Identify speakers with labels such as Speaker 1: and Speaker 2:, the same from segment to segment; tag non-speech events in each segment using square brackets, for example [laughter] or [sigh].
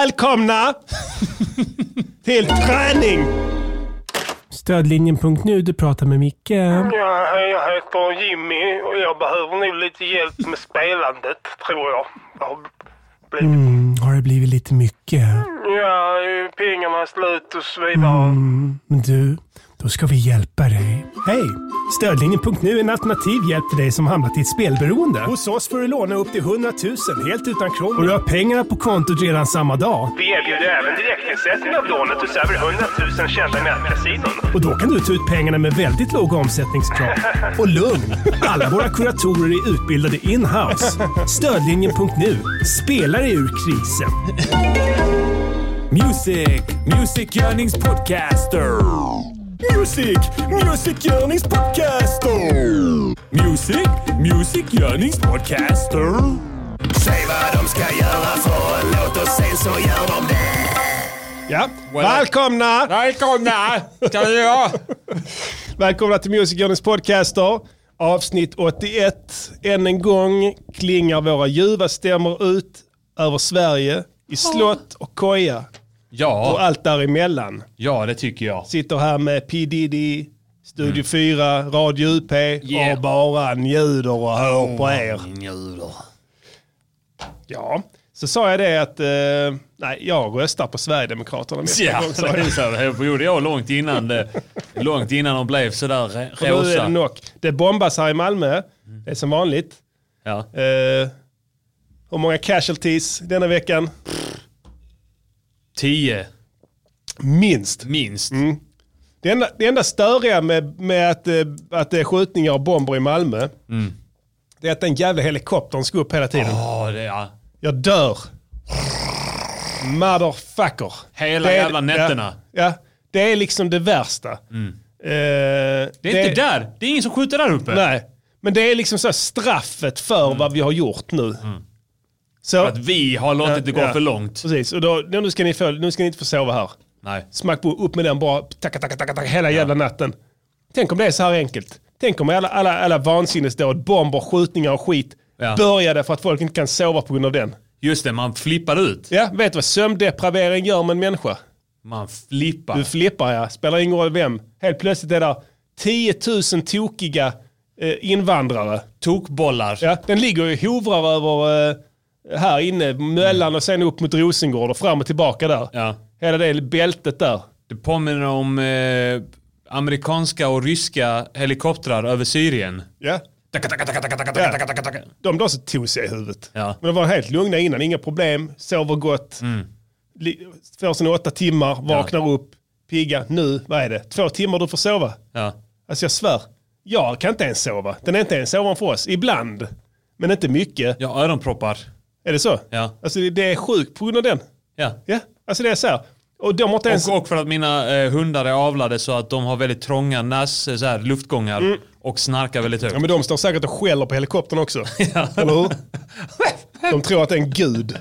Speaker 1: Välkomna till träning!
Speaker 2: Stödlinjen.nu, du pratar med Micke.
Speaker 3: Ja, jag heter Jimmy och jag behöver nog lite hjälp med spelandet, tror jag. Jag har blivit...
Speaker 2: Mm, har det blivit lite mycket?
Speaker 3: Ja, pengarna är slut och så vidare.
Speaker 2: Mm, men du, då ska vi hjälpa dig. Hej! Stödlinjen.nu är en alternativ hjälp för dig som hamnat i ett spelberoende. Hos oss får du låna upp till 100 000 helt utan krångel. Och du har pengarna på kontot redan samma dag.
Speaker 3: Vi erbjuder även direktnedsättning av lånet hos över 100 000 kända nätkasinon.
Speaker 2: Och då kan du ta ut pengarna med väldigt låga omsättningskrav. Och lugn! Alla våra kuratorer är utbildade in-house. Stödlinjen.nu. Spela dig ur krisen.
Speaker 4: Music, musikgörningspodcaster. Music, musikgörningspodcaster. Music, musikgörningspodcaster. Säg vad de ska göra för en låt och sen så gör de det.
Speaker 1: Ja. Välkomna!
Speaker 5: Välkomna ska ni vara.
Speaker 1: Välkomna till Music Journeys podcaster. Avsnitt 81. Än en gång klingar våra ljuva stämmor ut över Sverige i slott och koja och
Speaker 5: Ja,
Speaker 1: allt däremellan.
Speaker 5: ja, det tycker jag.
Speaker 1: Sitter här med P Diddy, Studio 4, Radio UP
Speaker 5: Mm. Yeah. Mm.
Speaker 1: och bara njuder och hör på er. Ja, så sa jag det att eh, nej, jag röstar på Sverigedemokraterna nästa
Speaker 5: Ja,
Speaker 1: gång. sa jag.
Speaker 5: det sa jag. Det gjorde jag långt innan, det, långt innan de blev sådär re-
Speaker 1: Och nu är det
Speaker 5: rosa.
Speaker 1: nog. Det bombas här i Malmö. Det är som vanligt.
Speaker 5: Ja.
Speaker 1: Eh, hur många casualties denna veckan?
Speaker 5: Tio,
Speaker 1: Minst.
Speaker 5: minst.
Speaker 1: Mm. Det enda, det enda störiga med, med att, eh, att det är skjutningar och bomber i Malmö,
Speaker 5: Mm.
Speaker 1: det är att den jävla helikoptern ska upp hela tiden.
Speaker 5: Ja, det, ja.
Speaker 1: Jag dör. Motherfucker.
Speaker 5: Hela
Speaker 1: Det är-
Speaker 5: jävla nätterna. Mm.
Speaker 1: Ja, ja, det är liksom det värsta. Eh,
Speaker 5: det är inte där. Det är ingen som skjuter där uppe.
Speaker 1: Nej, men det är liksom så här straffet för vad vi har gjort nu. Så,
Speaker 5: Mm. Att vi har låtit det gå
Speaker 1: Ja.
Speaker 5: för långt.
Speaker 1: precis, och då, nu, ska ni få, nu ska ni inte få sova här.
Speaker 5: Nej.
Speaker 1: Smack på, upp med den bara, tacka, tacka, tacka, tacka hela jävla natten. Tänk om det är så här enkelt. Tänk om alla, alla, alla vansinnesdåd, bomber, skjutningar och skit
Speaker 5: Ja.
Speaker 1: började för att folk inte kan sova på grund av den.
Speaker 5: Just det, man flippar ut.
Speaker 1: Ja, vet du vad sömndepravering gör med en människa?
Speaker 5: Man flippar.
Speaker 1: Du flippar ja, spelar ingen roll vem. Helt plötsligt är det 10 000 tokiga eh, invandrare.
Speaker 5: Tokbollar.
Speaker 1: Ja, den ligger ju och hovrar över eh, här inne, Möllan och sen upp mot Rosengård och fram och tillbaka där.
Speaker 5: Mm. Ja.
Speaker 1: Hela det bältet där.
Speaker 5: Det påminner om eh, amerikanska och ryska helikoptrar över Syrien.
Speaker 1: Ja. De då så tog sig i huvudet.
Speaker 5: Ja. Mm.
Speaker 1: Men de var helt lugna innan, inga problem, sover gott, li- får sina åtta timmar, vaknar upp, pigga. Nu, vad är det? Två timmar du får sova.
Speaker 5: Ja.
Speaker 1: Alltså jag svär, jag kan inte ens sova. Den är inte ens ovanför oss. Ibland, men inte mycket.
Speaker 5: Jag har öronproppar.
Speaker 1: Är det så?
Speaker 5: Ja.
Speaker 1: Alltså det- det är sjukt på grund av den.
Speaker 5: Ja.
Speaker 1: Ja, alltså det är så här. Och de har inte ens...
Speaker 5: Och, och för att mina eh, hundar är avlade så att de har väldigt trånga nas, eh, så här, luftgångar och snarkar väldigt högt.
Speaker 1: Mm. Ja men de står säkert och skäller på helikoptern
Speaker 5: [laughs]
Speaker 1: också. Eller hur? De tror att det är en
Speaker 5: [laughs]
Speaker 1: gud.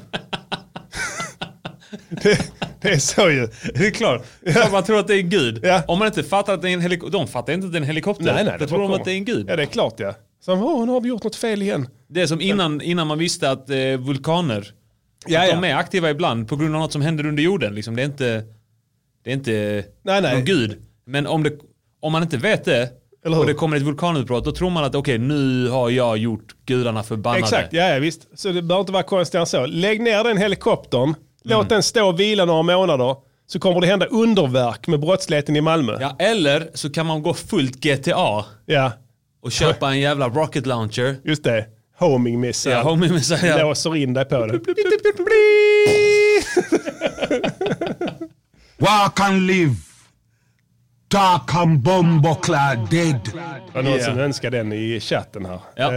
Speaker 1: Det, det är så ju.
Speaker 5: Det är klart. Ja. Man tror att det är en gud.
Speaker 1: Ja.
Speaker 5: Om man inte fattar att det är en helikopter. De fattar inte att det är en helikopter.
Speaker 1: Nej, nej,
Speaker 5: Då tror de att det är en gud.
Speaker 1: Ja det är klart ja. Så, åh, nu har vi gjort något fel igen.
Speaker 5: Det är som innan, innan man visste att eh, vulkaner,
Speaker 1: Ja,
Speaker 5: att
Speaker 1: ja.
Speaker 5: de är aktiva ibland på grund av något som händer under jorden. Liksom, det är inte, det är inte
Speaker 1: Nej, nej.
Speaker 5: någon gud. Men om, det, om man inte vet det
Speaker 1: Eller hur?
Speaker 5: och det kommer ett vulkanutbrott, då tror man att okej, nu har jag gjort gudarna förbannade.
Speaker 1: Exakt, ja, ja visst. Så det behöver inte vara konstigare än så. Lägg ner den helikoptern,
Speaker 5: Mm.
Speaker 1: låt den stå och vila några månader. Så kommer det hända underverk med brottsligheten i Malmö.
Speaker 5: Ja, eller så kan man gå fullt GTA
Speaker 1: Ja,
Speaker 5: och köpa en jävla rocket launcher.
Speaker 1: just det. Homing missile.
Speaker 5: Ja, homie med sig. Ja.
Speaker 1: Låser in dig på det.
Speaker 4: Walk and live. Dark and bomboclad dead.
Speaker 1: Det var någon
Speaker 5: Ja.
Speaker 1: som önskade den i chatten här.
Speaker 5: Ja.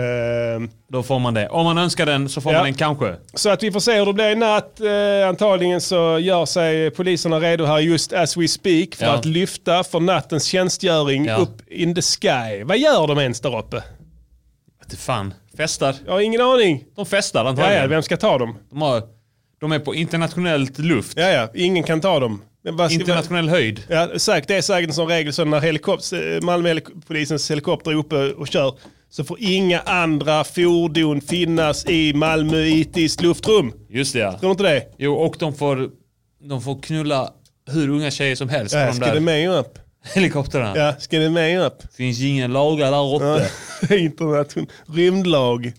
Speaker 1: Ehm,
Speaker 5: Då får man det. Om man önskar den så får
Speaker 1: Ja.
Speaker 5: man den kanske.
Speaker 1: Så att vi får se hur det blir i natt. Eh, antagligen så gör sig poliserna redo här just as we speak för
Speaker 5: Ja.
Speaker 1: att lyfta för nattens tjänstgöring
Speaker 5: Ja.
Speaker 1: upp in the sky. Vad gör de ens där uppe?
Speaker 5: Vete fan, festar.
Speaker 1: Jag har ingen aning.
Speaker 5: De festar
Speaker 1: Ja,
Speaker 5: antagligen.
Speaker 1: ja, vem ska ta dem?
Speaker 5: De, har, de är på internationellt luft.
Speaker 1: Ja, ja, ingen kan ta dem. Men vad-
Speaker 5: Internationell höjd.
Speaker 1: Ja, säkert, det är säkert en sån regel så när helikopter, Malmöpolisens helikopter är uppe och kör så får inga andra fordon finnas i Malmö ITs luftrum.
Speaker 5: Just det ja.
Speaker 1: Tror du inte det?
Speaker 5: Jo, och de får, de får knulla hur unga tjejer som helst
Speaker 1: Ja,
Speaker 5: på
Speaker 1: ska
Speaker 5: de
Speaker 1: det
Speaker 5: där
Speaker 1: med upp?
Speaker 5: helikoptrarna.
Speaker 1: Ja, ska det med upp?
Speaker 5: Finns ju ingen lagar där
Speaker 1: [laughs]
Speaker 5: uppe.
Speaker 1: Internation. Rymdlag.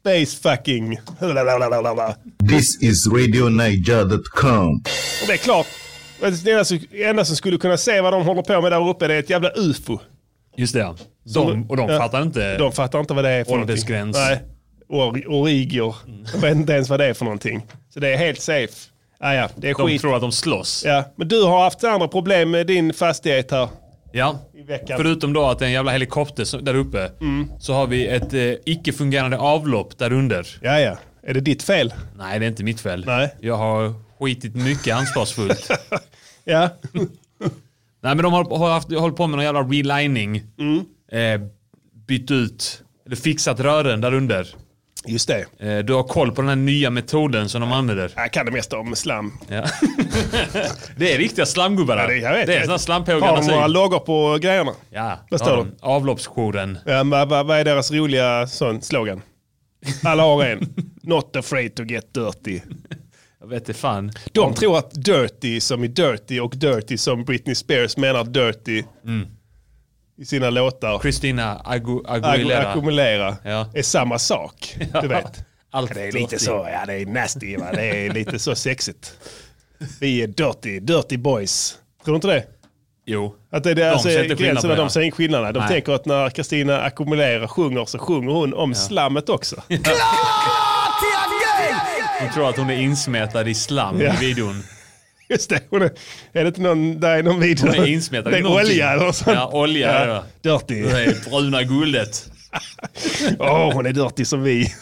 Speaker 1: Space fucking.
Speaker 6: This is RadioNiger.com.
Speaker 1: Och det är klart. Det enda som, det enda som skulle kunna se vad de håller på med där uppe det är ett jävla ufo.
Speaker 5: Just det ja. De, och de
Speaker 1: Ja.
Speaker 5: fattar inte.
Speaker 1: De fattar inte vad det är för
Speaker 5: Åldersgräns.
Speaker 1: någonting. Nej. Or, origior. De vet inte ens vad det är för någonting. Så det är helt safe. Ah, ja, det är
Speaker 5: de
Speaker 1: skit.
Speaker 5: tror att de slåss.
Speaker 1: Ja, men du har haft andra problem med din fastighet här.
Speaker 5: Ja.
Speaker 1: veckan. Mm.
Speaker 5: Förutom då att det är en jävla helikopter som- där uppe. Så har vi ett eh, icke-fungerande avlopp där under.
Speaker 1: Ja, ja. Är det ditt fel?
Speaker 5: Nej, det är inte mitt fel.
Speaker 1: Nej.
Speaker 5: Jag har skitit mycket ansvarsfullt.
Speaker 1: Ja. [laughs]
Speaker 5: Nej, men de har, har haft, hållit på med någon jävla relining.
Speaker 1: Mm.
Speaker 5: Eh, bytt ut, eller fixat rören där under.
Speaker 1: Just det.
Speaker 5: Eh, du har koll på den här nya metoden som de använder.
Speaker 1: Jag kan det mesta om slam.
Speaker 5: Ja. det är riktiga slamgubbar.
Speaker 1: Ja, det- jag vet,
Speaker 5: det
Speaker 1: jag
Speaker 5: är
Speaker 1: vet.
Speaker 5: sådana
Speaker 1: Har
Speaker 5: slampågar.
Speaker 1: de några loggor på grejerna?
Speaker 5: Ja,
Speaker 1: Vad
Speaker 5: det
Speaker 1: står
Speaker 5: har de. Avloppsjouren.
Speaker 1: Ja, men vad, vad, vad är deras roliga sån slogan? Alla har en. Not afraid to get dirty.
Speaker 5: Jag vet inte fan.
Speaker 1: De tror att dirty som i dirty och dirty som Britney Spears menar dirty
Speaker 5: Mm.
Speaker 1: i sina låtar.
Speaker 5: Christina Agu
Speaker 1: Agu-
Speaker 5: Aguilera.
Speaker 1: Ackumulera
Speaker 5: Ja.
Speaker 1: är samma
Speaker 5: [laughs]
Speaker 1: sak. Du vet.
Speaker 5: Allt
Speaker 1: Det är lite så, ja det är nasty va? det är lite så sexigt. Vi är dirty, dirty boys. Tror du inte det?
Speaker 5: Jo.
Speaker 1: Att det är deras
Speaker 5: ser inte
Speaker 1: de
Speaker 5: skillnad på
Speaker 1: gränserna,
Speaker 5: det,
Speaker 1: de
Speaker 5: va?
Speaker 1: ser ingen skillnad. där. De
Speaker 5: Nej.
Speaker 1: tänker att när Kristina Akumulera sjunger så sjunger hon om slammet också.
Speaker 5: Hon tror att hon är insmetad i slam
Speaker 1: Ja.
Speaker 5: i videon.
Speaker 1: [laughs] Just det, hon är, är det inte någon, där är någon video.
Speaker 5: Hon är insmetad
Speaker 1: Det
Speaker 5: i
Speaker 1: är
Speaker 5: någonting.
Speaker 1: olja eller något sånt.
Speaker 5: Ja, olja är det, va?
Speaker 1: Dirty.
Speaker 5: Det är bruna guldet.
Speaker 1: [laughs] Åh, hon är dirty som vi. [laughs]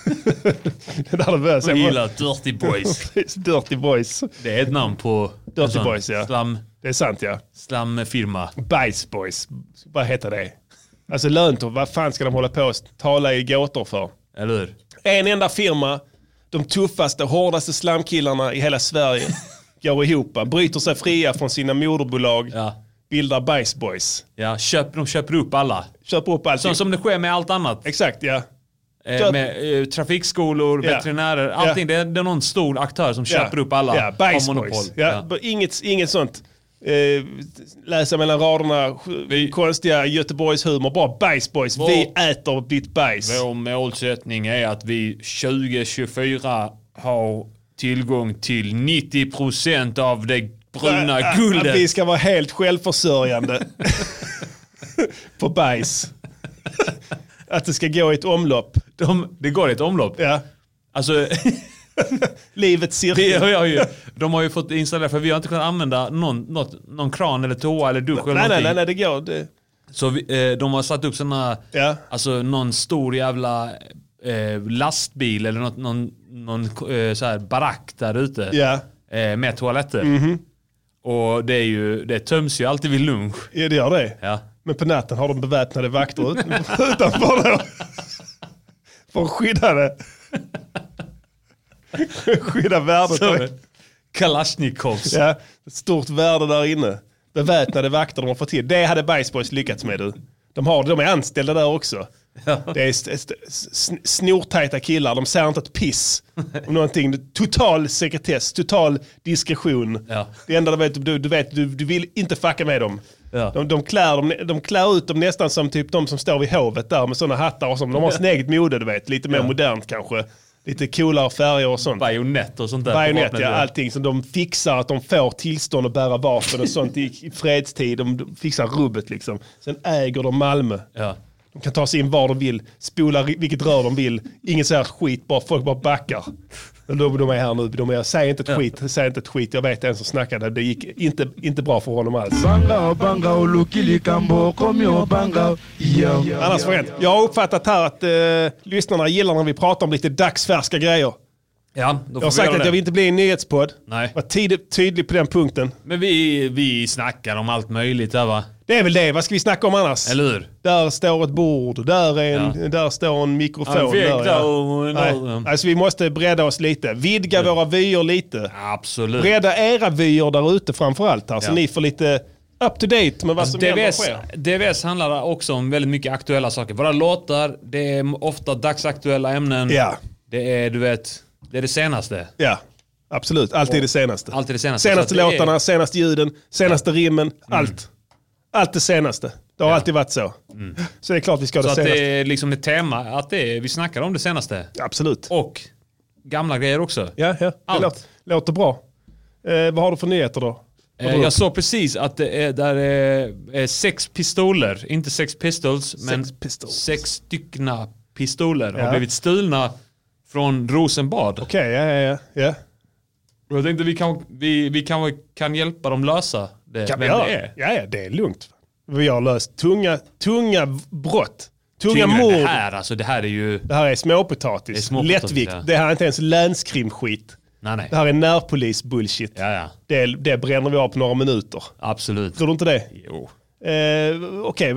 Speaker 1: det där nervös.
Speaker 5: Jag gillar Dirty Boys.
Speaker 1: [laughs] Dirty boys.
Speaker 5: Det är ett namn på en sån
Speaker 1: Boys, ja.
Speaker 5: slam,
Speaker 1: Det är sant ja.
Speaker 5: slamfirma.
Speaker 1: Bajs boys. Vad heter det? Alltså löntorp, vad fan ska de hålla på och tala i gåtor för?
Speaker 5: Eller hur?
Speaker 1: En enda firma, de tuffaste, hårdaste slamkillarna i hela
Speaker 5: [laughs]
Speaker 1: Sverige går ihop, bryter sig fria från sina moderbolag,
Speaker 5: Ja.
Speaker 1: bildar Bajs boys.
Speaker 5: Ja, köp, de köper upp alla.
Speaker 1: Köper upp allting.
Speaker 5: Så som det sker med allt annat.
Speaker 1: Exakt ja.
Speaker 5: Eh, med eh, trafikskolor,
Speaker 1: Ja.
Speaker 5: veterinärer, allting. Det, är, det är någon stor aktör som köper
Speaker 1: ja.
Speaker 5: upp alla.
Speaker 1: Ja, Bajs
Speaker 5: har monopol.
Speaker 1: boys. Ja.
Speaker 5: Ja.
Speaker 1: b- Inget, inget sånt. Eh, läsa mellan raderna, sj-
Speaker 5: Vi-
Speaker 1: konstiga Göteborgshumor. Bara Bajs boys.
Speaker 5: Vår-
Speaker 1: Vi äter ditt bajs.
Speaker 5: Vår målsättning är att vi 2024 har tillgång till 90% av det bruna
Speaker 1: Ä- ä- Att vi
Speaker 5: guldet.
Speaker 1: ska vara helt
Speaker 5: [laughs]
Speaker 1: självförsörjande på bajs. att det ska gå i ett omlopp.
Speaker 5: De, det går i ett omlopp.
Speaker 1: Ja.
Speaker 5: Alltså, [laughs]
Speaker 1: Livets cirkel.
Speaker 5: vi har ju, de har ju fått installera, för vi har inte kunnat använda någon, något, någon kran eller toa eller dusch eller
Speaker 1: Nej, nej,
Speaker 5: någonting.
Speaker 1: nej, nej, det går. Det...
Speaker 5: Så vi, eh, de har satt upp sådana,
Speaker 1: Ja.
Speaker 5: alltså någon stor jävla eh, lastbil eller något, någon, någon eh, så här barack där ute
Speaker 1: Ja. Mhm.
Speaker 5: eh, med toaletter. Och det, är ju, det töms ju alltid vid lunch.
Speaker 1: Ja, det gör det.
Speaker 5: Ja.
Speaker 1: Men på natten har de beväpnade vakter ut- [laughs] utanför då. För att skydda det. skydda värdet.
Speaker 5: Så, [laughs] Kalashnikovs.
Speaker 1: Ja, ett stort värde där inne. Beväpnade vakter de har fått till. Det hade Bajs Boys lyckats med du. De, har, de är anställda där också. Det är st- st- sn- snortajta killar, de säger inte ett piss om någonting. Total sekretess, total diskretion.
Speaker 5: Ja.
Speaker 1: Det enda du vet, du, du, vet du, du vill inte fucka med dem.
Speaker 5: Ja.
Speaker 1: De, de, klär, dem- de, klär ut dem nästan som typ de som står vid hovet där med sådana hattar och som De har
Speaker 5: [laughs]
Speaker 1: sin eget mode du vet, lite mer modernt kanske. Lite coolare färger och sånt.
Speaker 5: Bajonett och sånt där. på
Speaker 1: Bajonett,
Speaker 5: vapnet,
Speaker 1: ja, allting som de fixar att de får tillstånd att bära vapen och sånt i i fredstid. De de fixar rubbet liksom. Sen äger de Malmö.
Speaker 5: Ja.
Speaker 1: De kan ta sig in var de vill, spola ri- vilket rör de vill. Ingen säger ett skit, bara folk bara backar. Men De, de är här nu, de är, säg inte ett
Speaker 5: Ja.
Speaker 1: skit, säg inte ett skit. Jag vet en som snackade, det gick inte, inte bra för honom alls.
Speaker 7: bangao bangao lukili kambo komio bangao yo
Speaker 1: Annars var det rätt. Jag har uppfattat här att eh, lyssnarna gillar när vi pratar om lite dagsfärska grejer.
Speaker 5: ja, då får
Speaker 1: Jag har sagt att jag vill inte bli en nyhetspodd.
Speaker 5: Nej.
Speaker 1: Var tidigt, tydlig på den punkten.
Speaker 5: Men vi, vi snackar om allt möjligt där va?
Speaker 1: Det är väl det, vad ska vi snacka om annars?
Speaker 5: Eller hur?
Speaker 1: Där står ett bord, där, är en,
Speaker 5: Ja.
Speaker 1: där står en mikrofon.
Speaker 5: Ja, en vägg
Speaker 1: där,
Speaker 5: där och en
Speaker 1: Nej.
Speaker 5: där.
Speaker 1: Alltså vi måste bredda oss lite, vidga våra vyer lite.
Speaker 5: Absolut.
Speaker 1: Bredda era vyer där ute framförallt här, så
Speaker 5: Ja. Alltså,
Speaker 1: ni får lite up to date med Alltså, vad som händer och
Speaker 5: DVS,
Speaker 1: sker.
Speaker 5: DVS handlar också om väldigt mycket aktuella saker. Våra låtar, det är ofta dagsaktuella ämnen.
Speaker 1: Ja.
Speaker 5: Det är, du vet, det är det senaste.
Speaker 1: Ja, absolut. Alltid det senaste.
Speaker 5: Alltid det senaste.
Speaker 1: Senaste
Speaker 5: Så att det
Speaker 1: låtarna,
Speaker 5: är- Mm.
Speaker 1: senaste ljuden, senaste rimmen, allt. Allt det senaste. Det har alltid varit så. Så det är klart vi ska ha
Speaker 5: Mm. Så
Speaker 1: det
Speaker 5: att det
Speaker 1: senaste.
Speaker 5: är liksom ett tema, att det är, vi snackar om det senaste.
Speaker 1: Absolut.
Speaker 5: Och gamla grejer också.
Speaker 1: Ja, ja. Det
Speaker 5: Allt.
Speaker 1: låter, låter bra. Eh, vad har du för nyheter då?
Speaker 5: Eh, jag såg precis att det är, där är, är sex pistoler, inte sex pistols, men
Speaker 1: pistols.
Speaker 5: sex styckna pistoler
Speaker 1: Ja.
Speaker 5: har blivit stulna från Rosenbad.
Speaker 1: Okej, ja, ja, ja. ja.
Speaker 5: Och jag tänkte vi kan, vi, vi kan, kan hjälpa dem lösa det.
Speaker 1: Kan vi
Speaker 5: vem
Speaker 1: göra?
Speaker 5: det är.
Speaker 1: Ja, ja, det är lugnt. Vi har löst tunga, tunga brott. Tunga
Speaker 5: Tyngre än
Speaker 1: mord.
Speaker 5: Det här, alltså, det här är ju...
Speaker 1: Det här är småpotatis.
Speaker 5: Det är småpotatis,
Speaker 1: Lättvikt.
Speaker 5: ja.
Speaker 1: Det här är inte ens länskrimskit.
Speaker 5: Nej, nej.
Speaker 1: Det här är närpolis-bullshit.
Speaker 5: Ja, ja.
Speaker 1: Det, det bränner vi av på några minuter.
Speaker 5: Absolut.
Speaker 1: Tror du inte det?
Speaker 5: Jo.
Speaker 1: Eh, Okej,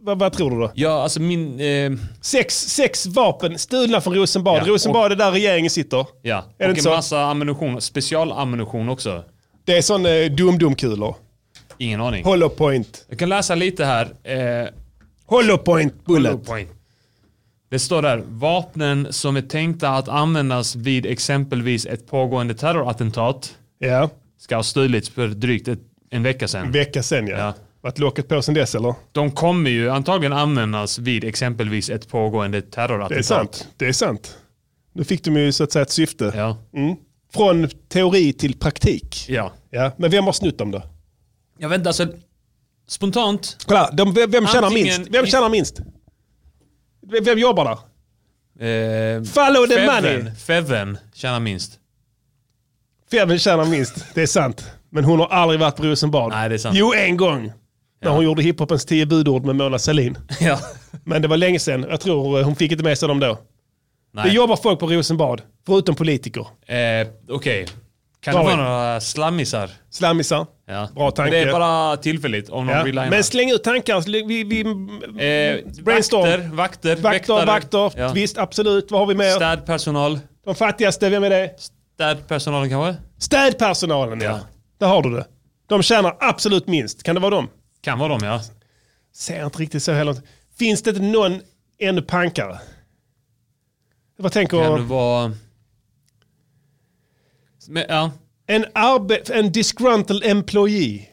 Speaker 1: vad, vad tror du då?
Speaker 5: Ja, alltså min... Eh,
Speaker 1: Sex, sex vapen stulna från Rosenbad.
Speaker 5: Ja,
Speaker 1: Rosenbad är där regeringen sitter.
Speaker 5: ja.
Speaker 1: Är det
Speaker 5: Och
Speaker 1: inte
Speaker 5: en
Speaker 1: så?
Speaker 5: massa ammunition, specialammunition också.
Speaker 1: Det är sån eh, dum-dum-kulor.
Speaker 5: Ingen aning.
Speaker 1: Hollow point.
Speaker 5: Jag kan läsa lite här. Eh,
Speaker 1: Hollow point bullet.
Speaker 5: Poäng. Det står där, vapnen som är tänkta att användas vid exempelvis ett pågående terrorattentat
Speaker 1: Ja,
Speaker 5: ska ha stulits för drygt ett, en vecka sedan.
Speaker 1: vecka sen ja.
Speaker 5: Ja.
Speaker 1: Varit locket på sen dess eller?
Speaker 5: De kommer ju antagligen användas vid exempelvis ett pågående terrorattentat.
Speaker 1: Det är sant. Det är sant. Nu fick de ju så att säga ett syfte.
Speaker 5: Ja.
Speaker 1: Mm. Från teori till praktik.
Speaker 5: ja.
Speaker 1: Ja, men vem har snutt dem då?
Speaker 5: Jag vet inte, alltså spontant.
Speaker 1: Kolla, de, vem, vem tjänar
Speaker 5: Antingen-
Speaker 1: minst? Vem tjänar minst? Vem, vem jobbar där?
Speaker 5: Eh,
Speaker 1: Follow the money!
Speaker 5: Feven, Feven tjänar minst.
Speaker 1: Feven tjänar minst, det är sant. Men hon har aldrig varit på Rosenbad.
Speaker 5: Nej, det är sant.
Speaker 1: Jo, en gång. När hon gjorde hiphopens tio budord med Mona Sahlin.
Speaker 5: [laughs] ja.
Speaker 1: Men det var länge sedan. Jag tror eh, hon fick inte med sig dem då. Det
Speaker 5: Nej. Eh,
Speaker 1: jobbar folk på Rosenbad, förutom politiker.
Speaker 5: Okej. Kan
Speaker 1: Dra
Speaker 5: det vara
Speaker 1: in.
Speaker 5: några slammisar?
Speaker 1: Slammisar.
Speaker 5: Ja.
Speaker 1: Bra tanke.
Speaker 5: Det är bara tillfälligt om någon
Speaker 1: Ja.
Speaker 5: vill linear.
Speaker 1: Men släng ut tankar. Sl- Vi, vi,
Speaker 5: Eh,
Speaker 1: brainstorm.
Speaker 5: vakter, vakter,
Speaker 1: vakter,
Speaker 5: väktare.
Speaker 1: vakter.
Speaker 5: Ja.
Speaker 1: Visst, absolut. Vad har vi mer?
Speaker 5: Städpersonal.
Speaker 1: De fattigaste, vem är det?
Speaker 5: Städpersonalen kanske?
Speaker 1: Städpersonalen, ja.
Speaker 5: Ja.
Speaker 1: Där har du det. De tjänar absolut minst. Kan det vara dem?
Speaker 5: Kan vara dem ja.
Speaker 1: Ser inte riktigt så heller. Finns det inte någon ännu pankare? Vad tänker
Speaker 5: Kan det
Speaker 1: du?
Speaker 5: vara... Men, ja,
Speaker 1: En, arbe- en disgruntled employee.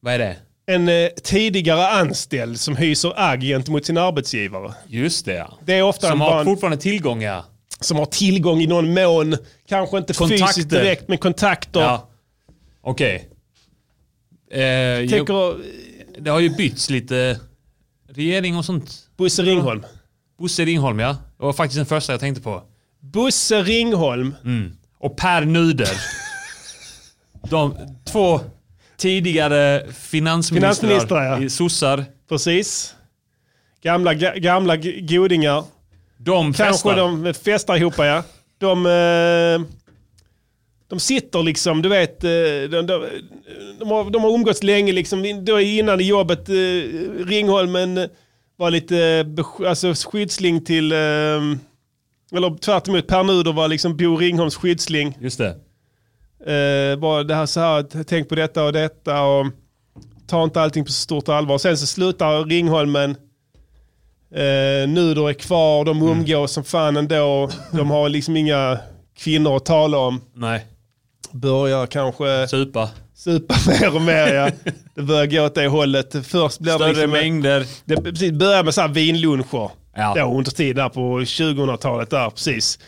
Speaker 5: vad är det?
Speaker 1: En eh, tidigare anställd som hyser agg gentemot sin arbetsgivare.
Speaker 5: Just det ja.
Speaker 1: Det är ofta
Speaker 5: Som
Speaker 1: en
Speaker 5: har
Speaker 1: barn-
Speaker 5: fortfarande tillgång ja.
Speaker 1: Som har tillgång i någon mån, kanske inte
Speaker 5: Kontakter.
Speaker 1: fysiskt direkt, men kontakter.
Speaker 5: ja. Okej. Eh, jo,
Speaker 1: Tänker eh,
Speaker 5: det har ju bytts lite regering och sånt.
Speaker 1: Bosse Ringholm.
Speaker 5: Bosse Ringholm ja. Det var faktiskt den första jag tänkte på.
Speaker 1: Bosse Ringholm.
Speaker 5: Mm. och
Speaker 1: [laughs]
Speaker 5: Per Nuder. De två tidigare finansministrar,
Speaker 1: Finansministrar, ja.
Speaker 5: i sossar.
Speaker 1: Precis. Gamla, ga- gamla g- godingar.
Speaker 5: De
Speaker 1: Kanske
Speaker 5: festar.
Speaker 1: de festar ihop ja. De, eh, de sitter liksom, du vet, eh, de, de, de, har, de har umgåtts länge liksom. Då innan i jobbet, eh, Ringholmen var lite eh, besk- alltså, skyddsling till, eh, eller tvärtom Per Nuder var liksom Bo Ringholms skyddsling.
Speaker 5: Just det.
Speaker 1: Eh, bara det här så här, t- tänk på detta och detta och ta inte allting på så stort allvar. Sen så slutar Ringholmen. Eh, Nuder är kvar, de
Speaker 5: Mm.
Speaker 1: umgås som fan ändå. De har liksom inga kvinnor att tala om.
Speaker 5: Nej.
Speaker 1: Börjar kanske
Speaker 5: Supa.
Speaker 1: supa [laughs] mer och mer. Ja. Det börjar gå åt det hållet. Först blir det
Speaker 5: Större
Speaker 1: liksom...
Speaker 5: mängder.
Speaker 1: Det precis, börjar med så här vinluncher.
Speaker 5: Ja.
Speaker 1: Då, under tiden där på 2000-talet där, precis.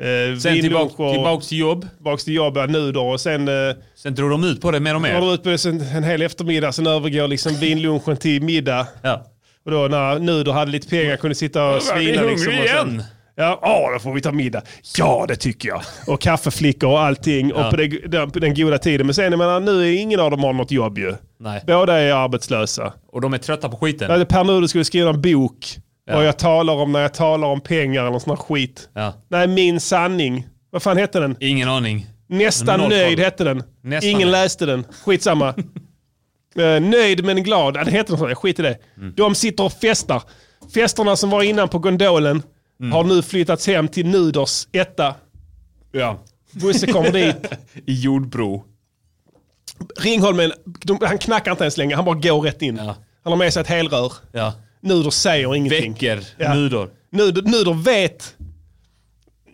Speaker 1: Eh,
Speaker 5: Sen tillbaka,
Speaker 1: vinluncher, tillbaka,
Speaker 5: tillbaka till jobb.
Speaker 1: till jobbet, Nuder och sen... Eh,
Speaker 5: Sen drog de ut på det mer och
Speaker 1: Har
Speaker 5: mer.
Speaker 1: de ut på det en, en hel eftermiddag, sen övergår liksom vinlunchen till middag.
Speaker 5: Ja.
Speaker 1: Och då när Nuder hade lite pengar kunde sitta och svina.
Speaker 5: hungrig
Speaker 1: liksom, och sen,
Speaker 5: igen?
Speaker 1: Ja, ja, då får vi ta middag. Ja, det tycker jag. Och kaffeflickor och allting. Och på det, den, på den goda tiden. Men sen, jag menar, nu är ingen av dem har något jobb ju.
Speaker 5: Nej.
Speaker 1: Båda är arbetslösa.
Speaker 5: Och de är trötta på
Speaker 1: Jag
Speaker 5: skiten.
Speaker 1: hade Per Nuder skulle skriva en bok.
Speaker 5: Ja.
Speaker 1: Vad jag talar om när jag talar om pengar eller någon sån här skit.
Speaker 5: Ja.
Speaker 1: Nej, Min sanning. Vad fan hette den?
Speaker 5: Ingen aning.
Speaker 1: Nästan
Speaker 5: Noll
Speaker 1: nöjd
Speaker 5: koll.
Speaker 1: hette den.
Speaker 5: Nästan
Speaker 1: Ingen
Speaker 5: nöjd.
Speaker 1: läste den.
Speaker 5: [laughs]
Speaker 1: Skitsamma. Eh, nöjd men glad. Ja, Det heter något sånt. Skit i det.
Speaker 5: Mm.
Speaker 1: De sitter och festar. Festerna som var innan på gondolen
Speaker 5: Mm.
Speaker 1: har nu flyttats hem till Nuders etta.
Speaker 5: Ja. [laughs]
Speaker 1: Bosse kommer dit.
Speaker 5: I Jordbro.
Speaker 1: Ringholmen, de, han knackar inte ens längre. Han bara går rätt in.
Speaker 5: Ja.
Speaker 1: Han har med sig ett helrör.
Speaker 5: Ja.
Speaker 1: Nuder säger ingenting.
Speaker 5: Väcker
Speaker 1: Ja.
Speaker 5: nudor.
Speaker 1: Nuder, Nuder vet...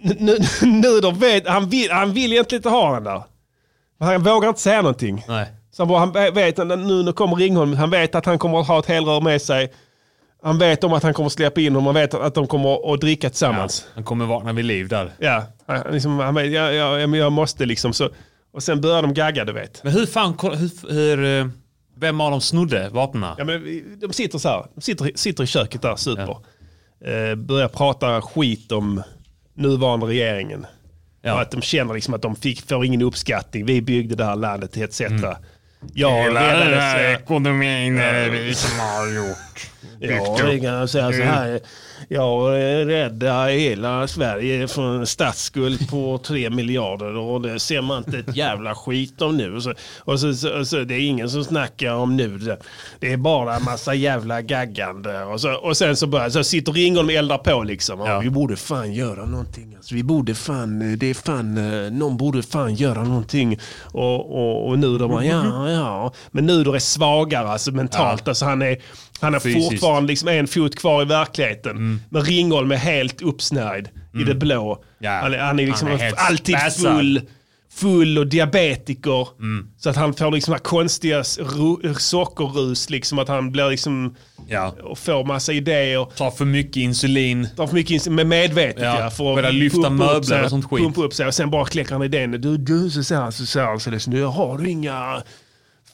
Speaker 1: Nu- nu- Nuder vet... Han vill, han vill egentligen inte ha den där. Men han vågar inte säga någonting.
Speaker 5: Nej.
Speaker 1: Så han, bara, han vet, nu när kommer Ringholm, han vet att han kommer att ha ett helrör med sig. Han vet om att han kommer att släppa in honom, han vet att de kommer att dricka tillsammans.
Speaker 5: Han kommer vakna vid liv där.
Speaker 1: Ja, han, liksom, han vet, jag, jag, jag, jag måste liksom. Så, och sen börjar de gagga, du vet.
Speaker 5: Men hur fan, koll- hur, hur, eh, vem av dem snodde vapnen?
Speaker 1: Ja, men vi- de sitter så här, de sitter, sitter i köket där, super. Eh, börjar prata skit om nuvarande regeringen.
Speaker 5: Ja.
Speaker 1: Och att de känner liksom att de fick, får ingen uppskattning. Vi byggde det här landet etc. Jag
Speaker 5: Mm. Hela den
Speaker 1: räddades.
Speaker 5: här
Speaker 1: eh,
Speaker 5: ekonomin är vi som har gjort.
Speaker 1: Ja, det kan jag säga så här. Jag räddar hela Sverige från en statsskuld [laughs] på 3 miljarder och det ser man inte ett jävla skit om nu. Och så, och så, så, så det är ingen som snackar om nu. det. Det är bara en massa jävla gaggande. Och, så, och sen så, börjar, så sitter Ringholm och eldar på liksom. Ja. Vi borde fan göra någonting. Alltså, vi borde fan, eh, det är fan, eh, någon borde fan göra någonting. Och, och, och nu då [laughs] bara, ja, ja. Men nu då är svagare alltså mentalt. Alltså, han är, han är
Speaker 5: Fysiskt.
Speaker 1: fortfarande fortfarande liksom en fot kvar i verkligheten.
Speaker 5: Mm.
Speaker 1: Men Ringholm är helt uppsnärjd i det blå.
Speaker 5: Ja.
Speaker 1: Han, är- han är liksom
Speaker 5: Han är helt
Speaker 1: alltid
Speaker 5: spassad.
Speaker 1: full, full och diabetiker.
Speaker 5: Mm.
Speaker 1: Så att han får liksom här konstiga s- ru- sockerrus, liksom att han blir liksom
Speaker 5: Ja.
Speaker 1: och får massa idéer.
Speaker 5: Tar för mycket insulin.
Speaker 1: Tar för mycket ins- med medvetet
Speaker 5: Ja,
Speaker 1: ja, för
Speaker 5: börjar lyfta
Speaker 1: pumpa upp
Speaker 5: möbler
Speaker 1: sig,
Speaker 5: och sånt skit.
Speaker 1: Pumpa upp sig och sen bara kläcker han idén. Du, du, så säger han så säger han så liksom, du, har du inga...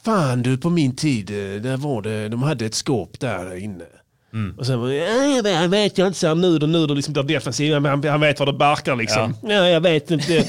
Speaker 1: Fan du, på min tid, eh, där var det, de hade ett skåp där inne. Och sen, bara, "Ja, men jag vet jag inte, säger Nuder, Nuder liksom blir defensiv, men han, han vet var det barkar liksom. Ja. jag vet inte.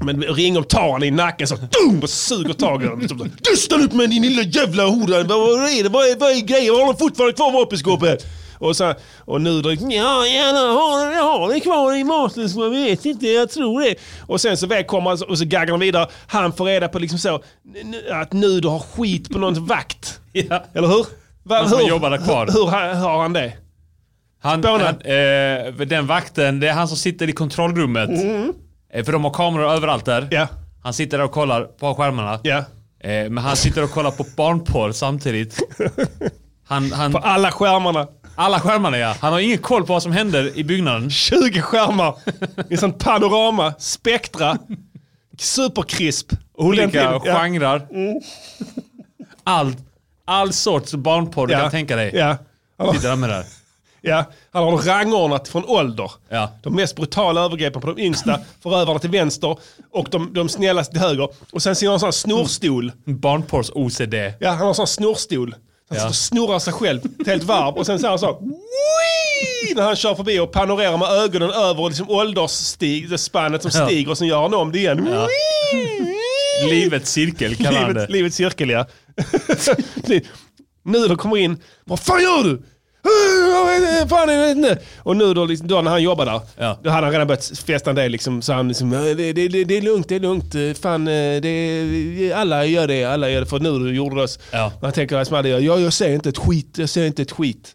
Speaker 1: men Ringholm tar han i nacken så, dum, och suger tag i honom. Liksom, så, Du stannar upp med din lilla jävla hora, vad, vad är det, vad är, vad är grejen, har de fortfarande kvar vapenskåpet? Och, så, och nu då, ja, ja, har, har det kvar i maten så jag vet inte, jag tror det. Och sen så väl kommer han så- och så gaggar de vidare. Han får reda på liksom så, n- n- att nu du har skit på nåons vakt.
Speaker 5: [laughs] Ja.
Speaker 1: Eller hur? Va,
Speaker 5: Han som jobbar där kvar.
Speaker 1: Hur, hur ha- har han det?
Speaker 5: Han,
Speaker 1: Spåna.
Speaker 5: han, eh, den vakten, det är han som sitter i kontrollrummet. Eh, för de har kameror överallt där.
Speaker 1: Ja.
Speaker 5: Han sitter där och kollar på skärmarna.
Speaker 1: Ja.
Speaker 5: Eh, men han sitter och kollar på barnporr [laughs] samtidigt. Han, han,
Speaker 1: På alla skärmarna.
Speaker 5: alla skärmarna ja. Han har ingen koll på vad som händer i byggnaden.
Speaker 1: 20 [laughs] skärmar. I sånt panorama, spektra, superkrisp.
Speaker 5: Olika
Speaker 1: Ja. Mm.
Speaker 5: genrer. All, all sorts barnporr du
Speaker 1: Ja.
Speaker 5: kan tänka dig.
Speaker 1: Ja. Han har-
Speaker 5: Sitter han med där.
Speaker 1: Ja, han har rangordnat från ålder.
Speaker 5: Ja.
Speaker 1: De mest brutala övergreppen på de
Speaker 5: [laughs]
Speaker 1: yngsta, förövarna till vänster och de, de snällaste till höger. Och sen ser han en sån här snorstol.
Speaker 5: Barnporrs-OCD.
Speaker 1: Ja, han har en sån här snorstol. Han sitter och snurrar sig själv ett helt varv och sen så här så. "Wii!" När han kör förbi och panorerar med ögonen över liksom åldersspannet som
Speaker 5: Ja.
Speaker 1: stiger och sen gör han om det igen.
Speaker 5: Ja.
Speaker 1: "Wii!"
Speaker 5: Livets cirkel kallar han det.
Speaker 1: Livet, [laughs] livets cirkel [laughs] ja. Ni- nu då kommer in, vad fan gör du? [laughs] "Eh, jag vet inte, Fan, jag vet inte. Och nu då, liksom, då när han jobbar där,
Speaker 5: Ja.
Speaker 1: då hade han redan börjat festa en del. Liksom, så han liksom, "Eh, det, det, det, det är lugnt, det är lugnt. eh, Fan, eh, det, alla gör det, alla gör det. För nu då gjorde det oss.
Speaker 5: Ja.
Speaker 1: Men Han tänker att man gör, ja, jag säger inte ett skit, jag säger inte ett skit.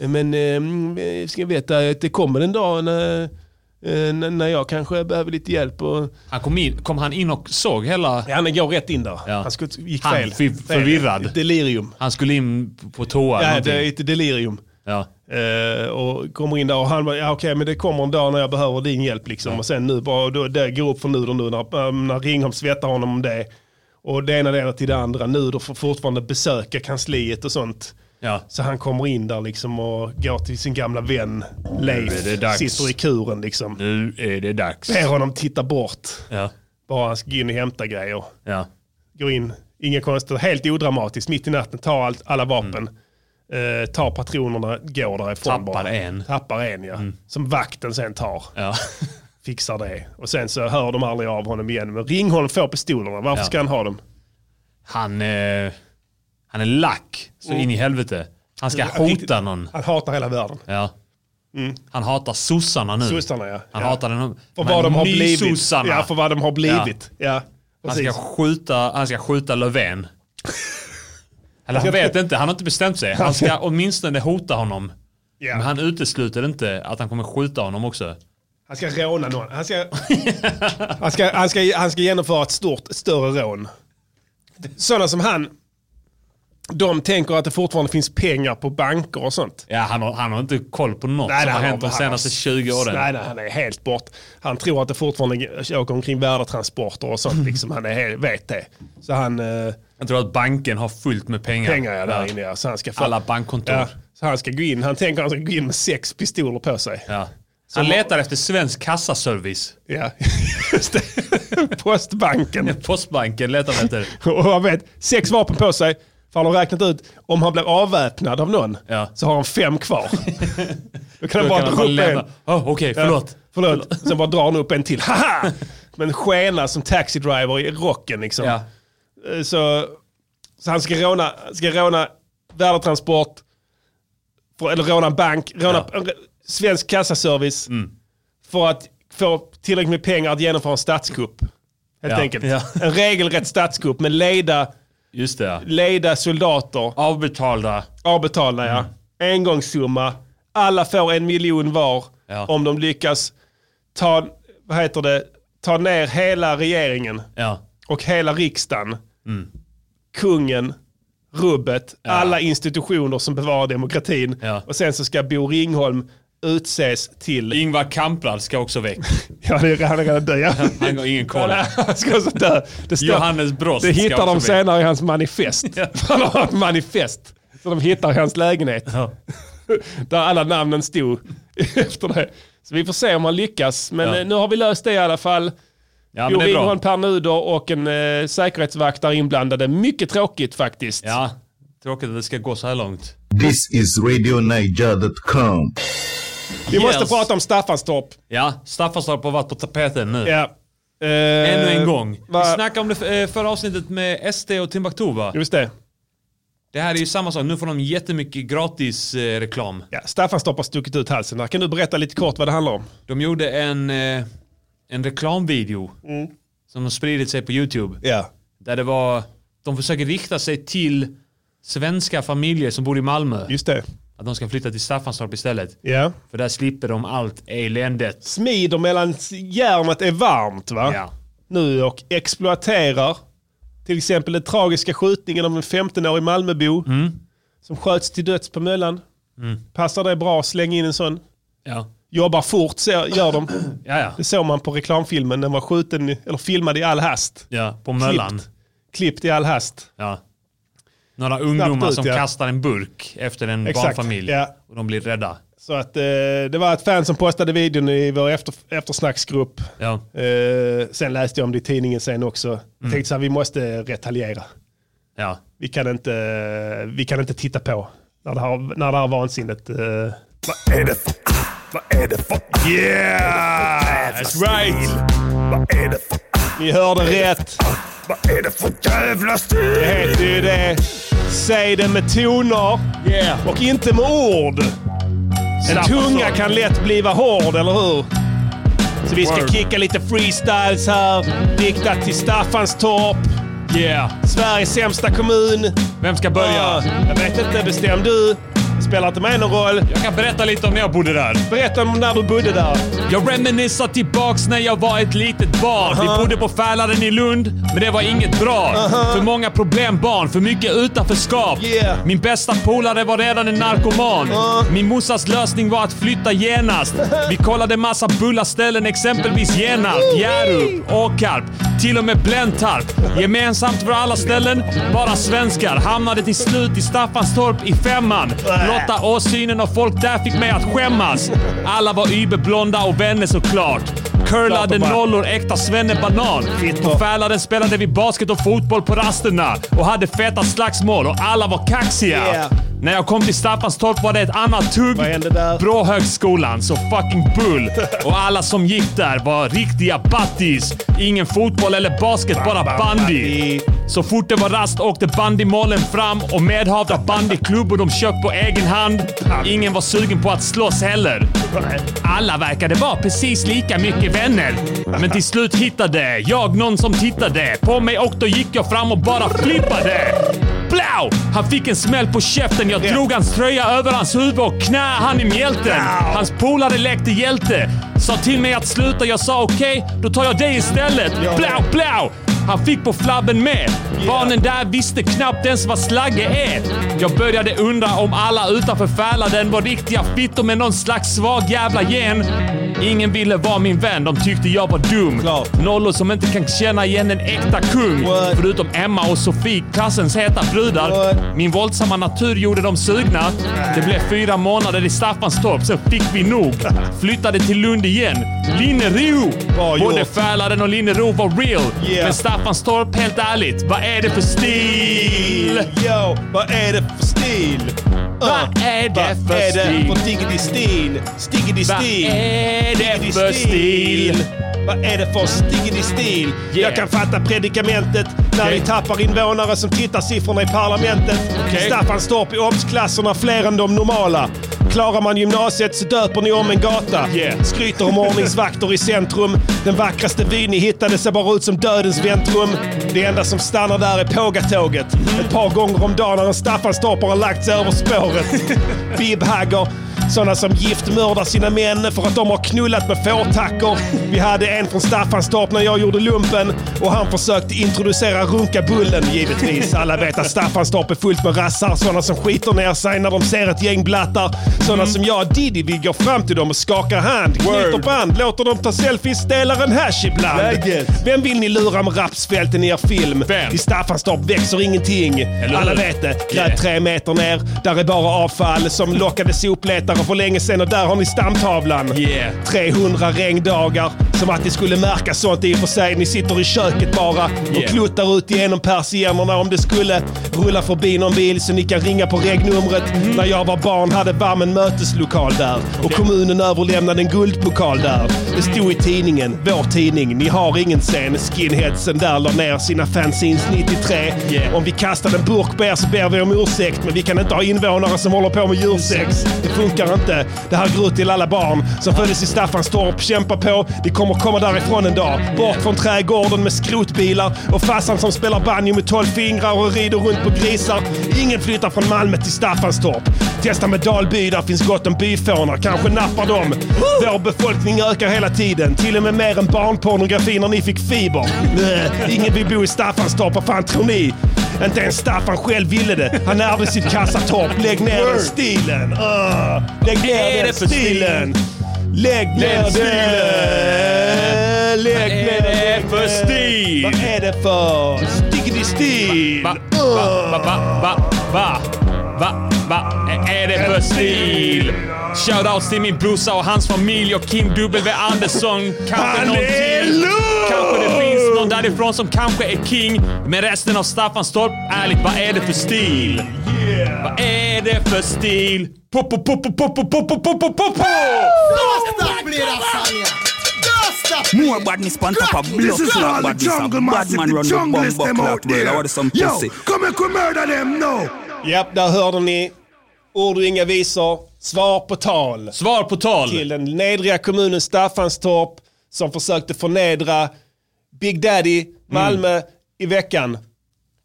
Speaker 1: Eh, Men eh, mm, ska veta att det kommer en dag när, eh, när när jag kanske behöver lite hjälp. Och,
Speaker 5: Han kom, in, kom han in och såg hela...
Speaker 1: Ja, han går rätt in där.
Speaker 5: Ja.
Speaker 1: Han skulle, gick
Speaker 5: Han
Speaker 1: fel.
Speaker 5: fy- förvirrad.
Speaker 1: Delirium.
Speaker 5: Han skulle in på toa eller
Speaker 1: Ja, det
Speaker 5: någonting.
Speaker 1: är ett delirium.
Speaker 5: Ja.
Speaker 1: Eh, och kommer in där och han bara, ja, okej men det kommer en dag när jag behöver din hjälp liksom. Och sen nu bara, och då, det går upp för Nuder nu när, eh, när Ringholm svettar honom om det. Och det ena det ena till det andra. Nuder får fortfarande besöka kansliet och sånt.
Speaker 5: Ja.
Speaker 1: Så han kommer in där liksom och går till sin gamla vän Leif.
Speaker 5: Nu är det dags.
Speaker 1: Sitter i kuren liksom.
Speaker 5: Nu är det dags.
Speaker 1: Ber honom titta bort.
Speaker 5: Ja.
Speaker 1: Bara han ska gå in och hämta grejer.
Speaker 5: Ja.
Speaker 1: går in, inga konstigheter, helt odramatiskt, mitt i natten, tar allt, alla vapen, eh, tar patronerna, går därifrån
Speaker 5: Tappar
Speaker 1: bara.
Speaker 5: en. Mm.
Speaker 1: Tappar en ja, som vakten sen tar.
Speaker 5: Ja.
Speaker 1: Fixar det. Och sen så hör de aldrig av honom igen. Men Ringholm får pistolerna, varför
Speaker 5: Ja.
Speaker 1: ska han ha dem?
Speaker 5: Han, eh, han är lack så in i helvete. Han ska
Speaker 1: Mm. Riktigt-
Speaker 5: hota någon.
Speaker 1: Han hatar hela världen.
Speaker 5: Ja. Han hatar sossarna nu.
Speaker 1: Sossarna ja.
Speaker 5: Han
Speaker 1: ja.
Speaker 5: hatar den.
Speaker 1: för vad de har blivit.
Speaker 5: Sossarna.
Speaker 1: Ja, för vad de har blivit. Ja.
Speaker 5: han,
Speaker 1: precis.
Speaker 5: ska skjuta, han ska
Speaker 1: [laughs]
Speaker 5: skjuta Löfven. Eller han vet inte, han har inte bestämt sig. Han ska åtminstone hota honom.
Speaker 1: Ja.
Speaker 5: Men han utesluter inte att han kommer skjuta honom också.
Speaker 1: Han ska råna någon. Han ska, han ska, han ska, han ska genomföra ett stort, ett större rån. sådana som han, de tänker att det fortfarande finns pengar på banker och sånt.
Speaker 5: Ja, han har, han har inte koll på något som har hänt de senaste 20 åren.
Speaker 1: Nej, nej, han är helt bort. Han tror att det fortfarande åker omkring värdetransporter och sånt. Liksom. Han är helt, vet det. Så han, eh,
Speaker 5: Jag tror att banken har fullt med pengar.
Speaker 1: pengar ja. där inne. ja. Så han ska få-
Speaker 5: Alla bankkontor.
Speaker 1: Ja, så han ska gå in. Han tänker att han ska gå in med sex pistoler på sig.
Speaker 5: Ja. Han letar efter svensk kassaservice.
Speaker 1: Ja, [laughs] just det. Postbanken.
Speaker 5: Postbanken letar han efter.
Speaker 1: [laughs] Och han vet, sex vapen på sig. För han har räknat ut, om han blir avväpnad av någon
Speaker 5: Ja.
Speaker 1: så har han fem
Speaker 5: [laughs]
Speaker 1: kvar. Då kan han
Speaker 5: Då
Speaker 1: bara
Speaker 5: kan
Speaker 1: dra
Speaker 5: han bara
Speaker 1: upp en.
Speaker 5: lämna. Oh, Okej, förlåt.
Speaker 1: Förlåt. Sen bara drar han upp en
Speaker 5: [laughs]
Speaker 1: till. Haha! Men skena som taxidriver i rocken liksom.
Speaker 5: Ja.
Speaker 1: Eh, Så, så han ska råna, ska råna värdetransport, för, eller råna en bank, råna en svensk kassaservice
Speaker 5: Mm.
Speaker 1: för att få tillräckligt med pengar att genomföra en statskupp. Helt
Speaker 5: Ja.
Speaker 1: enkelt.
Speaker 5: Ja.
Speaker 1: En regelrätt statskupp med leda,
Speaker 5: Just det. ja.
Speaker 1: leda soldater,
Speaker 5: Avbetalda.
Speaker 1: avbetalda ja.
Speaker 5: Mm.
Speaker 1: Engångssumma. Alla får en miljon var
Speaker 5: Ja.
Speaker 1: om de lyckas ta, vad heter det, ta ner hela regeringen
Speaker 5: Ja.
Speaker 1: och hela riksdagen,
Speaker 5: Mm.
Speaker 1: kungen, rubbet, alla institutioner som bevarar demokratin.
Speaker 5: Ja.
Speaker 1: Och sen så ska Bo Ringholm utses till...
Speaker 5: Ingvar Kamprad ska också väck.
Speaker 1: Ja, det är, han är redan död. ja.
Speaker 5: [laughs] Han har
Speaker 1: [laughs]
Speaker 5: ingen koll.
Speaker 1: Han ska också dö. Det, står,
Speaker 5: Johannes Brost
Speaker 1: det
Speaker 5: ska
Speaker 1: hittar
Speaker 5: också
Speaker 1: de
Speaker 5: bli.
Speaker 1: senare i hans manifest.
Speaker 5: Ja.
Speaker 1: [laughs] Han har ett manifest. Så de hittar i hans lägenhet.
Speaker 5: Ja.
Speaker 1: [laughs] Där alla namnen stod [laughs] efter det. Så vi får se om han lyckas. Men
Speaker 5: Ja.
Speaker 1: eh, nu har vi löst det i alla fall.
Speaker 5: Ja,
Speaker 1: Jo
Speaker 5: men det är
Speaker 1: Ringholm,
Speaker 5: bra.
Speaker 1: Per Nuder och en eh, säkerhetsvakt där inblandade. Mycket tråkigt faktiskt.
Speaker 5: Ja. Tråkigt att det ska gå så här långt.
Speaker 6: This is RadioNiger.com.
Speaker 1: Vi måste
Speaker 5: Yes.
Speaker 1: prata om Staffanstorp.
Speaker 5: Ja, Staffanstorp har varit på tapeten nu.
Speaker 1: Ja. Eh,
Speaker 5: Ännu en gång.
Speaker 1: va-
Speaker 5: Vi snackade om det eh, förra avsnittet med SD och Timbuktu va?
Speaker 1: Just det.
Speaker 5: Det här är ju samma sak. Nu får de jättemycket gratis eh, reklam.
Speaker 1: Ja, Staffanstorp har stuckit ut halsen. Här Kan du berätta lite kort vad det handlar om?
Speaker 5: De gjorde en, eh, en reklamvideo
Speaker 1: Mm.
Speaker 5: som har spridit sig på YouTube.
Speaker 1: Ja.
Speaker 5: Där det var, de försöker rikta sig till svenska familjer som bor i Malmö.
Speaker 1: Just det.
Speaker 5: Att de ska flytta till Staffanstorp istället.
Speaker 1: Ja.
Speaker 5: För där slipper de allt eländet.
Speaker 1: Smider mellan järnet är varmt va?
Speaker 5: Ja.
Speaker 1: Nu och exploaterar. Till exempel den tragiska skjutningen av en 15-årig Malmöbo.
Speaker 5: Mm.
Speaker 1: Som sköts till döds på Möllan. Passar det bra att slänga in en sån?
Speaker 5: Ja.
Speaker 1: Jobbar fort så gör
Speaker 5: [clears throat]
Speaker 1: de.
Speaker 5: Ja, ja.
Speaker 1: Det såg man på reklamfilmen. Den var skjuten, i- eller filmad i all hast.
Speaker 5: ja på Möllan.
Speaker 1: Klippt i all hast.
Speaker 5: Ja. Några ungdomar
Speaker 1: ut,
Speaker 5: som
Speaker 1: ja.
Speaker 5: kastar en burk efter en
Speaker 1: Exakt,
Speaker 5: barnfamilj.
Speaker 1: ja.
Speaker 5: Och de blir rädda.
Speaker 1: Så att eh, det var ett fan som postade videon i vår efter, eftersnacksgrupp.
Speaker 5: Ja.
Speaker 1: Eh, sen läste jag om det i tidningen sen också.
Speaker 5: Mm.
Speaker 1: Jag tänkte så här, vi måste retaljera.
Speaker 5: Ja.
Speaker 1: Vi kan inte, vi kan inte titta på när det här, när det här vansinnet... Eh.
Speaker 4: Vad är det för... Vad är det för...
Speaker 1: Yeah! That's right!
Speaker 4: Vad är det för...
Speaker 1: Ni hörde rätt.
Speaker 4: Vad är det för jävla stil?
Speaker 1: Det heter ju det. Säg det med toner
Speaker 5: Yeah.
Speaker 1: och inte med ord. En tunga kan lätt bliva hård, eller hur? Så vi ska
Speaker 5: Word.
Speaker 1: kicka lite freestyles här. Riktat till Staffanstorp.
Speaker 5: Yeah.
Speaker 1: Sveriges sämsta kommun.
Speaker 5: Vem ska börja?
Speaker 1: Ja, jag vet inte, bestäm du. Spelar inte mig någon roll.
Speaker 5: Jag kan berätta lite om när jag bodde där.
Speaker 1: Berätta om när du bodde där.
Speaker 5: Jag reminissar tillbaks när jag var ett litet barn. Vi bodde på Fälaren i Lund, men det var inget bra. För många problembarn, för mycket utanförskap.
Speaker 1: Yeah.
Speaker 5: Min bästa polare var redan en narkoman. Min morsas lösning var att flytta genast. Vi kollade massa bulla ställen, exempelvis Genarp, Hjärup, Åkarp, till och med Blentarp. Gemensamt för alla ställen, bara svenskar. Hamnade till slut i Staffanstorp i femman. Blotta åsynen av folk där fick mig att skämmas. Alla var yberblonda och vänner såklart. Curlade nollor, äkta svennebanan. På Fälaren spelade vi basket och fotboll på rasterna och hade feta slagsmål och alla var kaxiga.
Speaker 1: Yeah.
Speaker 5: När jag kom till Staffanstorp var det ett annat tugg.
Speaker 1: Vad hände där?
Speaker 5: Bråhögskolan, så fucking bull. Och alla som gick där var riktiga battis. Ingen fotboll eller basket, bara bandy. Så fort det var rast åkte bandymålen fram och medhavda bandyklubbor de köpt på egen hand. Ingen var sugen på att slåss heller. Alla verkade vara precis lika mycket vänner. Men till slut hittade jag någon som tittade på mig och då gick jag fram och bara flippade. Blau! Han fick en smäll på käften. Jag drog hans tröja över hans huvud och knä han i mjälten. Hans polare lekte hjälte. Sa till mig att sluta. Jag sa okej, då tar jag dig istället. Blau, blau! Han fick på flabben med. Barnen där visste knappt ens vad slagge är. Jag började undra om alla utanför Fäladen var riktiga fittor med någon slags svag jävla gen. Ingen ville vara min vän, de tyckte jag var dum.
Speaker 1: Klart.
Speaker 5: Nollor som inte kan känna igen en äkta kung.
Speaker 1: What?
Speaker 5: Förutom Emma och Sofie, klassens heta brudar.
Speaker 1: What?
Speaker 5: Min våldsamma natur gjorde dem sugna. Det blev fyra månader i Staffanstorp, sen fick vi nog. Flyttade till Lund igen. Linnero!
Speaker 1: Bra
Speaker 5: Både
Speaker 1: gjort.
Speaker 5: Fälaren och Linnero var real.
Speaker 1: Yeah.
Speaker 5: Men Staffanstorp, helt ärligt, vad är det för stil?
Speaker 1: Yo, vad är det för stil? Ah.
Speaker 5: Vad är det
Speaker 1: Vad
Speaker 5: för
Speaker 1: är det
Speaker 5: stil?
Speaker 1: för diggity stil? Stiggity
Speaker 5: Vad
Speaker 1: stil?
Speaker 5: är det
Speaker 1: Stiggity
Speaker 5: för stil?
Speaker 1: Vad är det för stiggity stil?
Speaker 5: Yeah.
Speaker 1: Jag kan fatta predikamentet när
Speaker 5: Okej.
Speaker 1: vi tappar invånare som tittar siffrorna i parlamentet.
Speaker 5: Okej.
Speaker 1: Staffanstorp i obsklasserna fler än de normala. Klarar man gymnasiet så döper ni om en gata.
Speaker 5: Yeah.
Speaker 1: Skryter om ordningsvakter i centrum. Den vackraste vyn ni hittade ser bara ut som dödens väntrum. Det enda som stannar där är pågatåget. Ett par gånger om dagen när en Staffanstorpare har lagt sig över
Speaker 5: [laughs]
Speaker 1: spåret. Bibhagger. Sådana som giftmördar sina män för att de har knullat med fårtackor. Vi hade en från Staffanstorp när jag gjorde lumpen och han försökte introducera runkabullen givetvis. Alla vet att Staffanstorp är fullt med rassar. Sådana som skiter ner sig när de ser ett gäng blattar. Sådana
Speaker 5: Mm.
Speaker 1: som jag, Diddy, vi går fram till dem och skakar hand. Knyter band, låter dem ta selfies, delar en hash ibland.
Speaker 5: Läget.
Speaker 1: Vem vill ni lura med rapsfälten i er film?
Speaker 5: Vem?
Speaker 1: I Staffanstorp växer ingenting.
Speaker 5: hur?
Speaker 1: Alla vet det. Gräv
Speaker 5: Yeah.
Speaker 1: tre meter ner. Där är bara avfall som lockade sopletare för länge sedan och där har ni stamtavlan.
Speaker 5: Yeah.
Speaker 1: 300 regndagar. Som att ni skulle märka sånt i och för sig. Ni sitter i köket bara och
Speaker 5: Yeah.
Speaker 1: kluttar ut genom persiennerna om det skulle rulla förbi någon bil så ni kan ringa på regnumret.
Speaker 5: Mm.
Speaker 1: När jag var barn hade BAM en möteslokal där och kommunen överlämnade en guldpokal där. Det stod i tidningen, vår tidning, ni har ingen scen. Skinheadsen där la ner sina fanzines 93.
Speaker 5: Yeah.
Speaker 1: Om vi kastade en burk på er så ber vi om ursäkt, men vi kan inte ha invånare som håller på med djursex. Det funkar inte. Det här går ut till alla barn som föddes i Staffanstorp. Kämpa på, vi kommer komma därifrån en dag. Bort från trädgården med skrotbilar och farsan som spelar banjo med tolv fingrar och rider runt på grisar. Ingen flyttar från Malmö till Staffanstorp. Testa med Dalby, där finns gott om byfånar. Kanske nappar de. Vår befolkning ökar hela tiden. Till och med mer än barnpornografi när ni fick fiber. Nä, Ingen vill bo i Staffanstorp, vad fan tror ni? Inte ens Staffan själv ville det. Han ärvde sitt kassatorp. Lägg ner den stilen. Uh, lägg
Speaker 5: är
Speaker 1: ner
Speaker 5: det
Speaker 1: den
Speaker 5: för stil?
Speaker 1: stilen. Lägg ner
Speaker 5: Den
Speaker 1: den
Speaker 5: stilen.
Speaker 1: stilen. Lägg
Speaker 5: Vad
Speaker 1: ner
Speaker 5: är det
Speaker 1: den.
Speaker 5: för stil?
Speaker 1: Vad är det för stickity stil?
Speaker 5: Va, va, va, va, va, va, va, va, ä- är det för stil? Shoutouts till min brorsa och hans familj och Kim W Andersson. Kanske någon till. Kanske det finns någon därifrån som kanske är king. Men resten av Staffanstorp, ärligt, vad är det för stil? Vad är det för stil? Po, po, po, po, po, po, po, po, po, po, po, po!
Speaker 8: More badness pan top of block
Speaker 4: This is
Speaker 8: clot
Speaker 4: all the
Speaker 8: badness. A
Speaker 4: jungle
Speaker 8: bad
Speaker 4: massive,
Speaker 8: man
Speaker 4: the
Speaker 8: run the bum
Speaker 4: junglist
Speaker 8: buck
Speaker 4: them out
Speaker 8: clot world. I
Speaker 4: there.
Speaker 8: want some
Speaker 4: Yo,
Speaker 8: pussy.
Speaker 4: come and come murder them now.
Speaker 1: Japp, där hörde ni. Ord och inga visor. Svar på tal.
Speaker 5: Svar på tal.
Speaker 1: till den nedriga kommunen Staffanstorp som försökte förnedra Big Daddy Malmö i veckan.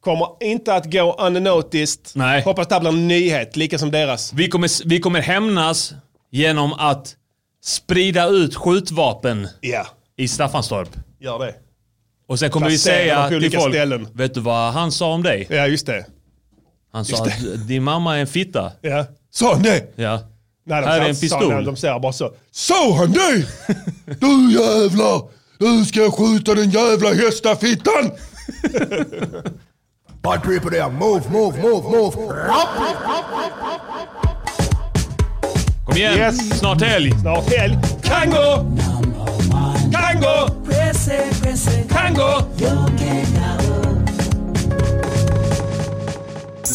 Speaker 1: Kommer inte att gå unnoticed.
Speaker 5: Nej.
Speaker 1: Hoppas det här blir en nyhet, lika som deras.
Speaker 5: Vi kommer, vi kommer hämnas genom att sprida ut skjutvapen
Speaker 1: Ja,
Speaker 5: i Staffanstorp.
Speaker 1: gör det.
Speaker 5: Och sen kommer vi
Speaker 1: Placera dem
Speaker 5: säga
Speaker 1: på
Speaker 5: till
Speaker 1: olika
Speaker 5: folk,
Speaker 1: ställen.
Speaker 5: vet du vad han sa om dig?
Speaker 1: Ja, just det.
Speaker 5: Han sa att din mamma är en fitta.
Speaker 1: Ja. Sa han det?
Speaker 5: Ja.
Speaker 1: Nej, de sa
Speaker 5: Här är en
Speaker 1: inte sa
Speaker 5: pistol.
Speaker 1: nej, De säger bara så.
Speaker 4: Sa han det? Du jävlar! Nu ska jag skjuta den jävla hästafittan! Bad people there, move, move, move, move!
Speaker 5: Kom igen,
Speaker 1: Yes.
Speaker 5: snart helg.
Speaker 1: Snart helg. Kango! Kango! Kango!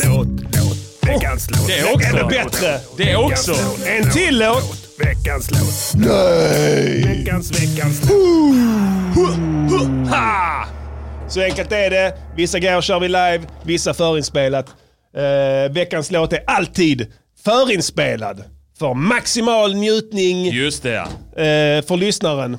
Speaker 4: Låt, låt, veckans låt.
Speaker 5: Det också.
Speaker 1: Ännu bättre!
Speaker 5: Det är också.
Speaker 1: En till låt!
Speaker 4: Veckans låt. Nej! Veckans, veckans låt.
Speaker 1: Så enkelt är det. Vissa grejer kör vi live, vissa förinspelat. Eh, veckans låt är alltid förinspelad. För maximal njutning eh,
Speaker 5: Just det ja.
Speaker 1: för lyssnaren.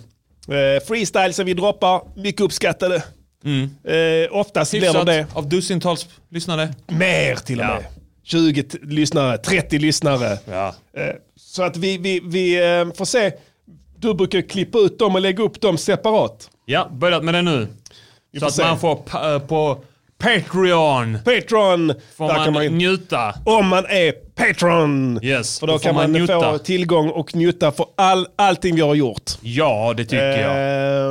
Speaker 1: Eh, freestylesen vi droppar, mycket uppskattade.
Speaker 4: Mm.
Speaker 1: Eh, oftast blir de
Speaker 5: Tipsat
Speaker 1: det.
Speaker 5: av dussintals lyssnare.
Speaker 1: Mer till och
Speaker 5: Ja.
Speaker 1: med. 20 t- lyssnare, 30 lyssnare.
Speaker 5: Ja.
Speaker 1: Eh, Så att vi, vi, vi eh, får se. Du brukar klippa ut dem och lägga upp dem separat.
Speaker 5: Ja, börjat med det nu.
Speaker 1: Vi
Speaker 9: Så
Speaker 1: får
Speaker 9: att
Speaker 1: se.
Speaker 9: man får pa- eh, på Patreon
Speaker 1: Patreon.
Speaker 9: får
Speaker 1: där kan
Speaker 9: man,
Speaker 1: man in-
Speaker 9: njuta.
Speaker 1: om man är Patreon.
Speaker 9: Yes,
Speaker 1: För då
Speaker 9: då får
Speaker 1: kan man,
Speaker 9: man njuta.
Speaker 1: få tillgång och njuta för all, allting vi har gjort.
Speaker 9: Ja, det tycker jag.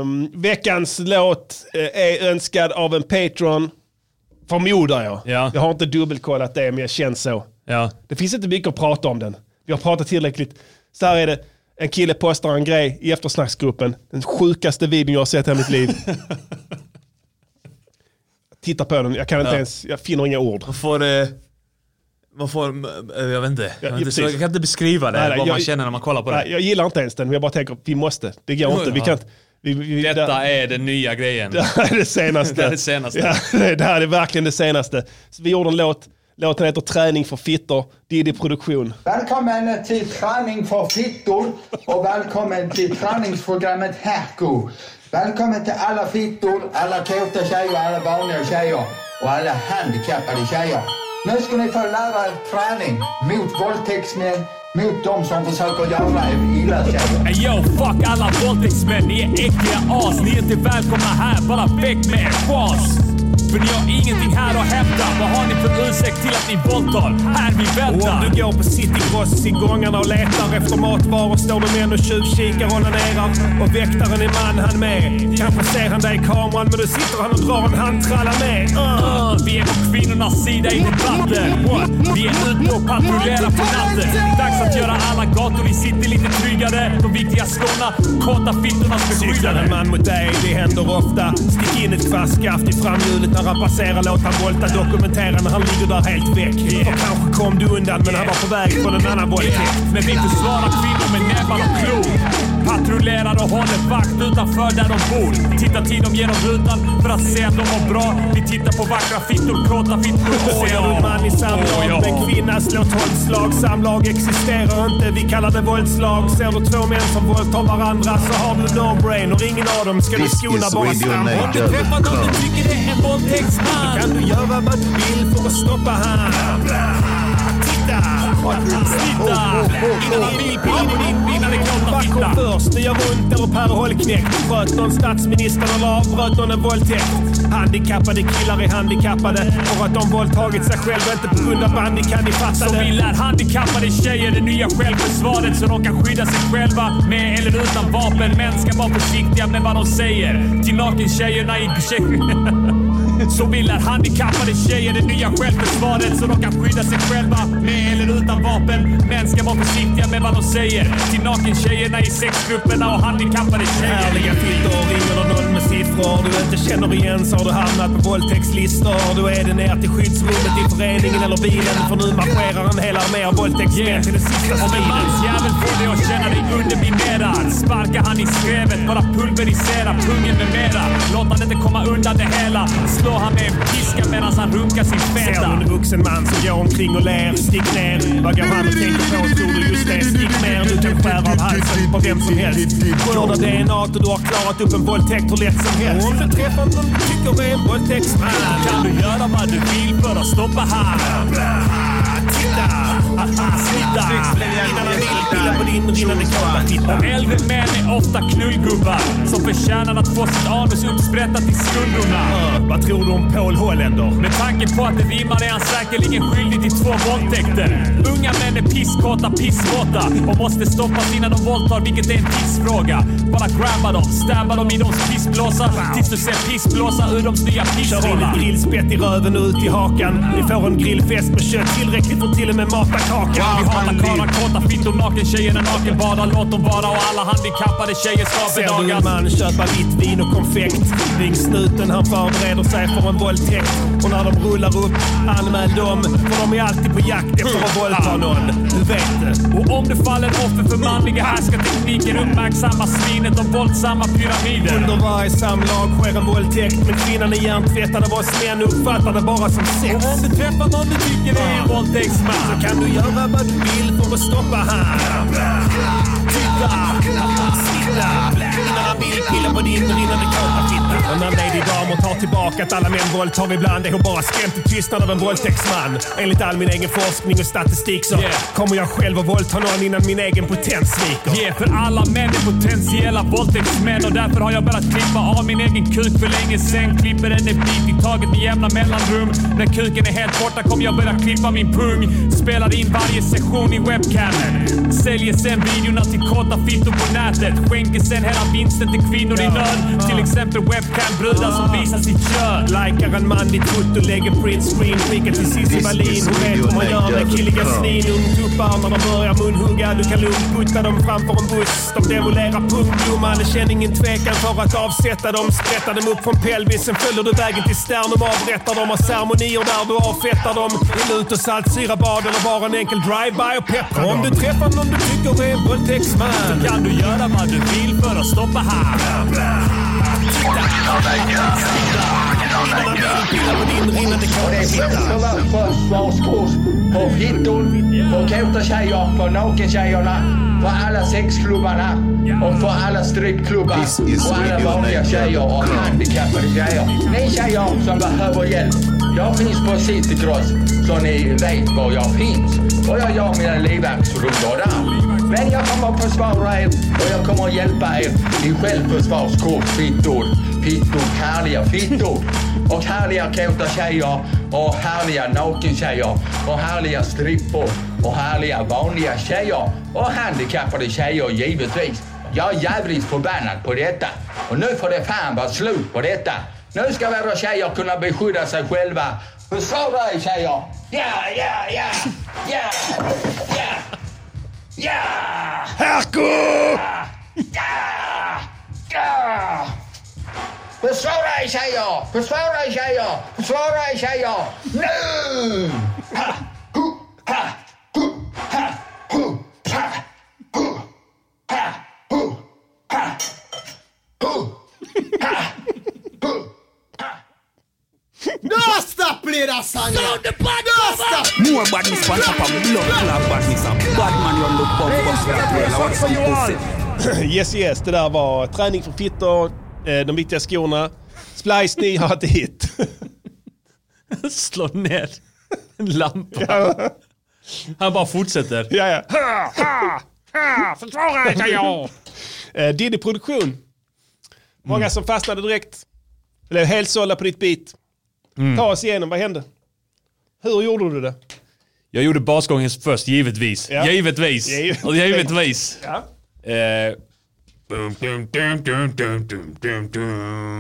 Speaker 1: Ehm, veckans låt eh, är önskad av en Patreon. Förmodar jag.
Speaker 9: Ja.
Speaker 1: Jag har inte dubbelkollat det, men jag känns så.
Speaker 9: Ja.
Speaker 1: Det finns inte mycket att prata om den. Vi har pratat tillräckligt. Så här är det. En kille postar en grej i eftersnacksgruppen. Den sjukaste videon jag har sett i hela mitt liv. [laughs] Titta på den. Jag kan inte ens, jag finner inga ord.
Speaker 10: Man får... eh, Man får... eh, Jag vet inte. Jag, vet inte så
Speaker 1: precis.
Speaker 10: jag kan inte beskriva det,
Speaker 1: Nej, nej,
Speaker 10: vad man
Speaker 1: jag-
Speaker 10: känner när man kollar på det.
Speaker 1: Nej, jag gillar inte ens den, men jag bara tänker, vi måste. Det går inte. Vi kan inte. Vi, vi,
Speaker 9: Detta är den nya grejen.
Speaker 1: [laughs] Det här är det senaste.
Speaker 9: Det här är det senaste.
Speaker 1: Ja, [laughs] det, det här är verkligen det senaste. Så vi gjorde en låt. Låten heter Träning för fittor. Diddy Produktion.
Speaker 11: Välkommen till träning för fittor och välkommen till träningsprogrammet Herko. Välkommen till alla fittor, alla kåta tjejer, alla vanliga tjejer och alla handikappade tjejer. Nu ska ni få lära er träning mot våldtäktsmän, mot de som försöker göra er illa tjejer.
Speaker 5: Ey, Yo, fuck alla våldtäktsmän, ni är äckliga as. Ni är inte välkomna här, bara väck med er schas. För ni har ingenting här att hämta. Vad har ni för ursäkt till att ni våldtar? Här vi
Speaker 12: Och om
Speaker 5: väntar.
Speaker 12: du går på citycross i gångarna och letar efter matvaror står de män och tjuvkikar och onanerar. Och väktaren är man han med. Kanske ser han dig i kameran men då sitter han och drar en handtralla med. Uh.
Speaker 5: Uh, vi är på kvinnornas sida i debatten. Vi är ute och patrullerar på natten. Det är dags att göra alla gator i city lite tryggare. De viktiga slåna, kåta fittornas
Speaker 12: Cyklar en
Speaker 5: beskyddare.
Speaker 12: man mot dig, det händer ofta. Stick in ett kvastskaft i framhjulet när han passerar. Låt han volta. Dokumentera när han ligger där helt väck. För kanske kom du undan men han var på väg från en annan våldtäkt.
Speaker 5: Men vi försvarar kvinnor med näbbar och klor. Patrullerar och håller vakt utanför där de bor. Tittar till dem genom rutan för att se att de mår bra. Vi tittar på vackra fittor, kåta fittor och
Speaker 12: Ser du en man i samlag
Speaker 5: Åh, ja.
Speaker 12: med en kvinna slår tolv slag. Samlag existerar inte, vi kallar det våldslag. Ser du två män som våldtar varandra så har du no brain och ingen av dem ska du
Speaker 6: This
Speaker 12: skona
Speaker 6: is
Speaker 12: bara
Speaker 6: Radio
Speaker 12: stamma.
Speaker 6: Niger.
Speaker 5: Träffar någon du tycker är en våldtäktsman.
Speaker 12: Kan du göra vad du vill för att stoppa han? Titta!
Speaker 5: Titta! Innan han vill pilla på din vinnare kåta
Speaker 12: Back
Speaker 5: fitta.
Speaker 12: kom först, det gör ont, där och Per Holknekt. Bröt någon statsministern eller avbröt någon en våldtäkt? Handikappade killar är handikappade och att de våldtagit sig själva inte på grund av handikapp, ni fattar
Speaker 5: Så
Speaker 12: det.
Speaker 5: vi lär handikappade tjejer det nya självförsvaret så de kan skydda sig själva med eller utan vapen. Män ska vara försiktiga med vad de säger till nakentjejerna i [laughs] Så vi lär handikappade tjejer det nya självförsvaret så de kan skydda sig själva med eller utan vapen. Män ska vara försiktiga med vad de säger till nakentjejerna i sexgrupperna och handikappade
Speaker 12: Ärliga
Speaker 5: tjejer.
Speaker 12: fittor ringer det någon med siffror du inte känner igen så har du hamnat på våldtäktslistor. Då är det ner till skyddsrummet i föreningen eller bilen för nu marscherar en hel armé av våldtäktsmän till den sista
Speaker 5: Om en
Speaker 12: striden.
Speaker 5: mansjävel får dig att känna dig underminerad Sparka han i skrevet, bara pulverisera pungen med mera Låt han inte komma undan det hela Slå han med en piska medan han runkar sin
Speaker 12: Ser
Speaker 5: feta
Speaker 12: du en vuxen man som går omkring och ler, stick ner. Vad går
Speaker 5: [laughs]
Speaker 12: han och tänker på? Tror du just det? Stick ner. Du kan skära av halsen på vem som helst. Skörda DNA och du har klarat upp en våldtäkt hur lätt som helst. Om du träffar någon du tycker är en våldtäktsman
Speaker 5: Kan du göra vad du vill för att stoppa han?
Speaker 12: Titta! Titta! Innan han vill pilla på din rinnande kåta fitta.
Speaker 5: Och äldre män är ofta knullgubbar Som förtjänar att få sitt anus uppsprättat i skuldrorna
Speaker 12: Vad tror du om Paul Holländer?
Speaker 5: Med tanke på att det rimmar är han säkerligen skyldig till två våldtäkter. Unga män är pisskåta, pissvåta och måste stoppas innan de våldtar, vilket är en tidsfråga. Bara grabba dem, stabba dem i deras pissblåsa tills du ser pissblåsa ur deras nya
Speaker 12: Kör in
Speaker 5: pissrulla.
Speaker 12: ett grillspett i röven och ut i hakan. Ni får en grillfest med kött tillräckligt för till och med mata kakan.
Speaker 5: Vi hatar karlar, kåta fittor, nakentjejerna nakenbadar. Låt dem vara och alla handikappade tjejer ska
Speaker 12: Ser du en
Speaker 5: bedagas.
Speaker 12: man köpa vitt vin och konfekt? Ring snuten, han förbereder sig för en våldtäkt. Och när de rullar upp, anmäl dem. För de är alltid på jakt efter att våldta någon. Du vet det.
Speaker 5: Och om du faller offer för manliga
Speaker 12: typ
Speaker 5: härskartekniker uppmärksamma svinet om våldsamma pyramider.
Speaker 12: Under varje samlag sker en våldtäkt. Men kvinnan är hjärntvättad av oss män och uppfattar det bara som sex.
Speaker 5: Och om du träffar någon du tycker är en våldtäktsman
Speaker 12: Kan du göra vad du vill för att stoppa han? Titta! Sitta! fitta. Innan han vill pilla på din brinnande kåpafitta. Annan lady dam och tar tillbaka att alla män våldtar ibland är hon bara skrämt till tystnad av en våldtäktsman. Enligt all min egen forskning och statistik så kommer jag själv att våldta någon innan min egen potens sviker. Yeah, för alla män är potentiella våldtäktsmän och därför har jag börjat klippa av min egen kuk för länge sen. Klipper den en bit i taget med jämna mellanrum. När kuken är helt borta kommer jag börja klippa min pung. Spelar in varje session i webcamen. Säljer sen videorna till kåta fittor på nätet. Skänker sen hela vinsten till kvinnor i nöd. Till exempel webcam-brudar som visar sitt kön. Likar en man i tutt och lägger printscreen. Skickar till Cissi Wallin. Hon vet hur man gör med killiga snin. Ung tupparmar och börjar munhugga. Du kan lugnt putta dem framför en buss. De demolerar pungblomman. Känn ingen tvekan för att avsätta dem. Sprättar dem upp från pelvisen. Följer du vägen till sternum. Avrättar dem. Har ceremonier där du avfettar dem. I lut och saltsyrabad eller bara en enkel drive-by och pepprar dem. Om du träffar någon du tycker är en våldtäktsman. Så kan du göra vad du vill för att stoppa han.
Speaker 11: Och det finns så värst försvarskurs på fittor, på kåta tjejer, på nakentjejerna, på alla sexklubbarna och på alla strippklubbar och alla vanliga tjejer och handikappade tjejer. Ni tjejer som behöver hjälp, jag finns på Citycross så ni vet var jag finns. Och jag gör mina livvaktsrundor där. Men jag kommer att försvara er och jag kommer att hjälpa er i självförsvarskurs, fittor. Fittor, härliga fittor. Och härliga kåta tjejer och härliga nakentjejer och härliga strippor och härliga vanliga tjejer och handikappade tjejer givetvis. Jag är jävligt förbannad på detta och nu får det fan vara slut på detta. Nu ska våra tjejer kunna beskydda sig själva. Försvara er tjejer! Ja, ja, ja, ja, ja, ja!
Speaker 13: Herko!
Speaker 11: Ja! Försvara er tjejer! Försvara er tjejer! Försvara er tjejer! Nu! Ha, hu, ha, hu, ha, hu, ha, hu, ha, hu, ha, hu, ha, hu, ha.
Speaker 14: Nosta play that song. Sound the bad Nosta. More badness on top of blood clot badness. A bad man run the pub. Bust that girl. I want some pussy.
Speaker 1: Yes yes, det där var träning för fittor, eh, de viktiga skorna. Splice, ni har ett hit. [laughs]
Speaker 5: Slår ner en lampa. Han bara fortsätter.
Speaker 1: Ja, ja.
Speaker 5: Ha, ha, ha, försvara dig, jag.
Speaker 1: Eh, Diddy Produktion. Många
Speaker 5: Mm.
Speaker 1: som fastnade direkt. Blev helt sålda på ditt beat.
Speaker 5: Mm.
Speaker 1: Ta oss igenom, vad hände? Hur gjorde du det?
Speaker 5: Jag gjorde basgången först, givetvis.
Speaker 1: Ja.
Speaker 5: Givetvis.
Speaker 1: Givetvis.
Speaker 5: Och givetvis. Eh,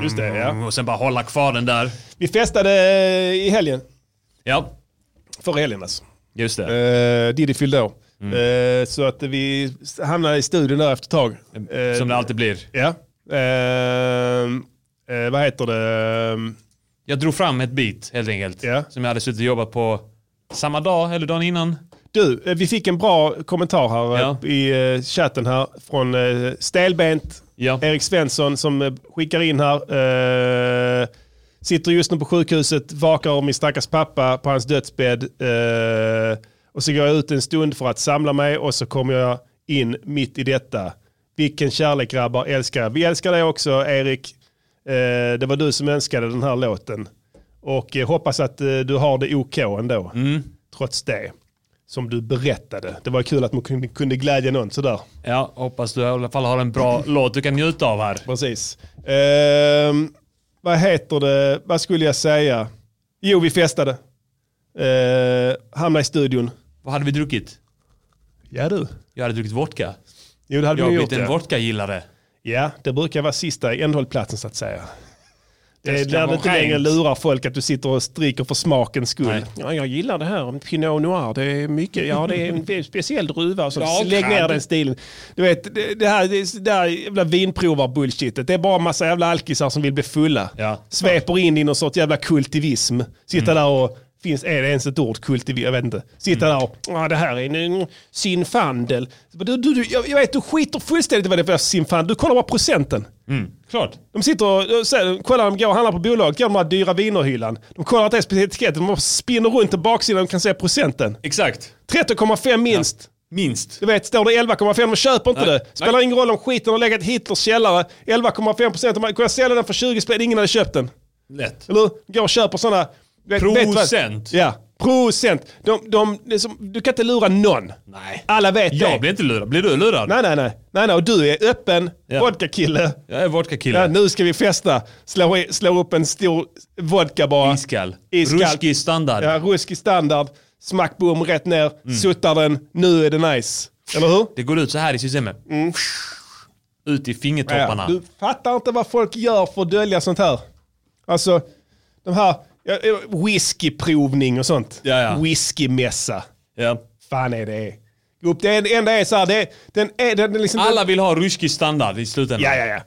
Speaker 5: Just det, ja. Och sen bara hålla kvar den där.
Speaker 1: Mm. Vi festade eh, i helgen.
Speaker 5: Ja.
Speaker 1: Förra helgen alltså.
Speaker 5: Just det.
Speaker 1: Eh, Diddy fyllde år. Eh, så att vi hamnade i studion där efter ett tag. Eh,
Speaker 5: Som det alltid blir.
Speaker 1: Ja. Eh, eh, vad heter det?
Speaker 5: Jag drog fram ett beat helt enkelt.
Speaker 1: Ja.
Speaker 5: Som jag hade suttit och jobbat på samma dag eller dagen innan.
Speaker 1: Du, eh, vi fick en bra kommentar här eh, i eh, chatten här från eh, Stelbent. Erik Svensson som eh, skickar in här. eh, Sitter just nu på sjukhuset, vakar om min stackars pappa på hans dödsbädd. eh, Och så går jag ut en stund för att samla mig och så kommer jag in mitt i detta. Vilken kärlek grabbar, älskar er. Vi älskar dig också Erik. Eh, Det var du som önskade den här låten. Och eh, hoppas att eh, du har det OK ändå. Trots det. Som du berättade. Det var kul att man kunde- kunde glädja någon sådär.
Speaker 5: Ja, hoppas du i alla fall har
Speaker 1: [laughs]
Speaker 5: en bra låt du kan njuta av här.
Speaker 1: Precis. Ehm, vad heter det? Vad skulle jag säga? Jo, vi festade. Uh, hamnade i studion.
Speaker 5: Vad hade vi druckit?
Speaker 1: Ja du.
Speaker 5: Jag hade druckit vodka.
Speaker 1: Jo, det hade
Speaker 5: jag
Speaker 1: vi
Speaker 5: har
Speaker 1: gjort.
Speaker 5: blivit en
Speaker 1: ja.
Speaker 5: vodkagillare.
Speaker 1: ja, det brukar vara sista i ändhållplatsen så att säga. Det är
Speaker 5: ska
Speaker 1: där du
Speaker 5: vara
Speaker 1: inte längre
Speaker 5: rent.
Speaker 1: lurar folk att du sitter och striker för smakens skull.
Speaker 5: Nej.
Speaker 1: Ja, jag gillar det här. Pinot noir, det är mycket. Ja, det är en väldigt speciell druva. Och så
Speaker 5: Ja,
Speaker 1: lägg ner
Speaker 5: kan.
Speaker 1: den stilen. Du vet, det, det här, det, det här jävla vinprovar-bullshitet. Det är bara massa jävla alkisar som vill bli fulla.
Speaker 5: Ja. Mm.
Speaker 1: Sveper in i någon sorts jävla kultivism. Sitta där och, finns, är det ens ett ord kultivism? Jag vet inte. Sitta där och, ja det här är en, en sinfandel. Du, du, du, jag, jag vet, du skiter fullständigt i vad det är för sinfandel. Du kollar bara procenten.
Speaker 5: Mm. Klart.
Speaker 1: De sitter och, och så, kollar, de går och handlar på bolaget, går de här dyra vinerhyllan. De kollar inte ens på etiketten, de bara spinner runt på baksidan och kan se procenten.
Speaker 5: Exakt.
Speaker 1: 13,5 minst.
Speaker 5: Minst.
Speaker 1: Du vet, står det 11,5 och köper inte
Speaker 5: Nej.
Speaker 1: det. Spelar
Speaker 5: Nej.
Speaker 1: ingen roll om skiten har legat i Hitlers källare. 11,5 procent. Om man kunde sälja den för 20 spänn, ingen hade köpt den.
Speaker 5: Lätt.
Speaker 1: Eller hur? Går och köper sådana... vet- vet vad-
Speaker 5: Procent.
Speaker 1: Ja, procent. De, de, det är som, du kan inte lura någon.
Speaker 5: Nej.
Speaker 1: Alla vet det.
Speaker 5: Jag blir inte lurad. Blir du lurad?
Speaker 1: Nej, nej, nej. nej, nej. Och du är öppen
Speaker 5: Ja.
Speaker 1: vodka-kille.
Speaker 5: Jag är vodka-kille.
Speaker 1: Ja, nu ska vi festa. Slå, i- slå upp en stor vodka bara.
Speaker 5: Iskall.
Speaker 1: Iskall.
Speaker 5: Ruskig standard. Mm.
Speaker 1: Ja, ruskig standard. Smack, boom, rätt ner. Suttar den. Nu är det nice. Eller hur?
Speaker 5: Det går ut så här i systemet. Ut i fingertopparna.
Speaker 1: Mm. Ja, du fattar inte vad folk gör för att dölja sånt här. Alltså, de här ja, ja, whiskyprovning och sånt.
Speaker 5: Ja, ja.
Speaker 1: Whiskymässa.
Speaker 5: Ja.
Speaker 1: Fan är det. Grupp, det är- det enda är så här, det är, den är, den är liksom...
Speaker 5: Alla vill ha ruskig standard i slutändan.
Speaker 1: Ja, ja, ja.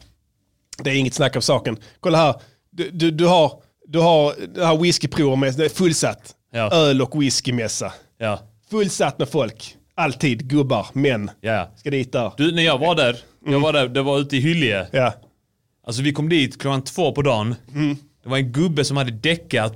Speaker 1: Det är inget snack om saken. Kolla här. Du, du, du har, du har det här whiskyprovet med det är fullsatt.
Speaker 5: Ja.
Speaker 1: Öl och whiskymässa.
Speaker 5: Ja.
Speaker 1: Fullsatt med folk. Alltid gubbar, män.
Speaker 5: Ja, ja.
Speaker 1: Ska dit där.
Speaker 5: Du, när jag var där,
Speaker 1: Mm.
Speaker 5: jag var där, det var ute i Hyllie.
Speaker 1: Ja.
Speaker 5: Alltså vi kom dit klockan två på dagen.
Speaker 1: Mm.
Speaker 5: Det var en gubbe som hade däckat.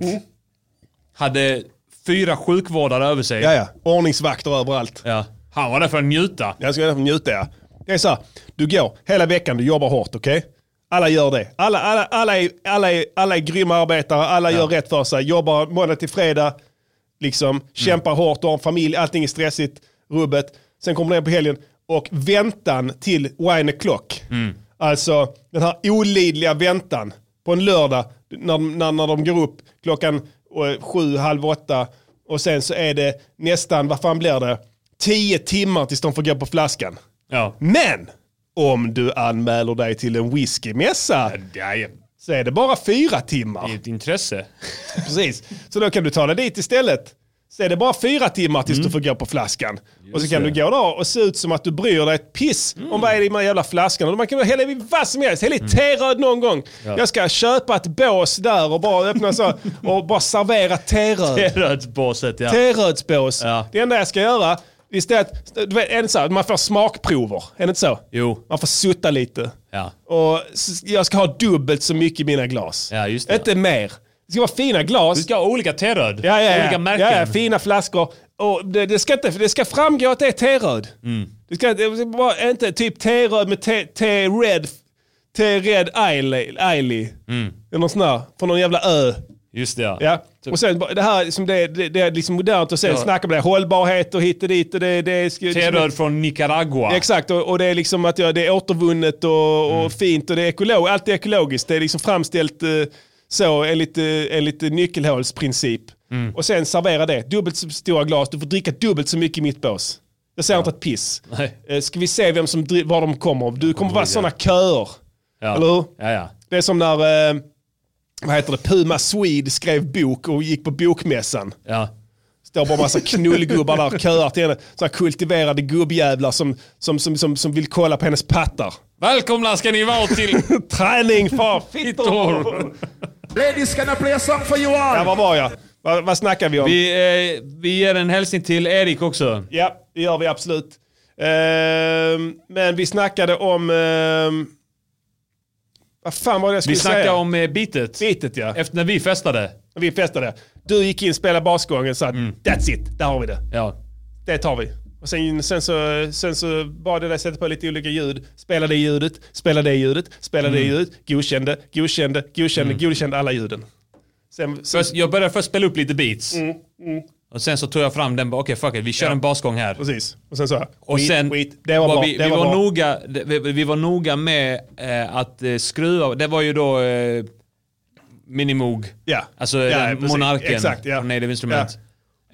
Speaker 5: Hade fyra sjukvårdare över sig.
Speaker 1: ja, ja. Ordningsvakter överallt.
Speaker 5: Ja. Han var där för att njuta.
Speaker 1: Jag ska njuta, ja. Det är så här, du går hela veckan, du jobbar hårt, okej? Alla gör det. Alla, alla, alla, är, alla, är, alla är grymma arbetare, alla gör rätt för sig. Jobbar måndag till fredag, liksom,
Speaker 5: Mm.
Speaker 1: kämpar hårt, du har en familj, allting är stressigt, rubbet. Sen kommer du ner på helgen och väntan till wine o'clock.
Speaker 5: Mm.
Speaker 1: Alltså den här olidliga väntan på en lördag när, när, när de går upp klockan eh, sju, halv åtta och sen så är det nästan, vad fan blir det, tio timmar tills de får gå på flaskan.
Speaker 5: Ja.
Speaker 1: Men om du anmäler dig till en whiskymässa
Speaker 5: Ja, ja.
Speaker 1: så är det bara fyra timmar.
Speaker 5: Det är ett intresse. [laughs]
Speaker 1: Precis. Så då kan du ta dig dit istället. Så är det bara fyra timmar tills du får gå på flaskan. och så kan
Speaker 5: Mm. det. Mm.
Speaker 1: du gå där och se ut som att du bryr dig ett piss om vad är det i de här jävla flaskorna. Och Man kan hälla i vad som helst, häll i teröd någon gång. Jag ska köpa ett bås där och bara öppna så och bara servera teröd.
Speaker 5: Rödsbåset ja.
Speaker 1: Terödsbås.
Speaker 5: Ja.
Speaker 1: Det enda jag ska göra, istället, du vet, är det så här, man får smakprover, är det inte så?
Speaker 5: Jo.
Speaker 1: Man får sutta lite.
Speaker 5: Ja.
Speaker 1: Och s- jag ska ha dubbelt så mycket i mina glas.
Speaker 5: Ja, just det.
Speaker 1: Inte mer. Det ska vara fina glas.
Speaker 5: Du ska ha olika teröd.
Speaker 1: Ja, ja, ja.
Speaker 5: Olika märken.
Speaker 1: Ja, ja, fina flaskor. Och det, det, ska inte, det ska framgå att det är T-röd.
Speaker 5: Mm.
Speaker 1: Det, ska, det ska bara, inte typ T-röd med T- T-red T-red Eily. Eily.
Speaker 5: Mm.
Speaker 1: Eller någon sån där. Från någon jävla ö.
Speaker 5: Just det ja.
Speaker 1: Ja. Och sen bara- det här som det, det, det är liksom modernt och sen
Speaker 5: Typ. Ja.
Speaker 1: snackar man det. Hållbarhet och hit och dit. Och det, det är, sk-
Speaker 5: Teröd från Nicaragua.
Speaker 1: Exakt, och, och det är liksom att ja, det är återvunnet och,
Speaker 5: Mm.
Speaker 1: och fint och det är ekolog, allt är ekologiskt. Det är liksom framställt eh, så enligt, eh, enligt eh, nyckelhålsprincip.
Speaker 5: Mm.
Speaker 1: Och sen servera det, dubbelt så stora glas, du får dricka dubbelt så mycket i mitt bås. Jag säger inte ett piss.
Speaker 5: Nej.
Speaker 1: Eh, Ska vi se vem som, dri- var de kommer av? Du kommer vara sådana köer.
Speaker 5: Ja.
Speaker 1: Eller hur?
Speaker 5: Ja, ja.
Speaker 1: Det är som när, eh, vad heter det, Puma Swede skrev bok och gick på bokmässan.
Speaker 5: ja.
Speaker 1: Står bara massa knullgubbar där och köar till henne. Så här kultiverade gubbjävlar som, som, som, som, som vill kolla på hennes pattar.
Speaker 5: Välkomna ska ni
Speaker 1: [laughs]
Speaker 5: vara till...
Speaker 1: Träning för fittor!
Speaker 5: Fittor.
Speaker 8: Ladies, can I play a song for you all?
Speaker 1: Ja, vad var jag? Vad, vad snackar vi om?
Speaker 5: vi, eh, vi ger en hälsning till Erik också.
Speaker 1: Ja, det gör vi absolut. Ehm, men vi snackade om... ehm, vad fan var det jag skulle
Speaker 5: Vi snackade
Speaker 1: säga?
Speaker 5: om eh, bitet.
Speaker 1: Bitet ja.
Speaker 5: Efter när vi festade.
Speaker 1: Vi festade. Du gick in, spelade basgången, sa that's it, där har vi det.
Speaker 5: Ja.
Speaker 1: Det tar vi. Och sen, sen, så, sen så bad jag dig sätta på lite olika ljud. Spela det ljudet, spela det ljudet, spela
Speaker 5: Mm.
Speaker 1: det ljudet. Godkände, godkände, godkände, godkände alla ljuden. Sen, sen,
Speaker 5: Först, jag började först spela upp lite beats.
Speaker 1: Mm,
Speaker 5: Och sen så tog jag fram den bara, okej fuck it, vi kör en basgång här.
Speaker 1: precis. Och sen så här.
Speaker 5: Och
Speaker 1: skit,
Speaker 5: sen
Speaker 1: skit. Det var, bra.
Speaker 5: vi,
Speaker 1: det
Speaker 5: vi,
Speaker 1: var,
Speaker 5: var
Speaker 1: bra.
Speaker 5: noga, det- vi, vi var noga med eh, att eh, skruva, det var ju då eh, Minimoog.
Speaker 1: Ja.
Speaker 5: Alltså
Speaker 1: Ja,
Speaker 5: den
Speaker 1: precis.
Speaker 5: monarken
Speaker 1: Exakt, ja.
Speaker 5: från Native Instrument.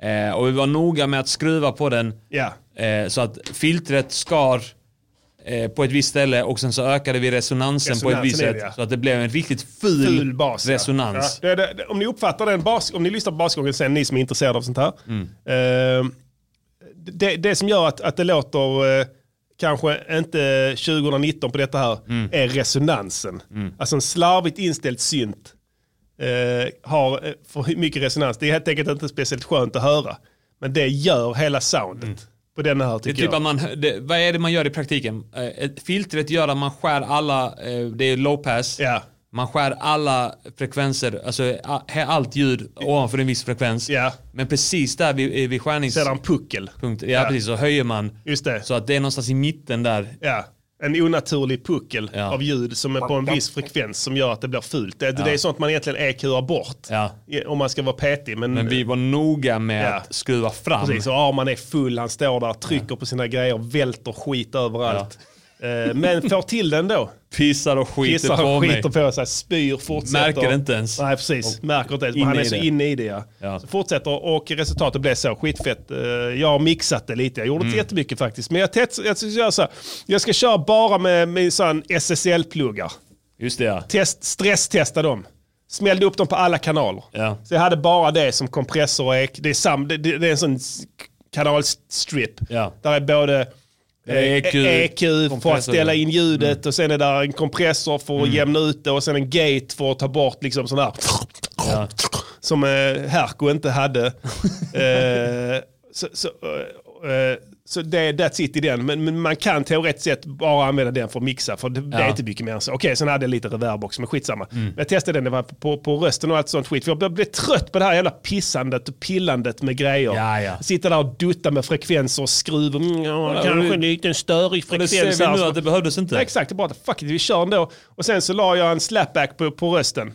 Speaker 5: Eh, och vi var noga med att skruva på den
Speaker 1: Ja.
Speaker 5: eh, så att filtret skar eh, på ett visst ställe och sen så ökade vi resonansen, på ett visst
Speaker 1: Resonansen är
Speaker 5: sätt.
Speaker 1: det, ja.
Speaker 5: Så att det blev en riktigt ful,
Speaker 1: Ful bas. ja.
Speaker 5: resonans.
Speaker 1: Ja. Det, det, det, om ni uppfattar den bas, om ni lyssnar på basgången sen, ni som är intresserade av sånt här.
Speaker 5: Mm.
Speaker 1: Eh, det, det som gör att, att det låter eh, kanske inte 2019 på detta här
Speaker 5: Mm.
Speaker 1: är resonansen. Alltså en slarvigt inställd synt eh, har eh, för mycket resonans. Det är helt enkelt inte speciellt skönt att höra. Men det gör hela soundet på den här
Speaker 5: Mm. Det är
Speaker 1: tycker
Speaker 5: typ
Speaker 1: jag.
Speaker 5: att man, det, vad är det man gör i praktiken? Eh, ett- filtret gör att man skär alla, eh, det är low pass.
Speaker 1: Ja.
Speaker 5: Man skär alla frekvenser, alltså a- he- allt ljud ovanför en viss frekvens. Men precis där vid, vid skärnings...
Speaker 1: Sedan puckel.
Speaker 5: Punkt, ja,
Speaker 1: Ja.
Speaker 5: precis. Så höjer man.
Speaker 1: Just det.
Speaker 5: Så att det är någonstans i mitten där.
Speaker 1: Ja. En onaturlig puckel av ljud som är på en viss frekvens som gör att det blir fult. Det, det är
Speaker 5: Ja.
Speaker 1: sånt man egentligen EQar bort
Speaker 5: Ja.
Speaker 1: om man ska vara petig. Men,
Speaker 5: Men vi var noga med
Speaker 1: Ja.
Speaker 5: att skruva fram.
Speaker 1: Precis, och Arman är full, han står där, trycker på sina grejer, välter skit överallt. Eh, Men får till den då.
Speaker 5: Pissar och skiter
Speaker 1: Pissar och
Speaker 5: på mig.
Speaker 1: skiter på sig, spyr, fortsätter.
Speaker 5: Märker inte ens.
Speaker 1: Nej, precis.
Speaker 5: Och
Speaker 1: Märker inte ens, men
Speaker 5: inne
Speaker 1: han är
Speaker 5: i
Speaker 1: så
Speaker 5: det.
Speaker 1: inne i det. Ja.
Speaker 5: Ja.
Speaker 1: Så fortsätter och resultatet blev så. Skitfett. Eh, Jag har mixat det lite. Jag gjorde inte
Speaker 5: Mm.
Speaker 1: jättemycket faktiskt. Men jag, tets- jag, ska göra så här. jag ska köra bara med, med sån SSL-pluggar.
Speaker 5: Just det ja.
Speaker 1: Test, stresstesta dem. Smällde upp dem på alla kanaler. Så jag hade bara det som kompressor och ek. Det är, sam, det, det det är en sån s- kanalstrip. Där är både
Speaker 5: Det är EQ,
Speaker 1: EQ, för att
Speaker 5: kompressor,
Speaker 1: ställa
Speaker 5: ja.
Speaker 1: in
Speaker 5: Mm.
Speaker 1: ljudet och sen är där en kompressor för att jämna ut det och sen en gate för att ta bort liksom sån här som eh, Herko inte
Speaker 5: [laughs]
Speaker 1: hade. eh, så, så, eh, eh, så det, that's it i den. Men, men man kan teoretiskt sett bara använda den för att mixa. För det, det är
Speaker 5: Ja. Mm.
Speaker 1: inte mycket mer än så. Okej, sen hade jag lite reverb också, men skitsamma. Men Jag testade den, det var på, på, på rösten och allt sånt skit. För jag blev- blev trött på det här jävla pissandet och pillandet med grejer. Sitta där och dutta med frekvenser och skruv. Mm, ja,
Speaker 5: Ja,
Speaker 1: kanske
Speaker 5: det-
Speaker 1: en liten störig
Speaker 5: Och det
Speaker 1: frekvens.
Speaker 5: ser vi
Speaker 1: här
Speaker 5: nu
Speaker 1: som-
Speaker 5: att det behövdes inte.
Speaker 1: Nej, exakt, det är bara fuck it, vi kör ändå. Och sen så la jag en slapback på, på rösten.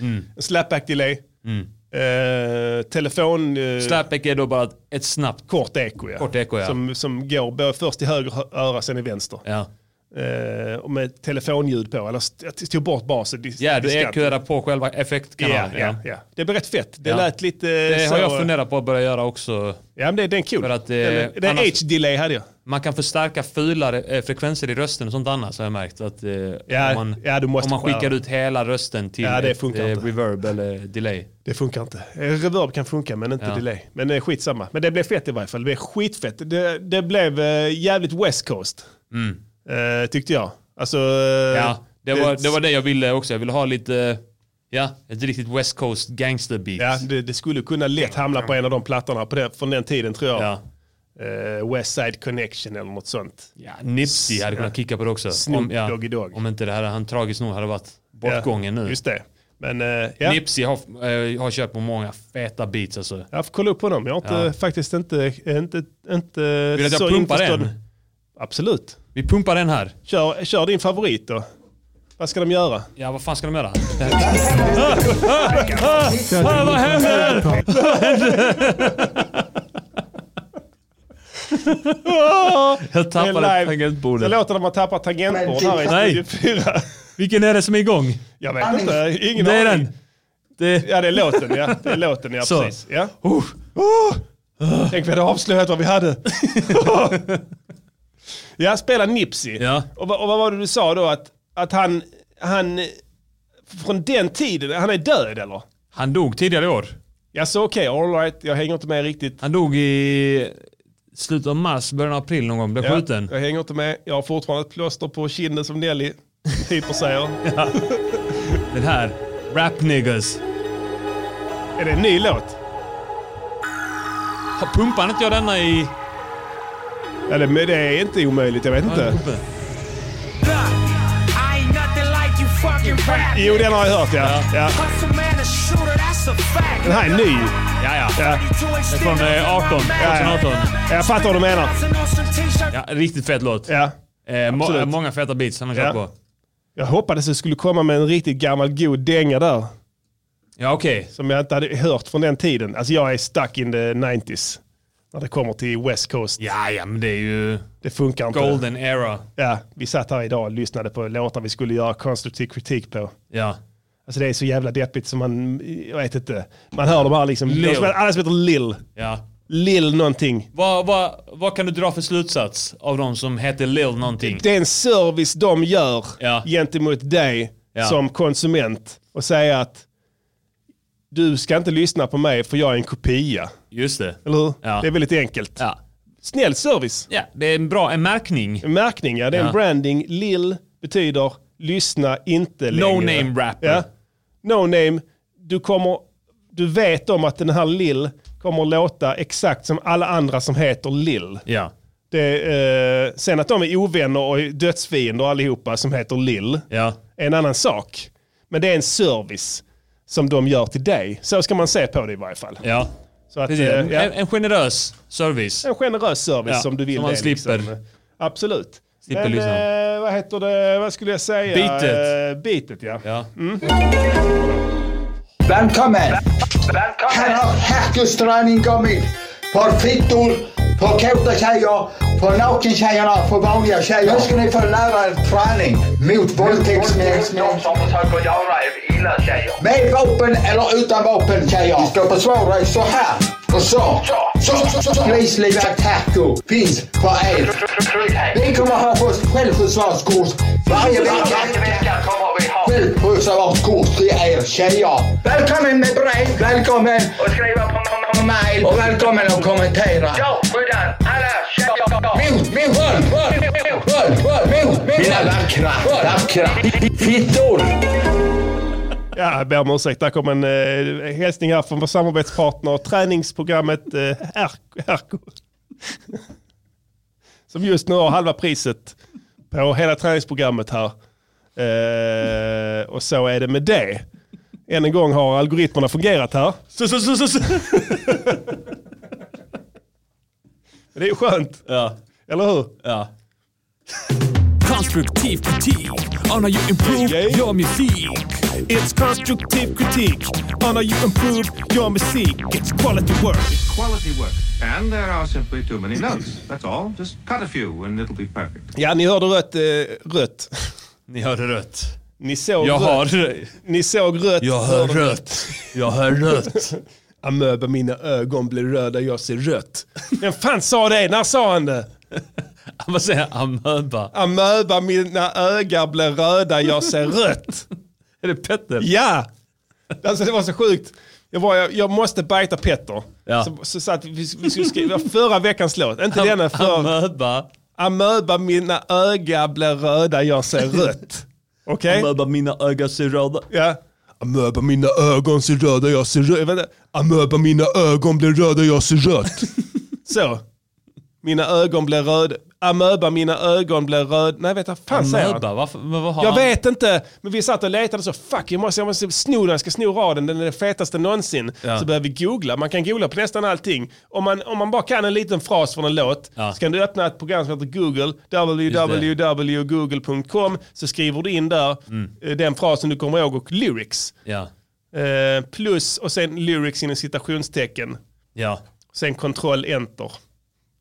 Speaker 5: Mm.
Speaker 1: En slapback delay.
Speaker 5: Mm.
Speaker 1: Eh, telefon... eh,
Speaker 5: Slapback är då bara ett snabbt...
Speaker 1: Kort eko ja.
Speaker 5: Kort eko ja.
Speaker 1: Som, som går både först i höger hö- öra sen i vänster.
Speaker 5: Ja.
Speaker 1: Eh, och med telefonljud på. Eller st- jag tog bort basen. dis-
Speaker 5: Ja, du
Speaker 1: diskant.
Speaker 5: EQar på själva effektkanalen.
Speaker 1: Ja, ja, ja. Det blev rätt fett. Det
Speaker 5: Ja.
Speaker 1: lät lite eh,
Speaker 5: Det
Speaker 1: så,
Speaker 5: har jag funderat på att börja göra också.
Speaker 1: Ja, men det, det är kul.
Speaker 5: För att, eh,
Speaker 1: Den- den
Speaker 5: annars-
Speaker 1: H-delay hade jag.
Speaker 5: Man kan förstärka fulare eh, frekvenser i rösten och sånt annars har jag märkt. Att, eh, om man,
Speaker 1: ja, du måste
Speaker 5: om man
Speaker 1: skära.
Speaker 5: skickar ut hela rösten till
Speaker 1: Ja, det
Speaker 5: ett, eh,
Speaker 1: funkar inte.
Speaker 5: reverb eller delay.
Speaker 1: Det funkar inte. Eh, Reverb kan funka men inte
Speaker 5: Ja.
Speaker 1: delay. Men det är skitsamma. Men det blev fett i varje fall. Det blev skitfett. Det, det blev eh, jävligt West Coast.
Speaker 5: Mm.
Speaker 1: Eh, tyckte jag. Alltså, eh,
Speaker 5: Ja, det var, det var det jag ville också. Jag ville ha lite, ja, ett riktigt West Coast gangster beat.
Speaker 1: Ja, det, det skulle kunna lätt hamna på en av de plattorna på den, från den tiden tror jag. Eh, West Side Connection eller något sånt.
Speaker 5: Ja, Nipsey hade kunnat kicka på det också.
Speaker 1: Snoop
Speaker 5: Om- ja,
Speaker 1: Doggy Dogg.
Speaker 5: Om inte det här, han tragiskt nog hade varit bortgången nu.
Speaker 1: Just det. Men, eh, ja.
Speaker 5: Nipsey har, eh, har kört på många feta beats alltså.
Speaker 1: Jag får kolla upp honom. Jag har inte,
Speaker 5: Ja.
Speaker 1: faktiskt inte, inte, inte
Speaker 5: Vill du att jag pumpar en?
Speaker 1: Absolut.
Speaker 5: Vi pumpar den här.
Speaker 1: Kör, kör din favorit då. Vad ska de göra?
Speaker 5: Ja, vad fan ska de göra? Ah, vad händer?
Speaker 1: [laughs]
Speaker 5: Vad Jag tappade
Speaker 1: Det är live.
Speaker 5: tangentbordet.
Speaker 1: Så låter de ha tappat tangentbordet här i
Speaker 5: Nej.
Speaker 1: Studio 4.
Speaker 5: Vilken är det som är igång?
Speaker 1: Jag vet inte, ingen
Speaker 5: Det är
Speaker 1: aning.
Speaker 5: den. Det...
Speaker 1: Ja, det är låten ja. Det är låten ja,
Speaker 5: Så. Oh.
Speaker 1: precis. Ja. Oh. Tänk vi hade avslöjat vad vi
Speaker 5: [laughs]
Speaker 1: hade. ja, spela Nipsey. Och, vad- och vad var det du sa då? Att, att han, han, från den tiden, han är död eller?
Speaker 5: Han dog tidigare i år.
Speaker 1: Ja, så okej, all right. Jag hänger inte med riktigt.
Speaker 5: Han dog i slutet av mars, början av april någon gång. Blev
Speaker 1: Ja,
Speaker 5: skjuten.
Speaker 1: Jag hänger inte med. Jag har fortfarande ett plåster på kinden som Nelly Piper säger.
Speaker 5: [laughs] Den här, Rap Niggas.
Speaker 1: Är det en ny låt?
Speaker 5: Har- Pumpade inte jag denna i...
Speaker 1: Ja, det, men det är inte omöjligt, jag vet inte.
Speaker 15: I ain't nothing like you fucking rap.
Speaker 1: Jo, den har jag hört ja. ja.
Speaker 15: Hustle man a shooter, that's a fact.
Speaker 1: Den här är ny.
Speaker 5: Ja, ja.
Speaker 1: ja.
Speaker 15: är från, eh, 18,
Speaker 1: Ja,
Speaker 5: 2018.
Speaker 1: ja. Jag fattar vad du menar.
Speaker 15: Hustle on some t-shirt.
Speaker 5: Ja, riktigt fet låt.
Speaker 1: Ja.
Speaker 5: Eh, må-
Speaker 1: Absolut.
Speaker 5: många feta beats han har kört
Speaker 1: Ja.
Speaker 5: på.
Speaker 1: Jag hoppades du skulle komma med en riktigt gammal god dänga där.
Speaker 5: Ja, okej.
Speaker 1: Som jag inte hade hört från den tiden. Alltså jag är stuck in the 90s. När det kommer till West Coast.
Speaker 5: Ja, ja, men det är ju...
Speaker 1: Det funkar inte.
Speaker 5: Golden era.
Speaker 1: Ja, vi satt här idag och lyssnade på låtar vi skulle göra konstruktiv kritik på.
Speaker 5: Ja.
Speaker 1: Alltså det är så jävla deppigt som man, jag vet inte. Man hör de här liksom,
Speaker 5: Lil.
Speaker 1: de som- alla som heter Lil.
Speaker 5: Ja.
Speaker 1: Lil någonting.
Speaker 5: Vad, vad, vad kan du dra för slutsats av de som heter Lil någonting?
Speaker 1: Det är en service de gör gentemot dig
Speaker 5: Ja.
Speaker 1: som konsument och säga att du ska inte lyssna på mig för jag är en kopia.
Speaker 5: Just det.
Speaker 1: Eller hur?
Speaker 5: Ja.
Speaker 1: Det är väldigt enkelt.
Speaker 5: Ja.
Speaker 1: Snäll service.
Speaker 5: Ja, det är en bra en märkning.
Speaker 1: En märkning, ja. Det är en
Speaker 5: Ja.
Speaker 1: branding. Lil betyder lyssna inte längre.
Speaker 5: name rapper.
Speaker 1: Ja. No name. Du, kommer, du vet om att den här Lil kommer att låta exakt som alla andra som heter Lil.
Speaker 5: Ja.
Speaker 1: Det, eh, sen att de är ovänner och är dödsfiender allihopa som heter Lill är en annan sak. Men det är en service som de gör till dig. Så ska man se på det i varje fall.
Speaker 5: Ja.
Speaker 1: Så att,
Speaker 5: Precis.
Speaker 1: eh,
Speaker 5: En-
Speaker 1: ja.
Speaker 5: en generös service.
Speaker 1: En generös service
Speaker 5: Ja,
Speaker 1: som du vill.
Speaker 5: som man
Speaker 1: det, liksom.
Speaker 5: slipper.
Speaker 1: Absolut.
Speaker 5: Slipper
Speaker 1: Men
Speaker 5: lyssna.
Speaker 1: eh, vad heter det, vad skulle jag säga?
Speaker 5: Bitet.
Speaker 1: Eh, bitet ja. Mm.
Speaker 11: Välkommen! Här har Herkuströning kommit. För fittor, för kåta tjejer, för nakentjejerna, för vanliga tjejer. Nu ska ni få lära er träning mot våldtäktsmän. som försöker göra er illa tjejer. Med vapen eller utan vapen tjejer. Ni ska försvara er så här och så. Så, så, så, så. Polislivvakt Herko finns för er. Vi kommer ha fått självförsvarskurs varje vecka. Självförsvarskurs till er tjejer. Välkommen med brev, välkommen och skriva på mail och välkommen att kommentera. Ja, skydda alla tjejer. Mot, mot, våld, våld, våld, våld, mot, mot. Mina vackra, vackra fittor.
Speaker 1: Ja, jag ber om ursäkt. Där kom en eh, hälsning här från vår samarbetspartner, träningsprogrammet eh, Her- Herco. Som just nu har halva priset på hela träningsprogrammet här. Eh, och så är det med det. Än en gång har algoritmerna fungerat här.
Speaker 5: Så, så, så, så, så.
Speaker 1: Det är ju skönt.
Speaker 5: Ja.
Speaker 1: Eller hur?
Speaker 5: Ja.
Speaker 8: Konstruktiv kritik on how you improve your music.
Speaker 2: It's constructive critique on how you improve your music. It's quality work.
Speaker 16: Quality work. And there are simply too many notes. That's all. Just cut a few and it'll be perfect.
Speaker 1: Ja, ni hörde rött. Eh, rött.
Speaker 5: Ni hörde rött.
Speaker 1: Ni såg
Speaker 5: Jag
Speaker 1: rött.
Speaker 5: har-
Speaker 1: Ni såg rött.
Speaker 5: Jag hör
Speaker 1: hörde
Speaker 5: rött. Jag hör [laughs] rött.
Speaker 1: Amöba, mina ögon blir röda, jag ser rött. Vem fan sa det? När sa han det?
Speaker 5: Vad säger jag? Amöba?
Speaker 1: Amöba, mina ögon blir röda, jag ser rött.
Speaker 5: Är det Petter?
Speaker 1: Ja! Alltså det var så sjukt. Jag, var, jag, jag måste bajta Petter.
Speaker 5: Ja.
Speaker 1: Så, så, så att vi, vi skulle skriva förra veckans låt, inte denna. För,
Speaker 5: Amöba.
Speaker 1: Amöba, mina ögon blir röda, jag ser rött. Okej?
Speaker 5: Amöba, mina ögon ser röda.
Speaker 1: Ja. Amöba, mina ögon ser röda, jag ser rött. Amöba, mina ögon blir röda, jag ser rött. [laughs] Så. Mina ögon blir röda. Amöba, mina ögon blir röda. Nej, vet jag fan säger han.
Speaker 5: Amöba? Varför, men vad har
Speaker 1: Jag
Speaker 5: han?
Speaker 1: vet inte, men vi satt och letade så fuck jag måste, jag måste sno den, jag ska sno raden, den är den fetaste någonsin.
Speaker 5: Ja.
Speaker 1: Så började vi googla, man kan googla på nästan allting. Om man, om man bara kan en liten fras från en låt
Speaker 5: Ja.
Speaker 1: så kan du öppna ett program som heter Google,
Speaker 5: det.
Speaker 1: www.google.com, så skriver du in där
Speaker 5: Mm.
Speaker 1: eh, den frasen du kommer ihåg och lyrics.
Speaker 5: Ja.
Speaker 1: Eh, plus och sen lyrics inom citationstecken.
Speaker 5: Ja.
Speaker 1: Sen kontroll enter.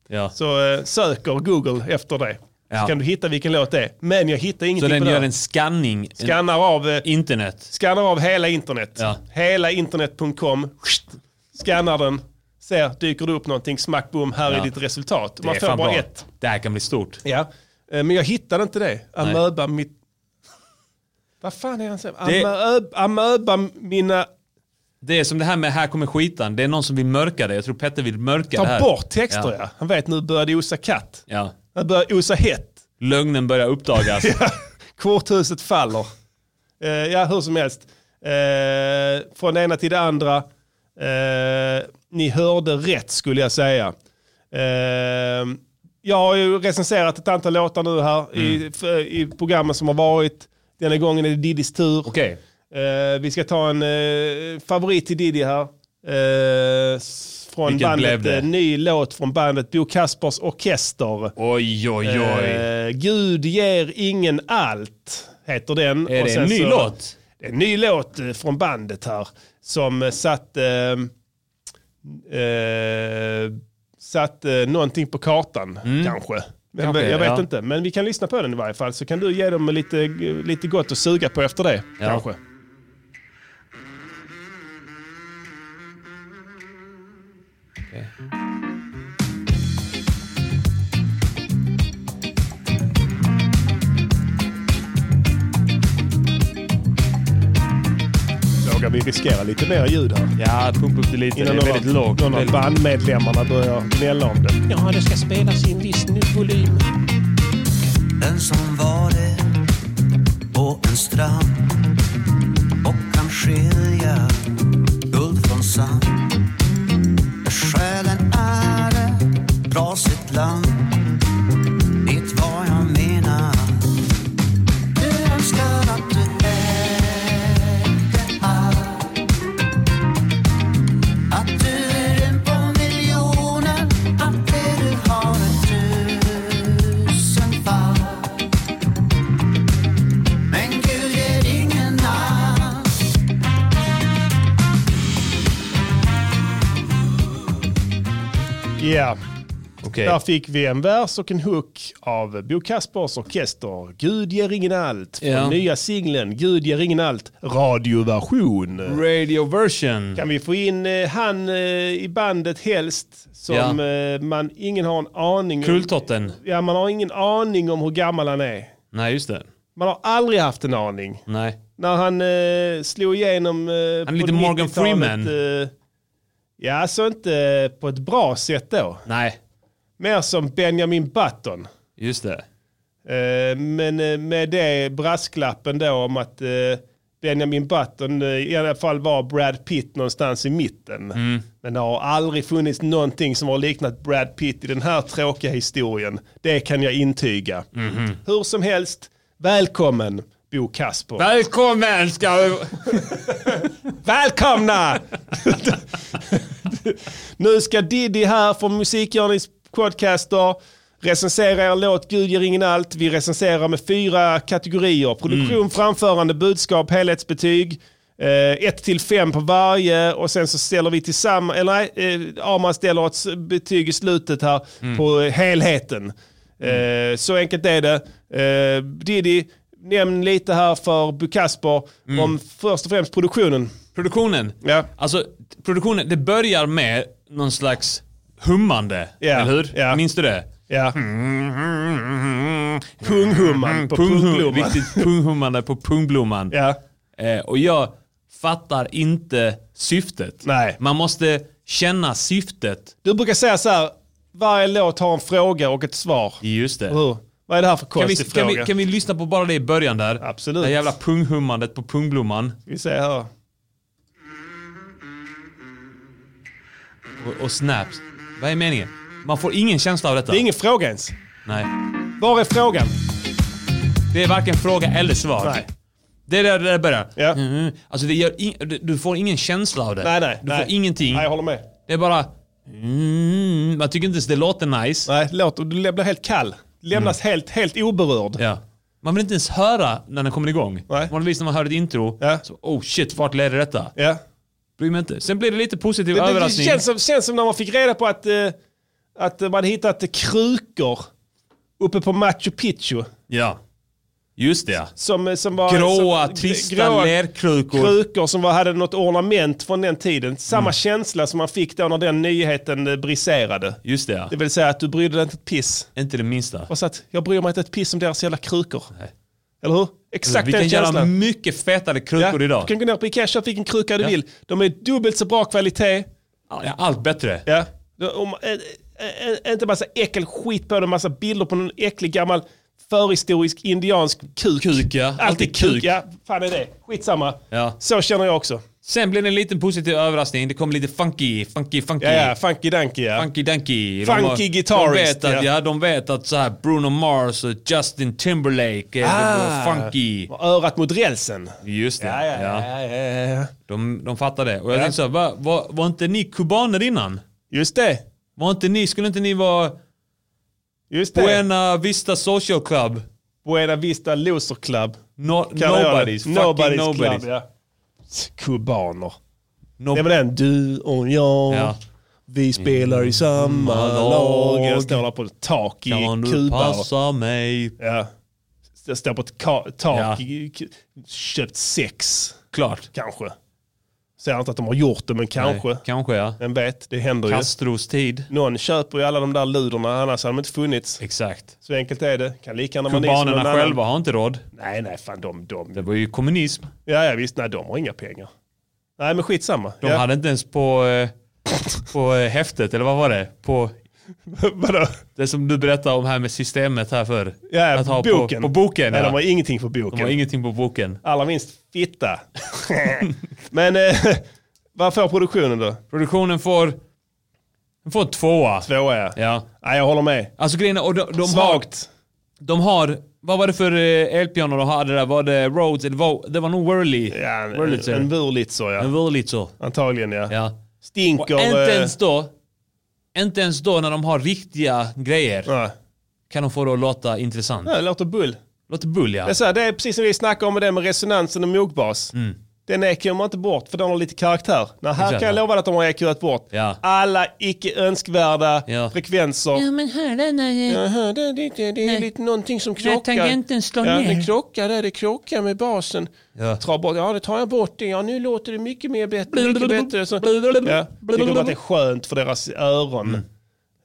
Speaker 5: Ja.
Speaker 1: Så eh, söker Google efter det.
Speaker 5: Ja.
Speaker 1: Så kan du hitta vilken låt det är. Men jag hittar
Speaker 5: Så
Speaker 1: ingenting
Speaker 5: den
Speaker 1: på typ det.
Speaker 5: gör
Speaker 1: här.
Speaker 5: en scanning? en-
Speaker 1: Skannar av, eh,
Speaker 5: Internet?
Speaker 1: skannar av hela internet.
Speaker 5: Ja.
Speaker 1: Hela internet.com. Skannar den. Ser, dyker det upp någonting, smack boom, här
Speaker 5: Ja.
Speaker 1: är ditt resultat.
Speaker 5: Det
Speaker 1: Man
Speaker 5: är
Speaker 1: får
Speaker 5: fan
Speaker 1: bara
Speaker 5: bra.
Speaker 1: ett.
Speaker 5: Det här kan bli stort.
Speaker 1: Ja. Eh, Men jag hittade inte det.
Speaker 5: Nej.
Speaker 1: Amöba mitt... Vad fan är han säger?
Speaker 5: Det-
Speaker 1: Amöba, amöba mina...
Speaker 5: Det är som det här med här kommer skitan. Det är någon som vill mörka det. Jag tror Petter vill mörka det
Speaker 1: Ta
Speaker 5: här.
Speaker 1: bort texter ja.
Speaker 5: ja.
Speaker 1: Han vet nu börjar det osa katt.
Speaker 5: ja.
Speaker 1: Han börjar osa hett.
Speaker 5: Lögnen börjar
Speaker 1: [laughs]
Speaker 5: uppdagas.
Speaker 1: Korthuset faller. Eh, ja, hur som helst. Eh, från det ena till det andra. Eh, ni hörde rätt skulle jag säga. Eh, jag har ju recenserat ett antal låtar nu här i,
Speaker 5: Mm.
Speaker 1: f- i programmen som har varit. Denna gången är det Didis tur.
Speaker 5: Okej.
Speaker 1: Eh, vi ska ta en eh, favorit till Diddy här. Eh, s- från
Speaker 5: Vilket blev
Speaker 1: bandet,
Speaker 5: det?
Speaker 1: eh, ny låt från bandet Bo Kaspers Orkester.
Speaker 5: Oj, oj, oj.
Speaker 1: Eh, Gud ger ingen allt, heter den.
Speaker 5: Är det en ny låt?
Speaker 1: Det är en ny låt eh, från bandet här. Som eh, satt, eh, eh, satt eh, någonting på kartan, kanske. Men,
Speaker 5: Mm. Kanske,
Speaker 1: jag vet
Speaker 5: ja.
Speaker 1: inte, men vi kan lyssna på den i varje fall. Så kan du ge dem lite, lite gott att suga på efter det,
Speaker 5: Ja.
Speaker 1: kanske. Vågar vi riskera lite mer ljud här?
Speaker 5: Ja, pumpa upp det lite.
Speaker 1: Innan
Speaker 5: det är väldigt lågt.
Speaker 1: någon av
Speaker 5: Väldigt-
Speaker 1: bandmedlemmarna börjar gnälla om det. Ja, det ska spelas i en viss volym.
Speaker 17: En som var det på en strand och kan skilja guld från sand. Själen är det drar sitt land
Speaker 1: Ja. Där fick vi en vers och en hook av Bo Kaspers orkester. Gud ger ingen allt. Från
Speaker 5: Ja.
Speaker 1: nya singeln Gud ger ingen allt. Radioversion.
Speaker 5: Radio version.
Speaker 1: Kan vi få in eh, han eh, i bandet helst som
Speaker 5: Ja.
Speaker 1: eh, man ingen har en aning
Speaker 5: Kultotten.
Speaker 1: om. Ja, man har ingen aning om hur gammal han är.
Speaker 5: Nej, just det.
Speaker 1: Man har aldrig haft en aning.
Speaker 5: Nej.
Speaker 1: När han eh, slog igenom eh, Han
Speaker 5: är lite Morgan Freeman.
Speaker 1: Eh, ja, alltså inte eh, på ett bra sätt då.
Speaker 5: Nej.
Speaker 1: Mer som Benjamin Button.
Speaker 5: Just det.
Speaker 1: Eh, men eh, med det brasklappen då om att eh, Benjamin Button eh, i alla fall var Brad Pitt någonstans i mitten.
Speaker 5: Mm.
Speaker 1: Men det har aldrig funnits någonting som har liknat Brad Pitt i den här tråkiga historien. Det kan jag intyga.
Speaker 5: Mhm.
Speaker 1: Hur som helst, välkommen Bo Kasper.
Speaker 5: Välkommen ska vi...
Speaker 1: Välkomna! nu ska Diddy här från Musikgörnings podcaster recensera er låt Gud ger ingen allt. Vi recenserar med fyra kategorier. Produktion,
Speaker 5: Mm.
Speaker 1: framförande, budskap, helhetsbetyg. Eh, 1-5 på varje och sen så ställer vi tillsammans, eller nej, eh, Arman ställer ett s- betyg i slutet här
Speaker 5: Mm.
Speaker 1: på helheten. Eh, så enkelt är det. Eh, Diddy, nämn lite här för Bu Kasper
Speaker 5: Mm.
Speaker 1: om först och främst produktionen.
Speaker 5: Produktionen?
Speaker 1: Ja.
Speaker 5: Alltså, produktionen, det börjar med någon slags hummande, eller hur? Minns du det?
Speaker 1: Ja.
Speaker 5: Mm.
Speaker 1: Punghumman på pungblomman.
Speaker 5: Riktigt punghummande på pungblomman.
Speaker 1: Ja.
Speaker 5: Eh, och jag fattar inte syftet.
Speaker 1: Nej.
Speaker 5: Man måste känna syftet.
Speaker 1: Du brukar säga så här, varje låt har en fråga och ett svar.
Speaker 5: Just det.
Speaker 1: Hur? Vad är det här för
Speaker 5: Kan vi,
Speaker 1: konstig
Speaker 5: kan,
Speaker 1: fråga?
Speaker 5: vi, kan vi lyssna på bara det i början där?
Speaker 1: Absolut.
Speaker 5: Det här jävla punghummandet på pungblomman.
Speaker 1: vi se här.
Speaker 5: Och, och snaps. Vad är meningen? Man får ingen känsla av detta.
Speaker 1: Det är ingen fråga ens.
Speaker 5: Nej.
Speaker 1: Var är frågan?
Speaker 5: Det är varken fråga eller svar.
Speaker 1: Nej.
Speaker 5: Det är där det börjar. Ja. Mm. Alltså det gör in, du- du får ingen känsla av det.
Speaker 1: Nej, nej,
Speaker 5: Du
Speaker 1: nej.
Speaker 5: får ingenting.
Speaker 1: Nej, jag håller med.
Speaker 5: Det är bara... Mm, man tycker inte ens det låter nice.
Speaker 1: Nej, låt, och du blir helt kall. Lämnas helt, helt oberörd.
Speaker 5: Mm. Ja. Man vill inte ens höra när den kommer igång. Vanligtvis när man hör ett intro, så oh shit, vart leder detta?
Speaker 1: Ja.
Speaker 5: Bryr mig inte. Sen blir det lite positiv
Speaker 1: Det, det
Speaker 5: överraskning.
Speaker 1: känns, som, känns som när man fick reda på att, eh, att man hade hittat eh, krukor uppe på Machu Picchu.
Speaker 5: Ja. Just det ja.
Speaker 1: Som, eh, som var,
Speaker 5: Gråa,
Speaker 1: som,
Speaker 5: trista
Speaker 1: gråa
Speaker 5: lerkrukor.
Speaker 1: Krukor som var, hade
Speaker 5: Mm.
Speaker 1: något ornament från den tiden. Samma känsla som man fick då när den nyheten eh, briserade.
Speaker 5: Just det ja.
Speaker 1: Det vill säga att du brydde dig inte ett piss.
Speaker 5: Inte det minsta.
Speaker 1: Och så att jag bryr mig inte ett piss om deras jävla krukor. Eller
Speaker 5: Alltså,
Speaker 1: hur? Exakt
Speaker 5: vi
Speaker 1: den
Speaker 5: kan göra
Speaker 1: känslan.
Speaker 5: mycket fetare krukor idag.
Speaker 1: Du kan gå ner på Ikea och köpa vilken kruka du
Speaker 5: Ja.
Speaker 1: vill. De är dubbelt så bra kvalitet.
Speaker 5: Ja, allt bättre.
Speaker 1: Ja. De- Om, ä, ä, ä, inte massa äckel skit på dem, massa bilder på någon äcklig gammal förhistorisk indiansk kuk. Kuk
Speaker 5: ja.
Speaker 1: Alltid kuk. Ja, fan är det. Skitsamma.
Speaker 5: Ja.
Speaker 1: Så känner jag också.
Speaker 5: Sen blir det en liten positiv överraskning. Det kommer lite funky, funky, funky.
Speaker 1: Ja, ja, funky danky ja.
Speaker 5: Funky Dunky.
Speaker 1: Funky
Speaker 5: de har-
Speaker 1: guitarist,
Speaker 5: De vet att,
Speaker 1: ja.
Speaker 5: ja. de vet att så här Bruno Mars och Justin Timberlake är
Speaker 1: Ah.
Speaker 5: funky.
Speaker 1: Och Örat mot rälsen.
Speaker 5: Just det.
Speaker 1: Ja, ja, ja.
Speaker 5: De, de fattar det. Och jag
Speaker 1: Ja.
Speaker 5: tänkte så här, var, var, var inte ni kubaner innan?
Speaker 1: Just det.
Speaker 5: Var inte ni, skulle inte ni vara
Speaker 1: Just det.
Speaker 5: Buena Vista Social Club?
Speaker 1: Buena Vista Loser Club.
Speaker 5: No,
Speaker 1: Kan jag göra det?
Speaker 5: nobody's. Fucking nobody's.
Speaker 1: Club, ja. Kubaner.
Speaker 5: Nob-
Speaker 1: Det var den. Du och jag.
Speaker 5: Ja.
Speaker 1: Vi spelar i samma
Speaker 5: Samma
Speaker 1: lag.
Speaker 5: lag.
Speaker 1: Jag står där på ett tak i
Speaker 5: Kan du
Speaker 1: Kuba. och-
Speaker 5: passa mig?
Speaker 1: Ja. Jag står på ett ka- tak.
Speaker 5: Ja.
Speaker 1: i Ku- Köpt sex.
Speaker 5: Klart.
Speaker 1: Kanske. Säger inte att de har gjort det, men kanske.
Speaker 5: Nej, kanske ja.
Speaker 1: Vem vet, det händer ju.
Speaker 5: Castros tid.
Speaker 1: Någon köper ju alla de där luderna, annars hade de inte funnits.
Speaker 5: Exakt.
Speaker 1: Så enkelt är det. Kan lika gärna vara ni som någon
Speaker 5: Kubanerna
Speaker 1: annan.
Speaker 5: själva har inte råd.
Speaker 1: Nej, nej, fan de... de.
Speaker 5: Det var ju kommunism.
Speaker 1: Ja, ja, visst. Nej, de har inga pengar. Nej, men skitsamma.
Speaker 5: De
Speaker 1: ja.
Speaker 5: hade inte ens på, eh, på eh, häftet, eller vad var det? På,
Speaker 1: [laughs] Vadå?
Speaker 5: det som du berättade om här med systemet här för.
Speaker 1: Ja,
Speaker 5: att ha
Speaker 1: boken.
Speaker 5: På, på boken.
Speaker 1: Nej,
Speaker 5: ja.
Speaker 1: de har ingenting på boken.
Speaker 5: De har ingenting på boken.
Speaker 1: Allra minst fitta. [laughs] Men eh, [laughs] vad får produktionen då?
Speaker 5: Produktionen får, den får en tvåa.
Speaker 1: Tvåa ja.
Speaker 5: ja.
Speaker 1: Nej, jag håller med.
Speaker 5: Alltså grejen är, och de, de
Speaker 1: Svagt.
Speaker 5: Har, de har, vad var det för eh, elpiano de hade där? Var det Rhodes? eller var- Det var nog Whirly.
Speaker 1: Ja, en-
Speaker 5: Wurlitzer.
Speaker 1: en Wurlitzer ja.
Speaker 5: En Wurlitzer.
Speaker 1: Antagligen ja.
Speaker 5: Ja.
Speaker 1: Stinker.
Speaker 5: Och inte
Speaker 1: eh,
Speaker 5: ens då, inte ens då när de har riktiga grejer kan de få det att låta intressant.
Speaker 1: Ja, det låter bull.
Speaker 5: Låter bull ja.
Speaker 1: Det, är så här, det är precis som vi snackade om med det med resonansen och mogbas. den ekar man inte bort för den har lite karaktär. Nej, här
Speaker 5: Mm. Exakt,
Speaker 1: kan jag
Speaker 5: ja.
Speaker 1: lova att de har ekat bort
Speaker 5: Ja.
Speaker 1: alla icke önskvärda frekvenser.
Speaker 5: men hörde när...
Speaker 1: Jag hörde det, det, det är lite någonting som
Speaker 5: När
Speaker 1: krockar.
Speaker 5: tangenten slår
Speaker 1: ja,
Speaker 5: ner.
Speaker 1: Det krockar, där, det krockar med basen.
Speaker 5: Ja.
Speaker 1: Tra bort. Ja, det tar jag bort det. Ja, nu låter det mycket mer bättre. Mycket bättre. Så, ja. Tycker de att det är skönt för deras öron.
Speaker 5: Mm.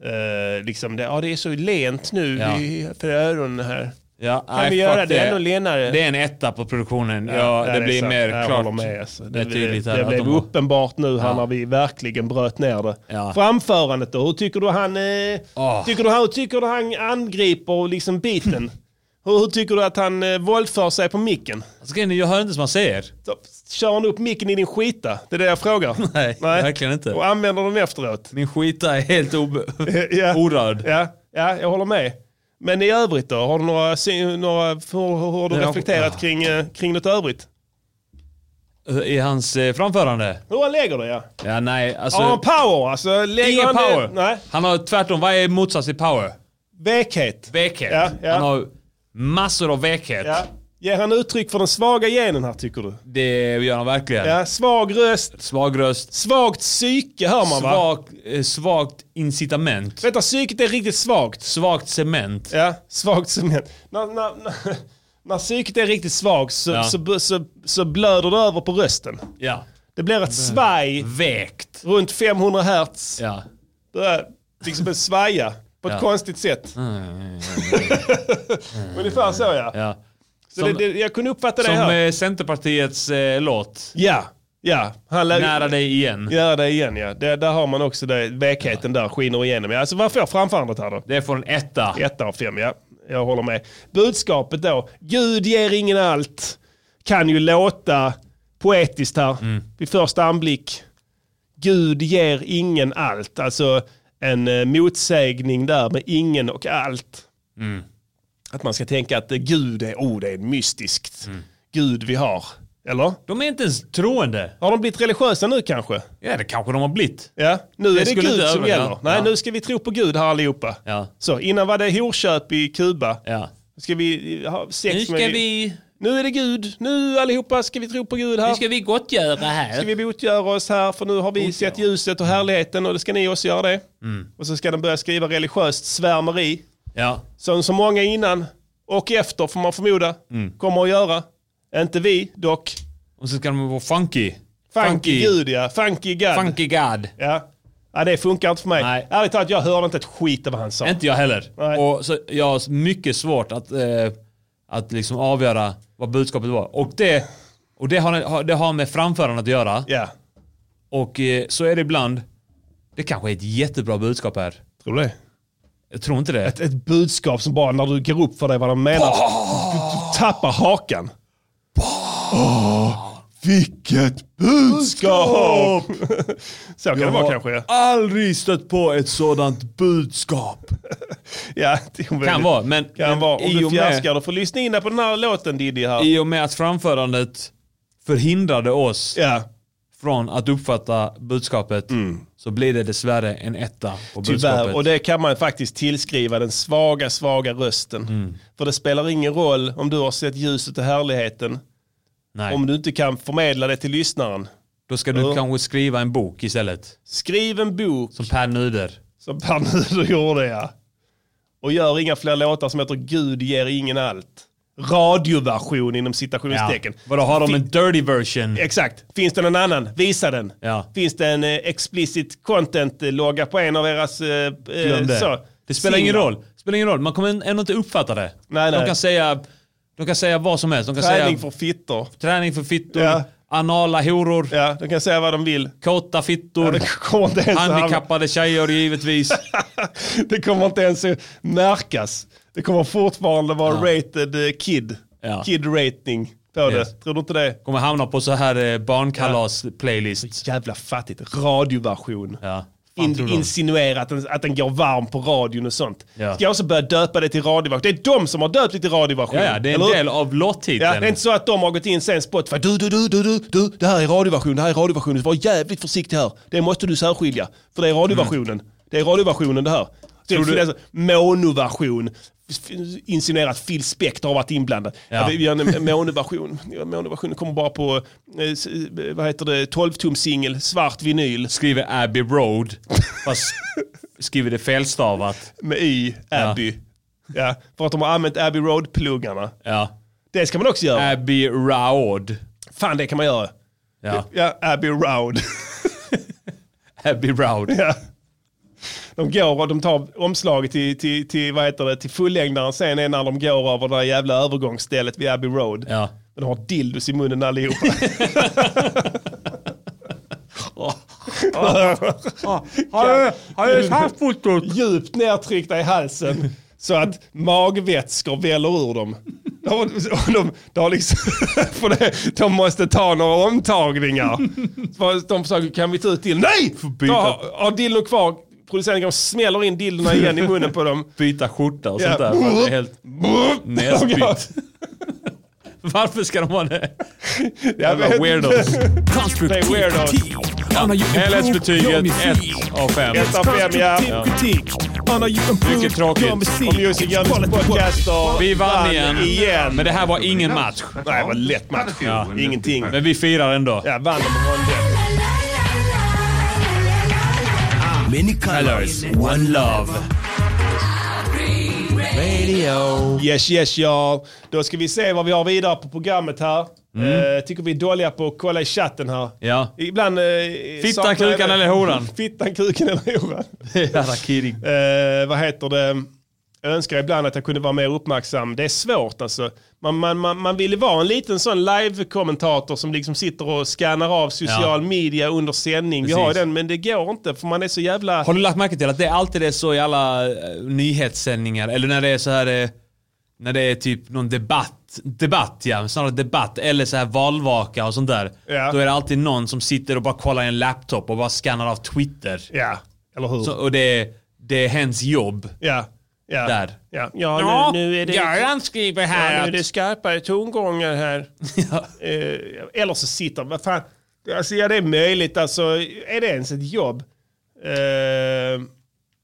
Speaker 1: Eh, liksom det, ja, det är så lent nu
Speaker 5: Ja.
Speaker 1: i, för öronen här.
Speaker 5: Ja,
Speaker 1: Kan
Speaker 5: nej,
Speaker 1: vi göra
Speaker 5: fuck
Speaker 1: det? Ändå lenare.
Speaker 5: Det är en etta på produktionen. Ja,
Speaker 1: nej,
Speaker 5: det,
Speaker 1: är
Speaker 5: blir
Speaker 1: sant.
Speaker 5: mer
Speaker 1: Jag
Speaker 5: klart.
Speaker 1: håller Med, alltså.
Speaker 5: Det är tydligt
Speaker 1: det,
Speaker 5: här
Speaker 1: det
Speaker 5: att
Speaker 1: blev
Speaker 5: de har-
Speaker 1: uppenbart nu här
Speaker 5: Ja.
Speaker 1: när vi verkligen bröt ner det.
Speaker 5: Ja.
Speaker 1: Framförandet då? Hur tycker du han, eh, tycker du, hur tycker du han angriper liksom biten? hur, hur tycker du att han eh, våldför sig på micken?
Speaker 5: Alltså, Jag hör inte som man säger.
Speaker 1: Kör han upp micken i din skita? Det är det jag frågar.
Speaker 5: [laughs] Nej, verkligen inte.
Speaker 1: Och använder den
Speaker 5: [laughs]
Speaker 1: efteråt.
Speaker 5: Min skita är helt ob...
Speaker 1: [laughs] ja.
Speaker 5: orörd.
Speaker 1: Ja, ja, jag håller med. Men i övrigt då? Har du, några, syn- några, hur, hur har du
Speaker 5: Nej, jag-
Speaker 1: reflekterat kring, eh, kring något övrigt?
Speaker 5: I hans eh, framförande?
Speaker 1: Hur han lägger det ja.
Speaker 5: Ja, nej. Alltså,
Speaker 1: ja, power alltså. Lägger
Speaker 5: ingen
Speaker 1: han det-
Speaker 5: power.
Speaker 1: nej.
Speaker 5: Han har tvärtom, vad är motsatsen till power?
Speaker 1: Vekhet.
Speaker 5: Vekhet.
Speaker 1: Ja, ja.
Speaker 5: Han har massor av vekhet.
Speaker 1: Ja. Ger han uttryck för den svaga genen här tycker du?
Speaker 5: Det gör han verkligen.
Speaker 1: Ja, svag röst,
Speaker 5: Svag röst.
Speaker 1: svagt psyke hör man va?
Speaker 5: Svag, eh, svagt incitament.
Speaker 1: Vänta, psyket är riktigt svagt.
Speaker 5: Svagt cement.
Speaker 1: Ja, svagt cement. När, när, när, när psyket är riktigt svagt så,
Speaker 5: Ja.
Speaker 1: så, så, så, blöder det över på rösten.
Speaker 5: Ja.
Speaker 1: Det blir ett svaj
Speaker 5: Väkt.
Speaker 1: runt 500 hertz.
Speaker 5: Ja.
Speaker 1: Det är liksom en svaja på ett
Speaker 5: Ja. Mm,
Speaker 1: konstigt sätt. [laughs] Ungefär så ja.
Speaker 5: ja.
Speaker 1: Så
Speaker 5: Som-
Speaker 1: det, det, jag kunde uppfatta det
Speaker 5: Som
Speaker 1: här.
Speaker 5: eh, Centerpartiets eh, låt.
Speaker 1: Ja, ja. Han lär-
Speaker 5: Nära dig igen.
Speaker 1: Göra det igen ja. Det, där har man också det, vekheten där skiner igenom. Ja, Alltså varför framförandet här då?
Speaker 5: Det får en etta.
Speaker 1: Etta av fem ja. Jag håller med. Budskapet då. Gud ger ingen allt. Kan ju låta poetiskt här
Speaker 5: Mm.
Speaker 1: vid första anblick. Gud ger ingen allt. Alltså en eh, motsägning där med ingen och allt.
Speaker 5: Mm.
Speaker 1: Att man ska tänka att eh, Gud är, oh, det är mystiskt.
Speaker 5: Mm.
Speaker 1: Gud vi har. Eller?
Speaker 5: De är inte ens troende.
Speaker 1: Har de blivit religiösa nu kanske?
Speaker 5: Ja, det kanske de har blivit.
Speaker 1: Ja, nu
Speaker 5: Det
Speaker 1: är det
Speaker 5: skulle
Speaker 1: Gud
Speaker 5: inte
Speaker 1: som
Speaker 5: överraska.
Speaker 1: gäller. Nej,
Speaker 5: Ja.
Speaker 1: nu ska vi tro på Gud här allihopa.
Speaker 5: Ja.
Speaker 1: Så, innan var det horköp i Kuba.
Speaker 5: Ja.
Speaker 1: Nu Ska vi ha sex
Speaker 5: Nu ska
Speaker 1: med...
Speaker 5: vi-
Speaker 1: Nu är det Gud. Nu allihopa ska vi tro på Gud här.
Speaker 5: Nu ska vi gottgöra här.
Speaker 1: Ska vi botgöra oss här för nu har vi sett ljuset och härligheten och det ska ni också göra det.
Speaker 5: Mm.
Speaker 1: Och så ska de börja skriva religiöst svärmeri.
Speaker 5: Ja.
Speaker 1: Som så många innan och efter får man förmoda
Speaker 5: Mm.
Speaker 1: kommer att göra. Inte vi dock.
Speaker 5: Och så ska de vara funky.
Speaker 1: Funky, Gud ja. Funky God.
Speaker 5: Funky God.
Speaker 1: Ja. ja, det funkar inte för mig.
Speaker 5: Nej.
Speaker 1: Ärligt talat, jag hörde inte ett skit av vad han sa.
Speaker 5: Inte jag heller. Och så jag har mycket svårt att, eh, att liksom avgöra vad budskapet var. Och det, och det, har, har- det har med framförandet att göra.
Speaker 1: Ja.
Speaker 5: Och eh, så är det ibland. Det kanske är ett jättebra budskap här.
Speaker 1: Tror du det?
Speaker 5: Jag tror inte det.
Speaker 1: Ett, ett budskap som bara när du går upp för dig vad de menar, du, du tappar hakan.
Speaker 4: Åh, vilket budskap!
Speaker 1: [laughs] Så kan det vara kanske. ja.
Speaker 5: aldrig stött på ett sådant budskap.
Speaker 1: Ja, det är
Speaker 5: Kan
Speaker 1: väldigt-
Speaker 5: vara, men...
Speaker 1: Kan
Speaker 5: men
Speaker 1: vara. Om
Speaker 5: i
Speaker 1: du
Speaker 5: och med-
Speaker 1: fjärskar, då får lyssna in på den här låten Diddy här.
Speaker 5: I och med att framförandet förhindrade oss från att uppfatta budskapet så blir det dessvärre en etta på budskapet.
Speaker 1: Mm. Tyvärr, och det kan man faktiskt tillskriva den svaga, svaga rösten.
Speaker 5: Mm.
Speaker 1: För det spelar ingen roll om du har sett ljuset och härligheten.
Speaker 5: Nej.
Speaker 1: Om du inte kan förmedla det till lyssnaren.
Speaker 5: Då ska du
Speaker 1: Ja.
Speaker 5: kanske skriva en bok istället.
Speaker 1: Skriv en bok.
Speaker 5: Som Per Nuder.
Speaker 1: Som Per Nuder gjorde ja. Och gör inga fler låtar som heter Gud ger ingen allt. Radioversion inom citationstecken.
Speaker 5: Vadå, har de
Speaker 1: Fin-
Speaker 5: en dirty version?
Speaker 1: Exakt. Finns det någon annan? Visa den.
Speaker 5: Ja.
Speaker 1: Finns det en eh, explicit content-logga på en av eras... Eh, eh,
Speaker 5: Glöm det.
Speaker 1: så,
Speaker 5: det spelar ingen
Speaker 1: singlar?
Speaker 5: roll. Det spelar ingen roll. Man kommer ändå inte uppfatta det.
Speaker 1: Nej,
Speaker 5: de,
Speaker 1: nej.
Speaker 5: Kan säga, de kan säga vad som helst. De kan
Speaker 1: Träning
Speaker 5: säga
Speaker 1: för fittor.
Speaker 5: träning för fittor,
Speaker 1: Ja.
Speaker 5: anala horor,
Speaker 1: Ja, de kan säga vad de vill.
Speaker 5: kåta
Speaker 1: Ja,
Speaker 5: fittor,
Speaker 1: det kommer inte ens att hamna-
Speaker 5: handikappade tjejer givetvis.
Speaker 1: [laughs] det kommer inte ens att märkas. Det kommer fortfarande vara rated eh, kid.
Speaker 5: Ja.
Speaker 1: Kid rating på det.
Speaker 5: Yes.
Speaker 1: Tror du inte det?
Speaker 5: Kommer hamna på så här eh, barnkalas-playlist.
Speaker 1: Jävla fattigt. Radioversion.
Speaker 5: Ja. Fan, tror
Speaker 1: In,
Speaker 5: du?
Speaker 1: insinuera att den, att den går varm på radion och sånt.
Speaker 5: Ja.
Speaker 1: Ska jag också börja döpa det till radioversion? Det är de som har döpt det till radioversion.
Speaker 5: Ja, ja, det är en
Speaker 1: eller hur?
Speaker 5: del av
Speaker 1: Ja, det är
Speaker 5: låttiteln.
Speaker 1: inte så att de har gått in sen Spotify. Du, du, du, du, du, du, det här är radioversion, det här är radioversion. Var jävligt försiktig här. Det måste du särskilja. För det är radioversionen. Det är radioversionen det här. Sen finns Det är monoversion. insinuerar att Phil Spector har varit inblandad.
Speaker 5: Ja.
Speaker 1: Ja. Vi gör en måneversion. Ja, Måneversionen kommer bara på eh, s- eh, vad heter det, 12-tum-singel, svart vinyl.
Speaker 5: Skriver Abbey
Speaker 1: [laughs]
Speaker 5: Road, fast skriver det felstavat.
Speaker 1: Med Y, Abbey. Ja, för att de har använt Abbey Road-pluggarna.
Speaker 5: Ja.
Speaker 1: Det ska man också göra.
Speaker 5: Abbey Road.
Speaker 1: Fan, det kan man göra. [laughs]
Speaker 5: Ja.
Speaker 1: ja Abbey Road.
Speaker 5: Abbey Road.
Speaker 1: Ja. De går och de tar omslaget till, till, till, vad heter det, till fullängdaren sen är när de går över det där jävla övergångsstället vid Abbey Road.
Speaker 5: Ja.
Speaker 1: Men de har dildos i munnen allihopa.
Speaker 5: Har du haft fotot?
Speaker 1: Djupt nedtryckta i halsen så att magvätskor väller ur dem. De, de, de, har liksom, [laughs] för det, de måste ta några omtagningar. För De försöker, kan vi ta ut dildon? Nej!
Speaker 5: byta.
Speaker 1: Ta, har dildon kvar. Producenten går och smäller in dildorna igen i munnen på dem.
Speaker 5: Byta skjorta och
Speaker 1: Ja.
Speaker 5: sånt där. Man
Speaker 1: [laughs]
Speaker 5: är helt näsbytt. Varför ska de ha det? Jävla
Speaker 1: vet
Speaker 5: weirdos.
Speaker 1: Det är weirdos.
Speaker 5: Helhetsbetyget 1 av 5.
Speaker 1: Ett av fem, ja.
Speaker 5: Mycket tråkigt.
Speaker 1: Och Music Journeys podcaster
Speaker 5: Vi vann igen.
Speaker 1: igen.
Speaker 5: Men det här var ingen match.
Speaker 1: Nej, det var en lätt match.
Speaker 5: Ja.
Speaker 1: Ingenting.
Speaker 5: Men vi firar ändå.
Speaker 1: Ja, vann de på ronden.
Speaker 5: Many colors, one love.
Speaker 1: Radio. Yes, yes, y'all. Då ska vi se vad vi har vidare på programmet här. Eh, tycker vi är dåliga på att kolla i chatten här.
Speaker 5: Mm. Ja.
Speaker 1: Ibland... Eh,
Speaker 5: Fittan,
Speaker 1: saknar jag
Speaker 5: kukan
Speaker 1: det.
Speaker 5: eller horan?
Speaker 1: [laughs] Fittan, kuken eller
Speaker 5: [laughs]
Speaker 1: horan.
Speaker 5: Harakiri.
Speaker 1: Eh, vad heter det? Jag önskar ibland att jag kunde vara mer uppmärksam. Det är svårt alltså. Man, man, man, man vill vara en liten sån live-kommentator som liksom sitter och scannar av social media under sändning. Vi har ju
Speaker 5: Precis.
Speaker 1: den, men det går inte för man är så jävla...
Speaker 5: Har du lagt märke till att det alltid är så i alla eh, nyhetssändningar? Eller när det är så här... eh, När det är typ någon debatt. Debatt ja, snarare debatt. Eller så här valvaka och sånt där.
Speaker 1: Ja.
Speaker 5: Då är det alltid någon som sitter och bara kollar i en laptop och bara skannar av Twitter.
Speaker 1: Ja, eller hur?
Speaker 5: Så, och det är, det är hens jobb.
Speaker 1: Ja. Ja.
Speaker 5: Där.
Speaker 1: Ja, ja,
Speaker 5: Ja,
Speaker 1: nu, nu är det...
Speaker 5: Göran skriver här
Speaker 1: ja, nu är
Speaker 5: att-
Speaker 1: det skarpare tongångar
Speaker 5: [laughs]
Speaker 1: här. Eh, eller så sitter vad fan. Alltså ja, det är möjligt. Alltså, är det ens ett jobb? Eh,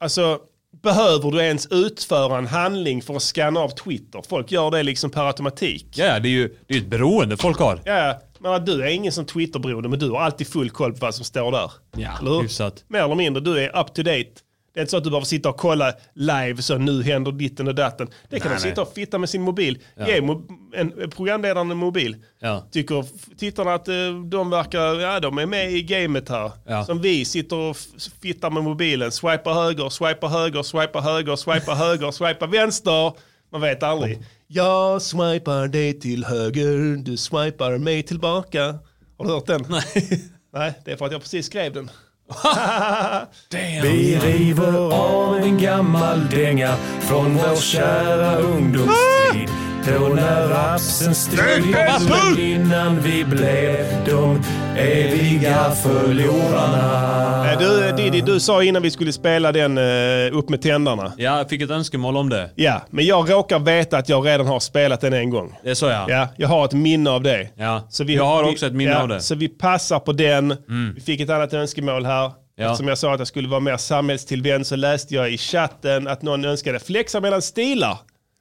Speaker 1: alltså, behöver du ens utföra en handling för att scanna av Twitter? Folk gör det liksom per automatik.
Speaker 5: Ja, ja, det är ju det är ju ett beroende folk har.
Speaker 1: Ja, ja. men du är ingen som Twitterberoende, men du har alltid full koll på vad som står där.
Speaker 5: Ja,
Speaker 1: Eller hur?
Speaker 5: hyfsat.
Speaker 1: Mer eller mindre, du är up to date. Det är inte så att du behöver sitta och kolla live, så nu händer ditten och datten. Det kan
Speaker 5: Nej,
Speaker 1: du
Speaker 5: nej.
Speaker 1: sitta och fitta med sin mobil.
Speaker 5: Ja.
Speaker 1: Ge mo- en, en programledaren en mobil.
Speaker 5: Ja.
Speaker 1: Tycker f- tittarna att eh, de verkar, ja de är med i gamet här.
Speaker 5: Ja.
Speaker 1: Som vi sitter och f- fittar med mobilen. Swipa höger, swipa höger, swipa höger, swipa höger, swipa vänster. Man vet aldrig. Jag swipar dig till höger, du swipar mig tillbaka. Har du hört den?
Speaker 5: Nej.
Speaker 1: [laughs] Nej, det är för att jag precis skrev
Speaker 5: [laughs]
Speaker 1: den. [laughs]
Speaker 2: Vi river av en gammal dänga från vår kära ungdomstid. Då när rapsen stod i elden innan vi blev de eviga förlorarna.
Speaker 1: Eh, Du eh, Diddy, du sa innan vi skulle spela den eh, Upp med tänderna.
Speaker 5: Ja, jag fick ett önskemål om det.
Speaker 1: Ja, men jag råkar veta att jag redan har spelat den en gång.
Speaker 5: Det sa jag.
Speaker 1: Ja, jag har ett minne av det.
Speaker 5: Ja.
Speaker 1: Så vi,
Speaker 5: jag har
Speaker 1: vi-
Speaker 5: också ett minne
Speaker 1: ja,
Speaker 5: av det. Mm.
Speaker 1: Så vi passar på den. Vi fick ett annat önskemål här.
Speaker 5: Ja.
Speaker 1: Eftersom jag sa att jag skulle vara mer samhällstillvänd så läste jag i chatten att någon önskade flexa mellan stilar.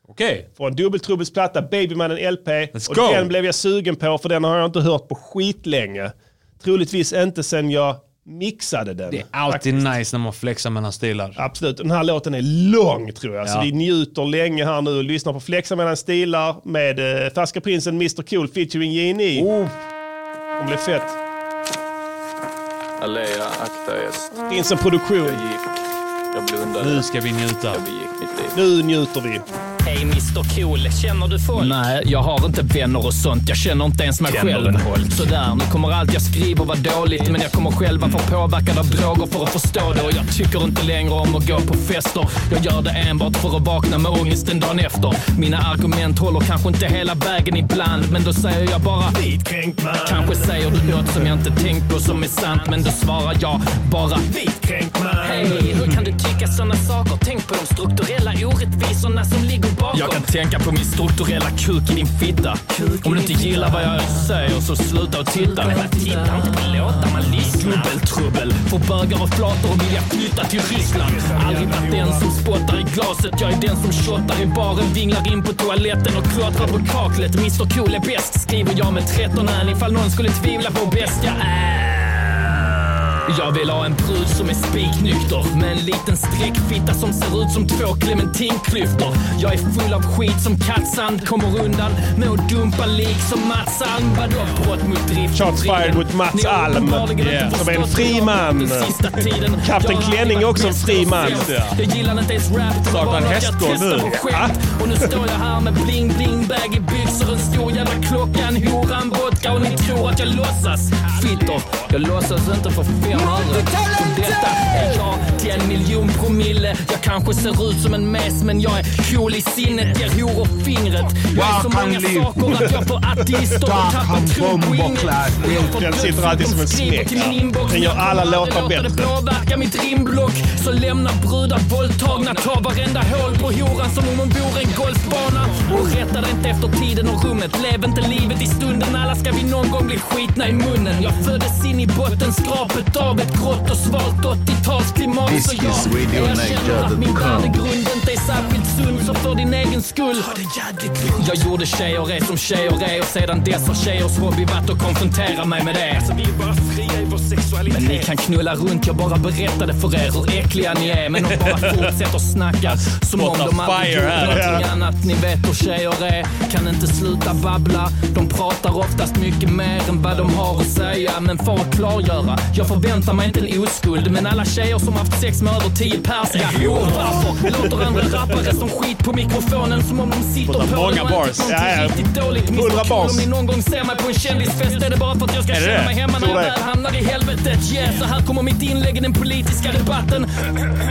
Speaker 5: Okej.
Speaker 1: Från Dubbeltrubbels platta Babymannen LP. och
Speaker 5: go!
Speaker 1: den blev jag sugen på för den har jag inte hört på skitlänge. Troligtvis inte sen jag mixade den.
Speaker 5: Det är alltid nice när man flexar mellan stilar.
Speaker 1: Absolut, den här låten är lång tror jag. Så
Speaker 5: Ja.
Speaker 1: vi njuter länge här nu och lyssnar på Flexa mellan stilar med eh, Färska Prinsen, Mr Cool featuring J.N.E. Oh. Det blir fett.
Speaker 18: Aleja, akta est.
Speaker 1: Finns en produktion.
Speaker 18: Jag blundade.
Speaker 5: Nu ska vi njuta.
Speaker 1: Nu njuter vi.
Speaker 12: Hej Mr Cool, känner du folk? Nej, jag har inte vänner och sånt. Jag känner inte ens mig
Speaker 19: Känner
Speaker 12: själv.
Speaker 19: en Holt.
Speaker 12: Sådär, nu kommer allt jag skriver vara dåligt. Men jag kommer själv att vara påverkad av droger för att förstå det. Och jag tycker inte längre om att gå på fester. Jag gör det enbart för att vakna med ångesten dagen efter. Mina argument håller kanske inte hela vägen ibland. Men då säger jag bara... Vitkränkt man. Kanske säger du något som jag inte tänkt på som är sant. Men då svarar jag bara... Vitkränkt man. Hej, hur kan du tycka sådana saker? Tänk på de strukturella orättvisorna som ligger står bakom. Jag kan tänka på min strukturella kuk i din fitta. Om du inte gillar vad jag säger så sluta och titta. Men man tittar inte på låtar, man lyssnar. Dubbeltrubbel. Får bögar och flator och vill jag flytta till Ryssland. Aldrig varit den som spottar i glaset. Jag är den som shottar i baren, vinglar in på toaletten och klottrar på kaklet. Mr Cool är bäst, skriver jag med 13 öl ifall någon skulle tvivla på hur bäst jag är. Jag vill ha en brud som är spiknykter med en liten streckfitta som ser ut som två clementinklyftor. Jag är full av skit som kattsand, kommer undan med att dumpa lik som Mats Alm. Vadå brott mot drift?
Speaker 20: Shots fired mot Mats Alm. Yeah. Som är en fri man. Kapten Klänning är också en fri man.
Speaker 12: Jag gillar inte ens rap, det var
Speaker 20: Startar
Speaker 12: bara
Speaker 20: en
Speaker 12: något jag
Speaker 20: hästgård
Speaker 12: testar
Speaker 20: nu.
Speaker 12: på skämt. Och nu står jag här med bling bling bag i byxor, en stor jävla klocka, en hora, en vodka och ni tror att jag låtsas. Fittor, jag låtsas inte för fem öre. Och Detta är jag till en miljon promille. Jag kanske ser ut som en mes men jag är cool i sinnet, ger horor fingret. Jag är så
Speaker 19: Bakan
Speaker 12: många
Speaker 19: liv.
Speaker 12: saker att jag får ateister att tappa
Speaker 19: Bakan
Speaker 12: tron på inget.
Speaker 19: bomboklad.
Speaker 12: Jag får
Speaker 20: Den sitter
Speaker 12: bluff
Speaker 20: alltid som en
Speaker 12: de skriver
Speaker 20: smek.
Speaker 12: till min inbox.
Speaker 20: Den gör alla låtar
Speaker 12: Låter det
Speaker 20: bättre.
Speaker 12: påverka mitt rimblock Så lämnar brudar våldtagna Tar varenda hål på horan som om hon vore en golfbana Och rättar inte efter tiden och rummet Lev inte livet i stunden Alla ska vi någon gång bli skitna i munnen Jag föddes in i bottenskrapet av ett grått och svalt 80-talsklimat
Speaker 6: This
Speaker 12: Så jag
Speaker 6: is Radio
Speaker 12: erkänner att min
Speaker 6: Niger.com.
Speaker 12: värdegrund inte är särskilt sund Så för din egen skull Jag gjorde tjejer är som tjejer är Och sedan dess har tjejers hobby varit att konfrontera mig med det
Speaker 21: Alltså vi är bara fria i vår sexualitet.
Speaker 12: men ni kan knulla runt, jag bara berättade för er hur äckliga ni är. Men de bara fortsätter snacka som om
Speaker 5: Spotta
Speaker 12: de aldrig
Speaker 5: fire
Speaker 12: gjort
Speaker 5: här.
Speaker 12: någonting
Speaker 5: Ja.
Speaker 12: annat. Ni vet hur tjejer är, kan inte sluta babbla. De pratar oftast mycket mer än vad de har att säga. Men för att klargöra, jag förväntar mig inte en oskuld. Men alla tjejer som haft sex med över 10 pers, ja horor. Varför låter andra rappare som skit på mikrofonen som om de sitter
Speaker 5: Spotta
Speaker 12: på
Speaker 5: många
Speaker 12: den och
Speaker 5: bars.
Speaker 12: inte
Speaker 5: Ja, ja.
Speaker 12: någonting riktigt dåligt.
Speaker 5: 100
Speaker 12: Mr Cool,
Speaker 5: bars.
Speaker 12: om ni någon gång ser mig på en kändisfest är det bara för att jag ska
Speaker 5: Är det
Speaker 12: känna
Speaker 5: det?
Speaker 12: mig hemma när jag
Speaker 5: Tror det.
Speaker 12: väl hamnar i helvetet. Yeah, så här kommer mitt inlägg i den politiska debatten. [clears throat]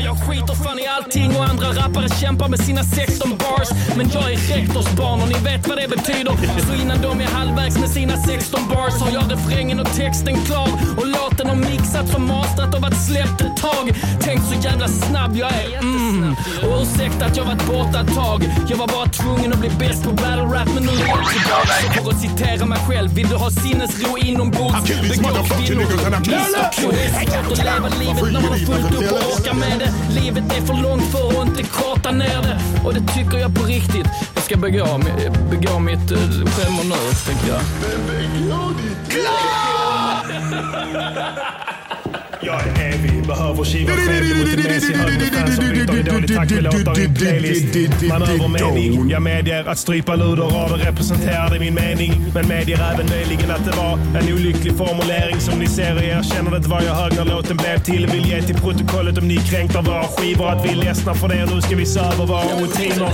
Speaker 12: Jag skiter fan i allting och andra rappare kämpar med sina 16 bars. Men jag är rektorsbarn och ni vet vad det betyder. Så innan de är halvvägs med sina 16 bars har jag refrängen och texten klar. Och låten har mixats och mastrat och varit släppt ett tag. Tänk så jävla snabb jag är. Mm. Och ursäkta att jag varit borta ett tag. Jag var bara tvungen att bli bäst på battle rap men nu är jag tillbaka. Så För att citera mig själv, vill du ha sinnesro inombords? Begå kvinnor. Missa kul. Det är svårt att leva livet när man har fullt upp och orkar med det. Livet är för långt för att inte korta ner det. Och det tycker jag på riktigt. Jag ska begå, mi- begå mitt eh, självmord nu, tänker jag.
Speaker 1: Jag är evig, behöver kiva fäder mot en mesig hög med fans som byter i dålig takt med låtar i en playlist. Manövermening. Jag medger att strypa luderrader representerade min mening. Men medger även möjligen att det var en olycklig formulering. Som ni ser i erkännandet var jag hög när låten blev till. Vill ge till protokollet om ni kränkt av våra skivor att vi är ledsna för det. Nu ska vi se över våra rutiner.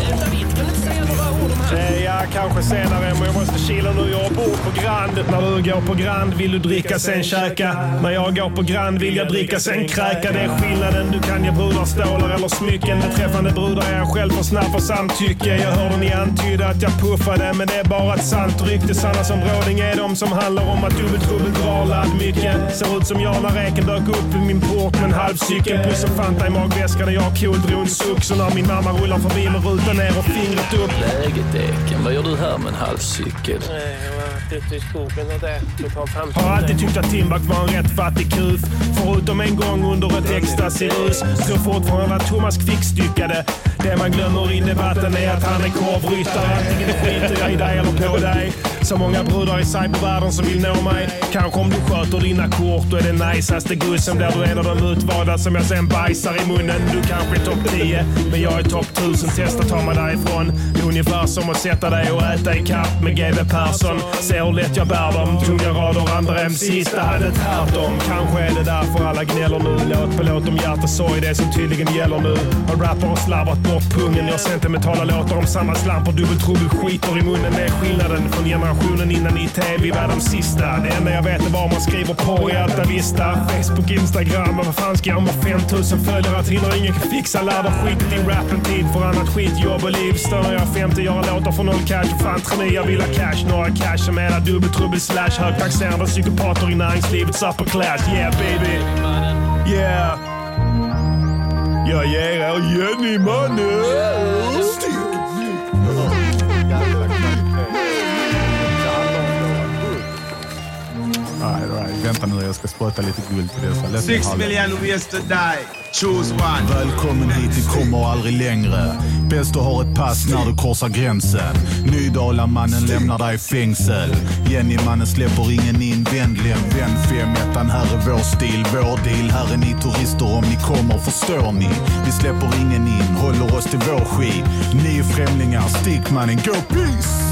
Speaker 1: Eh, Ja, kanske senare, men jag måste kila nu. Jag bor på Grand. När du går på Grand vill du dricka, sen käka. När jag går på Grand vill jag dricka, sen kräka. Det är skillnaden. Du kan ge brudar stålar eller smycken. Beträffande brudar är jag själv för snabb för samtycke. Jag hörde ni antyda att jag puffade, men det är bara ett sant rykte. Sanna som bråding är de som handlar om att dubbeltrubbel drar laddmycken. Ser ut som jag när räken dök upp i min port med en halvcykel. Plus en Fanta i magväskan och jag cool drog en suck. Så när min mamma rullar förbi med rutan ner och fingret upp.
Speaker 12: Läget Eken, vad gör du här med en halvcykel?
Speaker 3: Nej, jag var ute i skogen och där. Du kom fram
Speaker 1: Har alltid tyckt att Timbuk var en rätt fattig kuf. Förutom en gång under ett extasirus. Tror fortfarande att Thomas Quick styckade. Det man glömmer i debatten är att han är korvryttare. Antingen skiter jag i dig eller på dig. Så många brudar i cybervärlden som vill nå mig. Kanske om du sköter dina kort, då är det najsaste gussen. Blir du en av de utvalda som jag sen bajsar i munnen. Du kanske är topp 10, men jag är topp 1000. Testa ta mig därifrån. Det är ungefär som att sätta dig och äta ikapp med GW Persson. Se hur lätt jag bär dem. Tunga rader, andra hem sista hade tärt dem. Kanske är det därför alla gnäller nu. Låt på låt om hjärtesorg, det som tydligen gäller nu. Har rappare slarvat bort pungen. Gör sentimentala låtar om samma slamp och dubbeltrubbel skiter i munnen. Det är skillnaden från generationen innan IT. Vi var de sista. Det enda jag vet är var man skriver porr i Alta Vista. Facebook, Instagram, men vad fan ska jag med 5000 följare att hinna? Ingen kan fixa lärda skiten i rappen tid för annat skit, jobb och liv. Stör när jag är 50, göra låtar för noll cash och fan tror ni jag vill ha cash? Några cash som menar dubbeltrubbel slash högtaxerande psykopater i näringslivets upper class. Yeah baby! Yeah! Jag ger er Jenny mannen!
Speaker 19: Vänta nu, jag ska spotta lite guld till dessa. Låt mig
Speaker 8: Six
Speaker 19: ha det.
Speaker 8: million ways to die. Choose one.
Speaker 19: Välkommen hit, vi kommer aldrig längre. Bäst du har ett pass när du korsar gränsen. Nydalamannen lämnar dig i fängsel. Jennymannen släpper ingen in, vändligen vänd femettan. Här är vår stil, vår deal. Här är ni turister om ni kommer, förstår ni? Vi släpper ingen in, håller oss till vår skit. Ni är främlingar, stick mannen, go peace!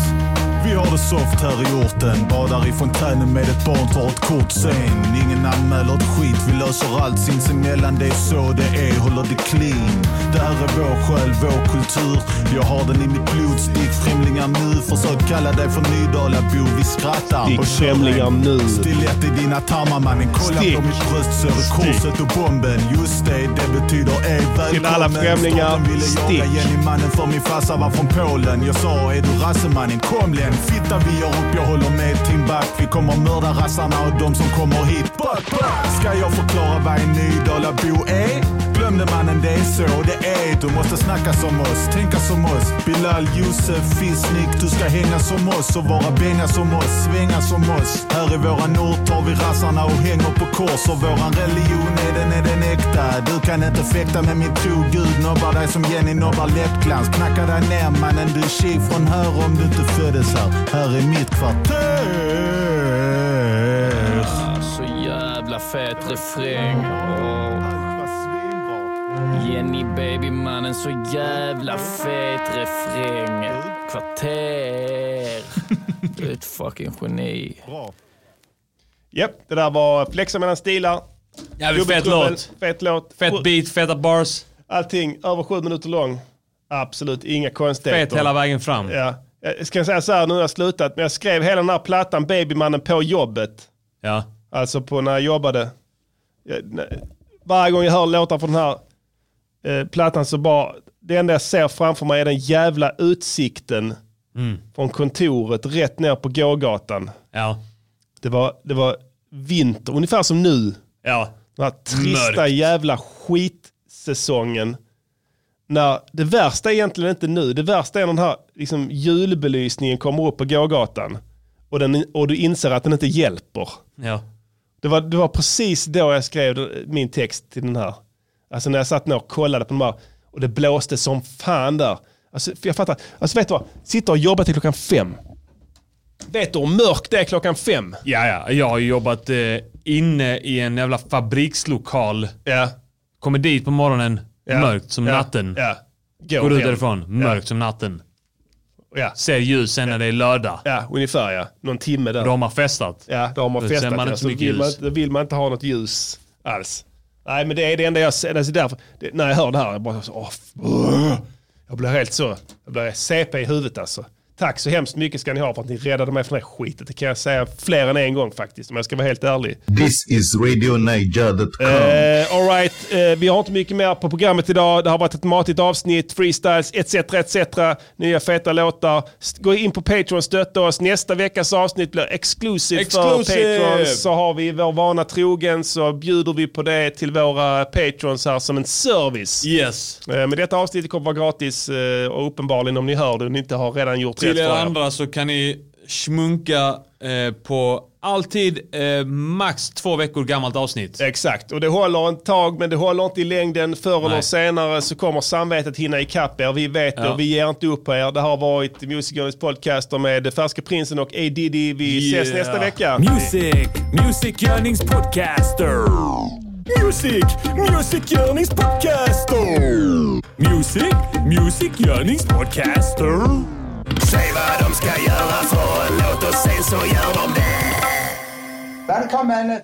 Speaker 19: Vi har det soft här i orten. Badar i fontänen med ett barn, tar ett kort sen. Ingen anmäler ett skit, vi löser allt sinsemellan. Det är så det är, håller det clean. Det här är vår själ, vår kultur. Jag har den i mitt blod, stick främlingar nu. Försök kalla dig för Nydalabo, vi skrattar.
Speaker 1: Stick
Speaker 19: och kör en
Speaker 1: främlingar nu.
Speaker 19: Stilett i dina tarmar mannen, kolla
Speaker 1: Stick.
Speaker 19: på mitt bröst. Så är det korset och bomben. Just det, det betyder är välkommen.
Speaker 1: Till alla främlingar,
Speaker 19: Staten ville
Speaker 1: stick.
Speaker 19: jaga Jennymannen för min farsa var från Polen. Jag sa, är du rasse mannen, kom len. Fitta vi gör upp, jag håller med Timbuk. Vi kommer mörda rassarna och de som kommer hit. Buck, buck. Ska jag förklara vad en Nydalabo är? Glömde mannen, det är så det är. Du måste snacka som oss, tänka som oss. Bilal, Josef, Fisnik. Du ska hänga som oss och vara benga som oss, svänga som oss. Här i våran ort har vi rassarna och hänger på kors. Och våran religion är den, är den äkta. Du kan inte fäkta med min tro. Gud nobbar dig som Jenny nobbar läppglans. Knacka dig ner mannen, du är tji från här om du inte föddes här. Här är mitt kvarter.
Speaker 12: Ah, Så jävla fet refräng. Åh. Jenny baby mannen, så jävla fet refräng. Kvarter. Du är ett fucking geni.
Speaker 1: Japp, det där var Flexa mellan stilar.
Speaker 5: Jävligt fet
Speaker 1: Dubbeltrubbel,
Speaker 5: låt.
Speaker 1: Fet låt.
Speaker 5: Fett beat, feta bars.
Speaker 1: Allting över sju minuter lång. Absolut inga konstigheter.
Speaker 5: Fet hela vägen fram.
Speaker 1: Ja. Jag ska säga så här, nu har jag slutat, men jag skrev hela den här plattan Babymannen på jobbet.
Speaker 5: Ja.
Speaker 1: Alltså på när jag jobbade. Jag, när- varje gång jag hör låtar från den här eh, plattan så bara, det enda jag ser framför mig är den jävla utsikten
Speaker 5: Mm.
Speaker 1: från kontoret rätt ner på gågatan.
Speaker 5: Ja.
Speaker 1: Det var, det var vinter, ungefär som nu.
Speaker 5: Ja.
Speaker 1: Den här trista
Speaker 5: Mörkt.
Speaker 1: jävla skitsäsongen. När det värsta är egentligen inte nu, det värsta är när den här liksom, julbelysningen kommer upp på gågatan. Och, den, och du inser att den inte hjälper.
Speaker 5: Ja.
Speaker 1: Det var, det var precis då jag skrev den- min text till den här. Alltså när jag satt ner och kollade på de här och det blåste som fan där. Alltså, för jag fattar, alltså vet du vad? Sitta och jobba till klockan fem. Vet du hur mörkt det är klockan fem?
Speaker 5: Ja, ja. Jag har ju jobbat eh, inne i en jävla fabrikslokal.
Speaker 1: Ja.
Speaker 5: Kommer dit på morgonen,
Speaker 1: Ja.
Speaker 5: mörkt som
Speaker 1: Ja.
Speaker 5: natten.
Speaker 1: Ja. Går
Speaker 5: Mm. Går ut
Speaker 1: hem.
Speaker 5: därifrån, mörkt som natten. Ser ljus sen när det är lördag.
Speaker 1: Ja, ungefär ja. Någon timme där.
Speaker 5: Då har man festat.
Speaker 1: Ja, då har man
Speaker 5: Då
Speaker 1: festat.
Speaker 5: ser man
Speaker 1: ja,
Speaker 5: inte
Speaker 1: så
Speaker 5: mycket
Speaker 1: vill, man,
Speaker 5: ljus.
Speaker 1: inte- vill man inte ha något ljus alls. Nej, men det är det enda jag ser. Alltså därför, det, när jag hör det här, jag bara så, åh, f- brr. Jag blir helt så. Jag blir CP i huvudet alltså. Tack så hemskt mycket ska ni ha för att ni räddade mig från det här skitet. Det kan jag säga fler än en gång faktiskt, om jag ska vara helt ärlig.
Speaker 6: This is RadioNiger.com.
Speaker 1: Eh, all right. eh, vi har inte mycket mer på programmet idag. Det har varit ett matigt avsnitt, freestyles etc. etc. Nya feta låtar. St- Gå in på Patreon och stötta oss. Nästa veckas avsnitt blir exclusive för
Speaker 5: Exclusive!
Speaker 1: Patreons. Så har vi vår vana trogen så bjuder vi på det till våra Patreons här som en service.
Speaker 5: Yes.
Speaker 1: Eh, men detta avsnittet kommer vara gratis eh, och uppenbarligen om ni hör det och ni inte har redan gjort
Speaker 5: Till
Speaker 1: rätt
Speaker 5: er
Speaker 1: för er.
Speaker 5: andra så kan ni smunka eh, på alltid eh, max två veckor gammalt avsnitt.
Speaker 1: Exakt, och det håller en tag men det håller inte i längden. Förr eller
Speaker 5: Nej.
Speaker 1: senare så kommer samvetet hinna ikapp er. Vi vet det
Speaker 5: Ja.
Speaker 1: och vi ger inte upp på er. Det har varit Music Journeys podcaster med Färska Prinsen och A. Diddy. Vi ses
Speaker 22: Yeah.
Speaker 1: nästa vecka.
Speaker 22: Music, Music Yearnings Podcaster. Music, Music Yearnings Podcaster. Music, Music Yearnings Podcaster. Säg vad de ska göra för en låt och sen så gör de det.
Speaker 11: Välkommen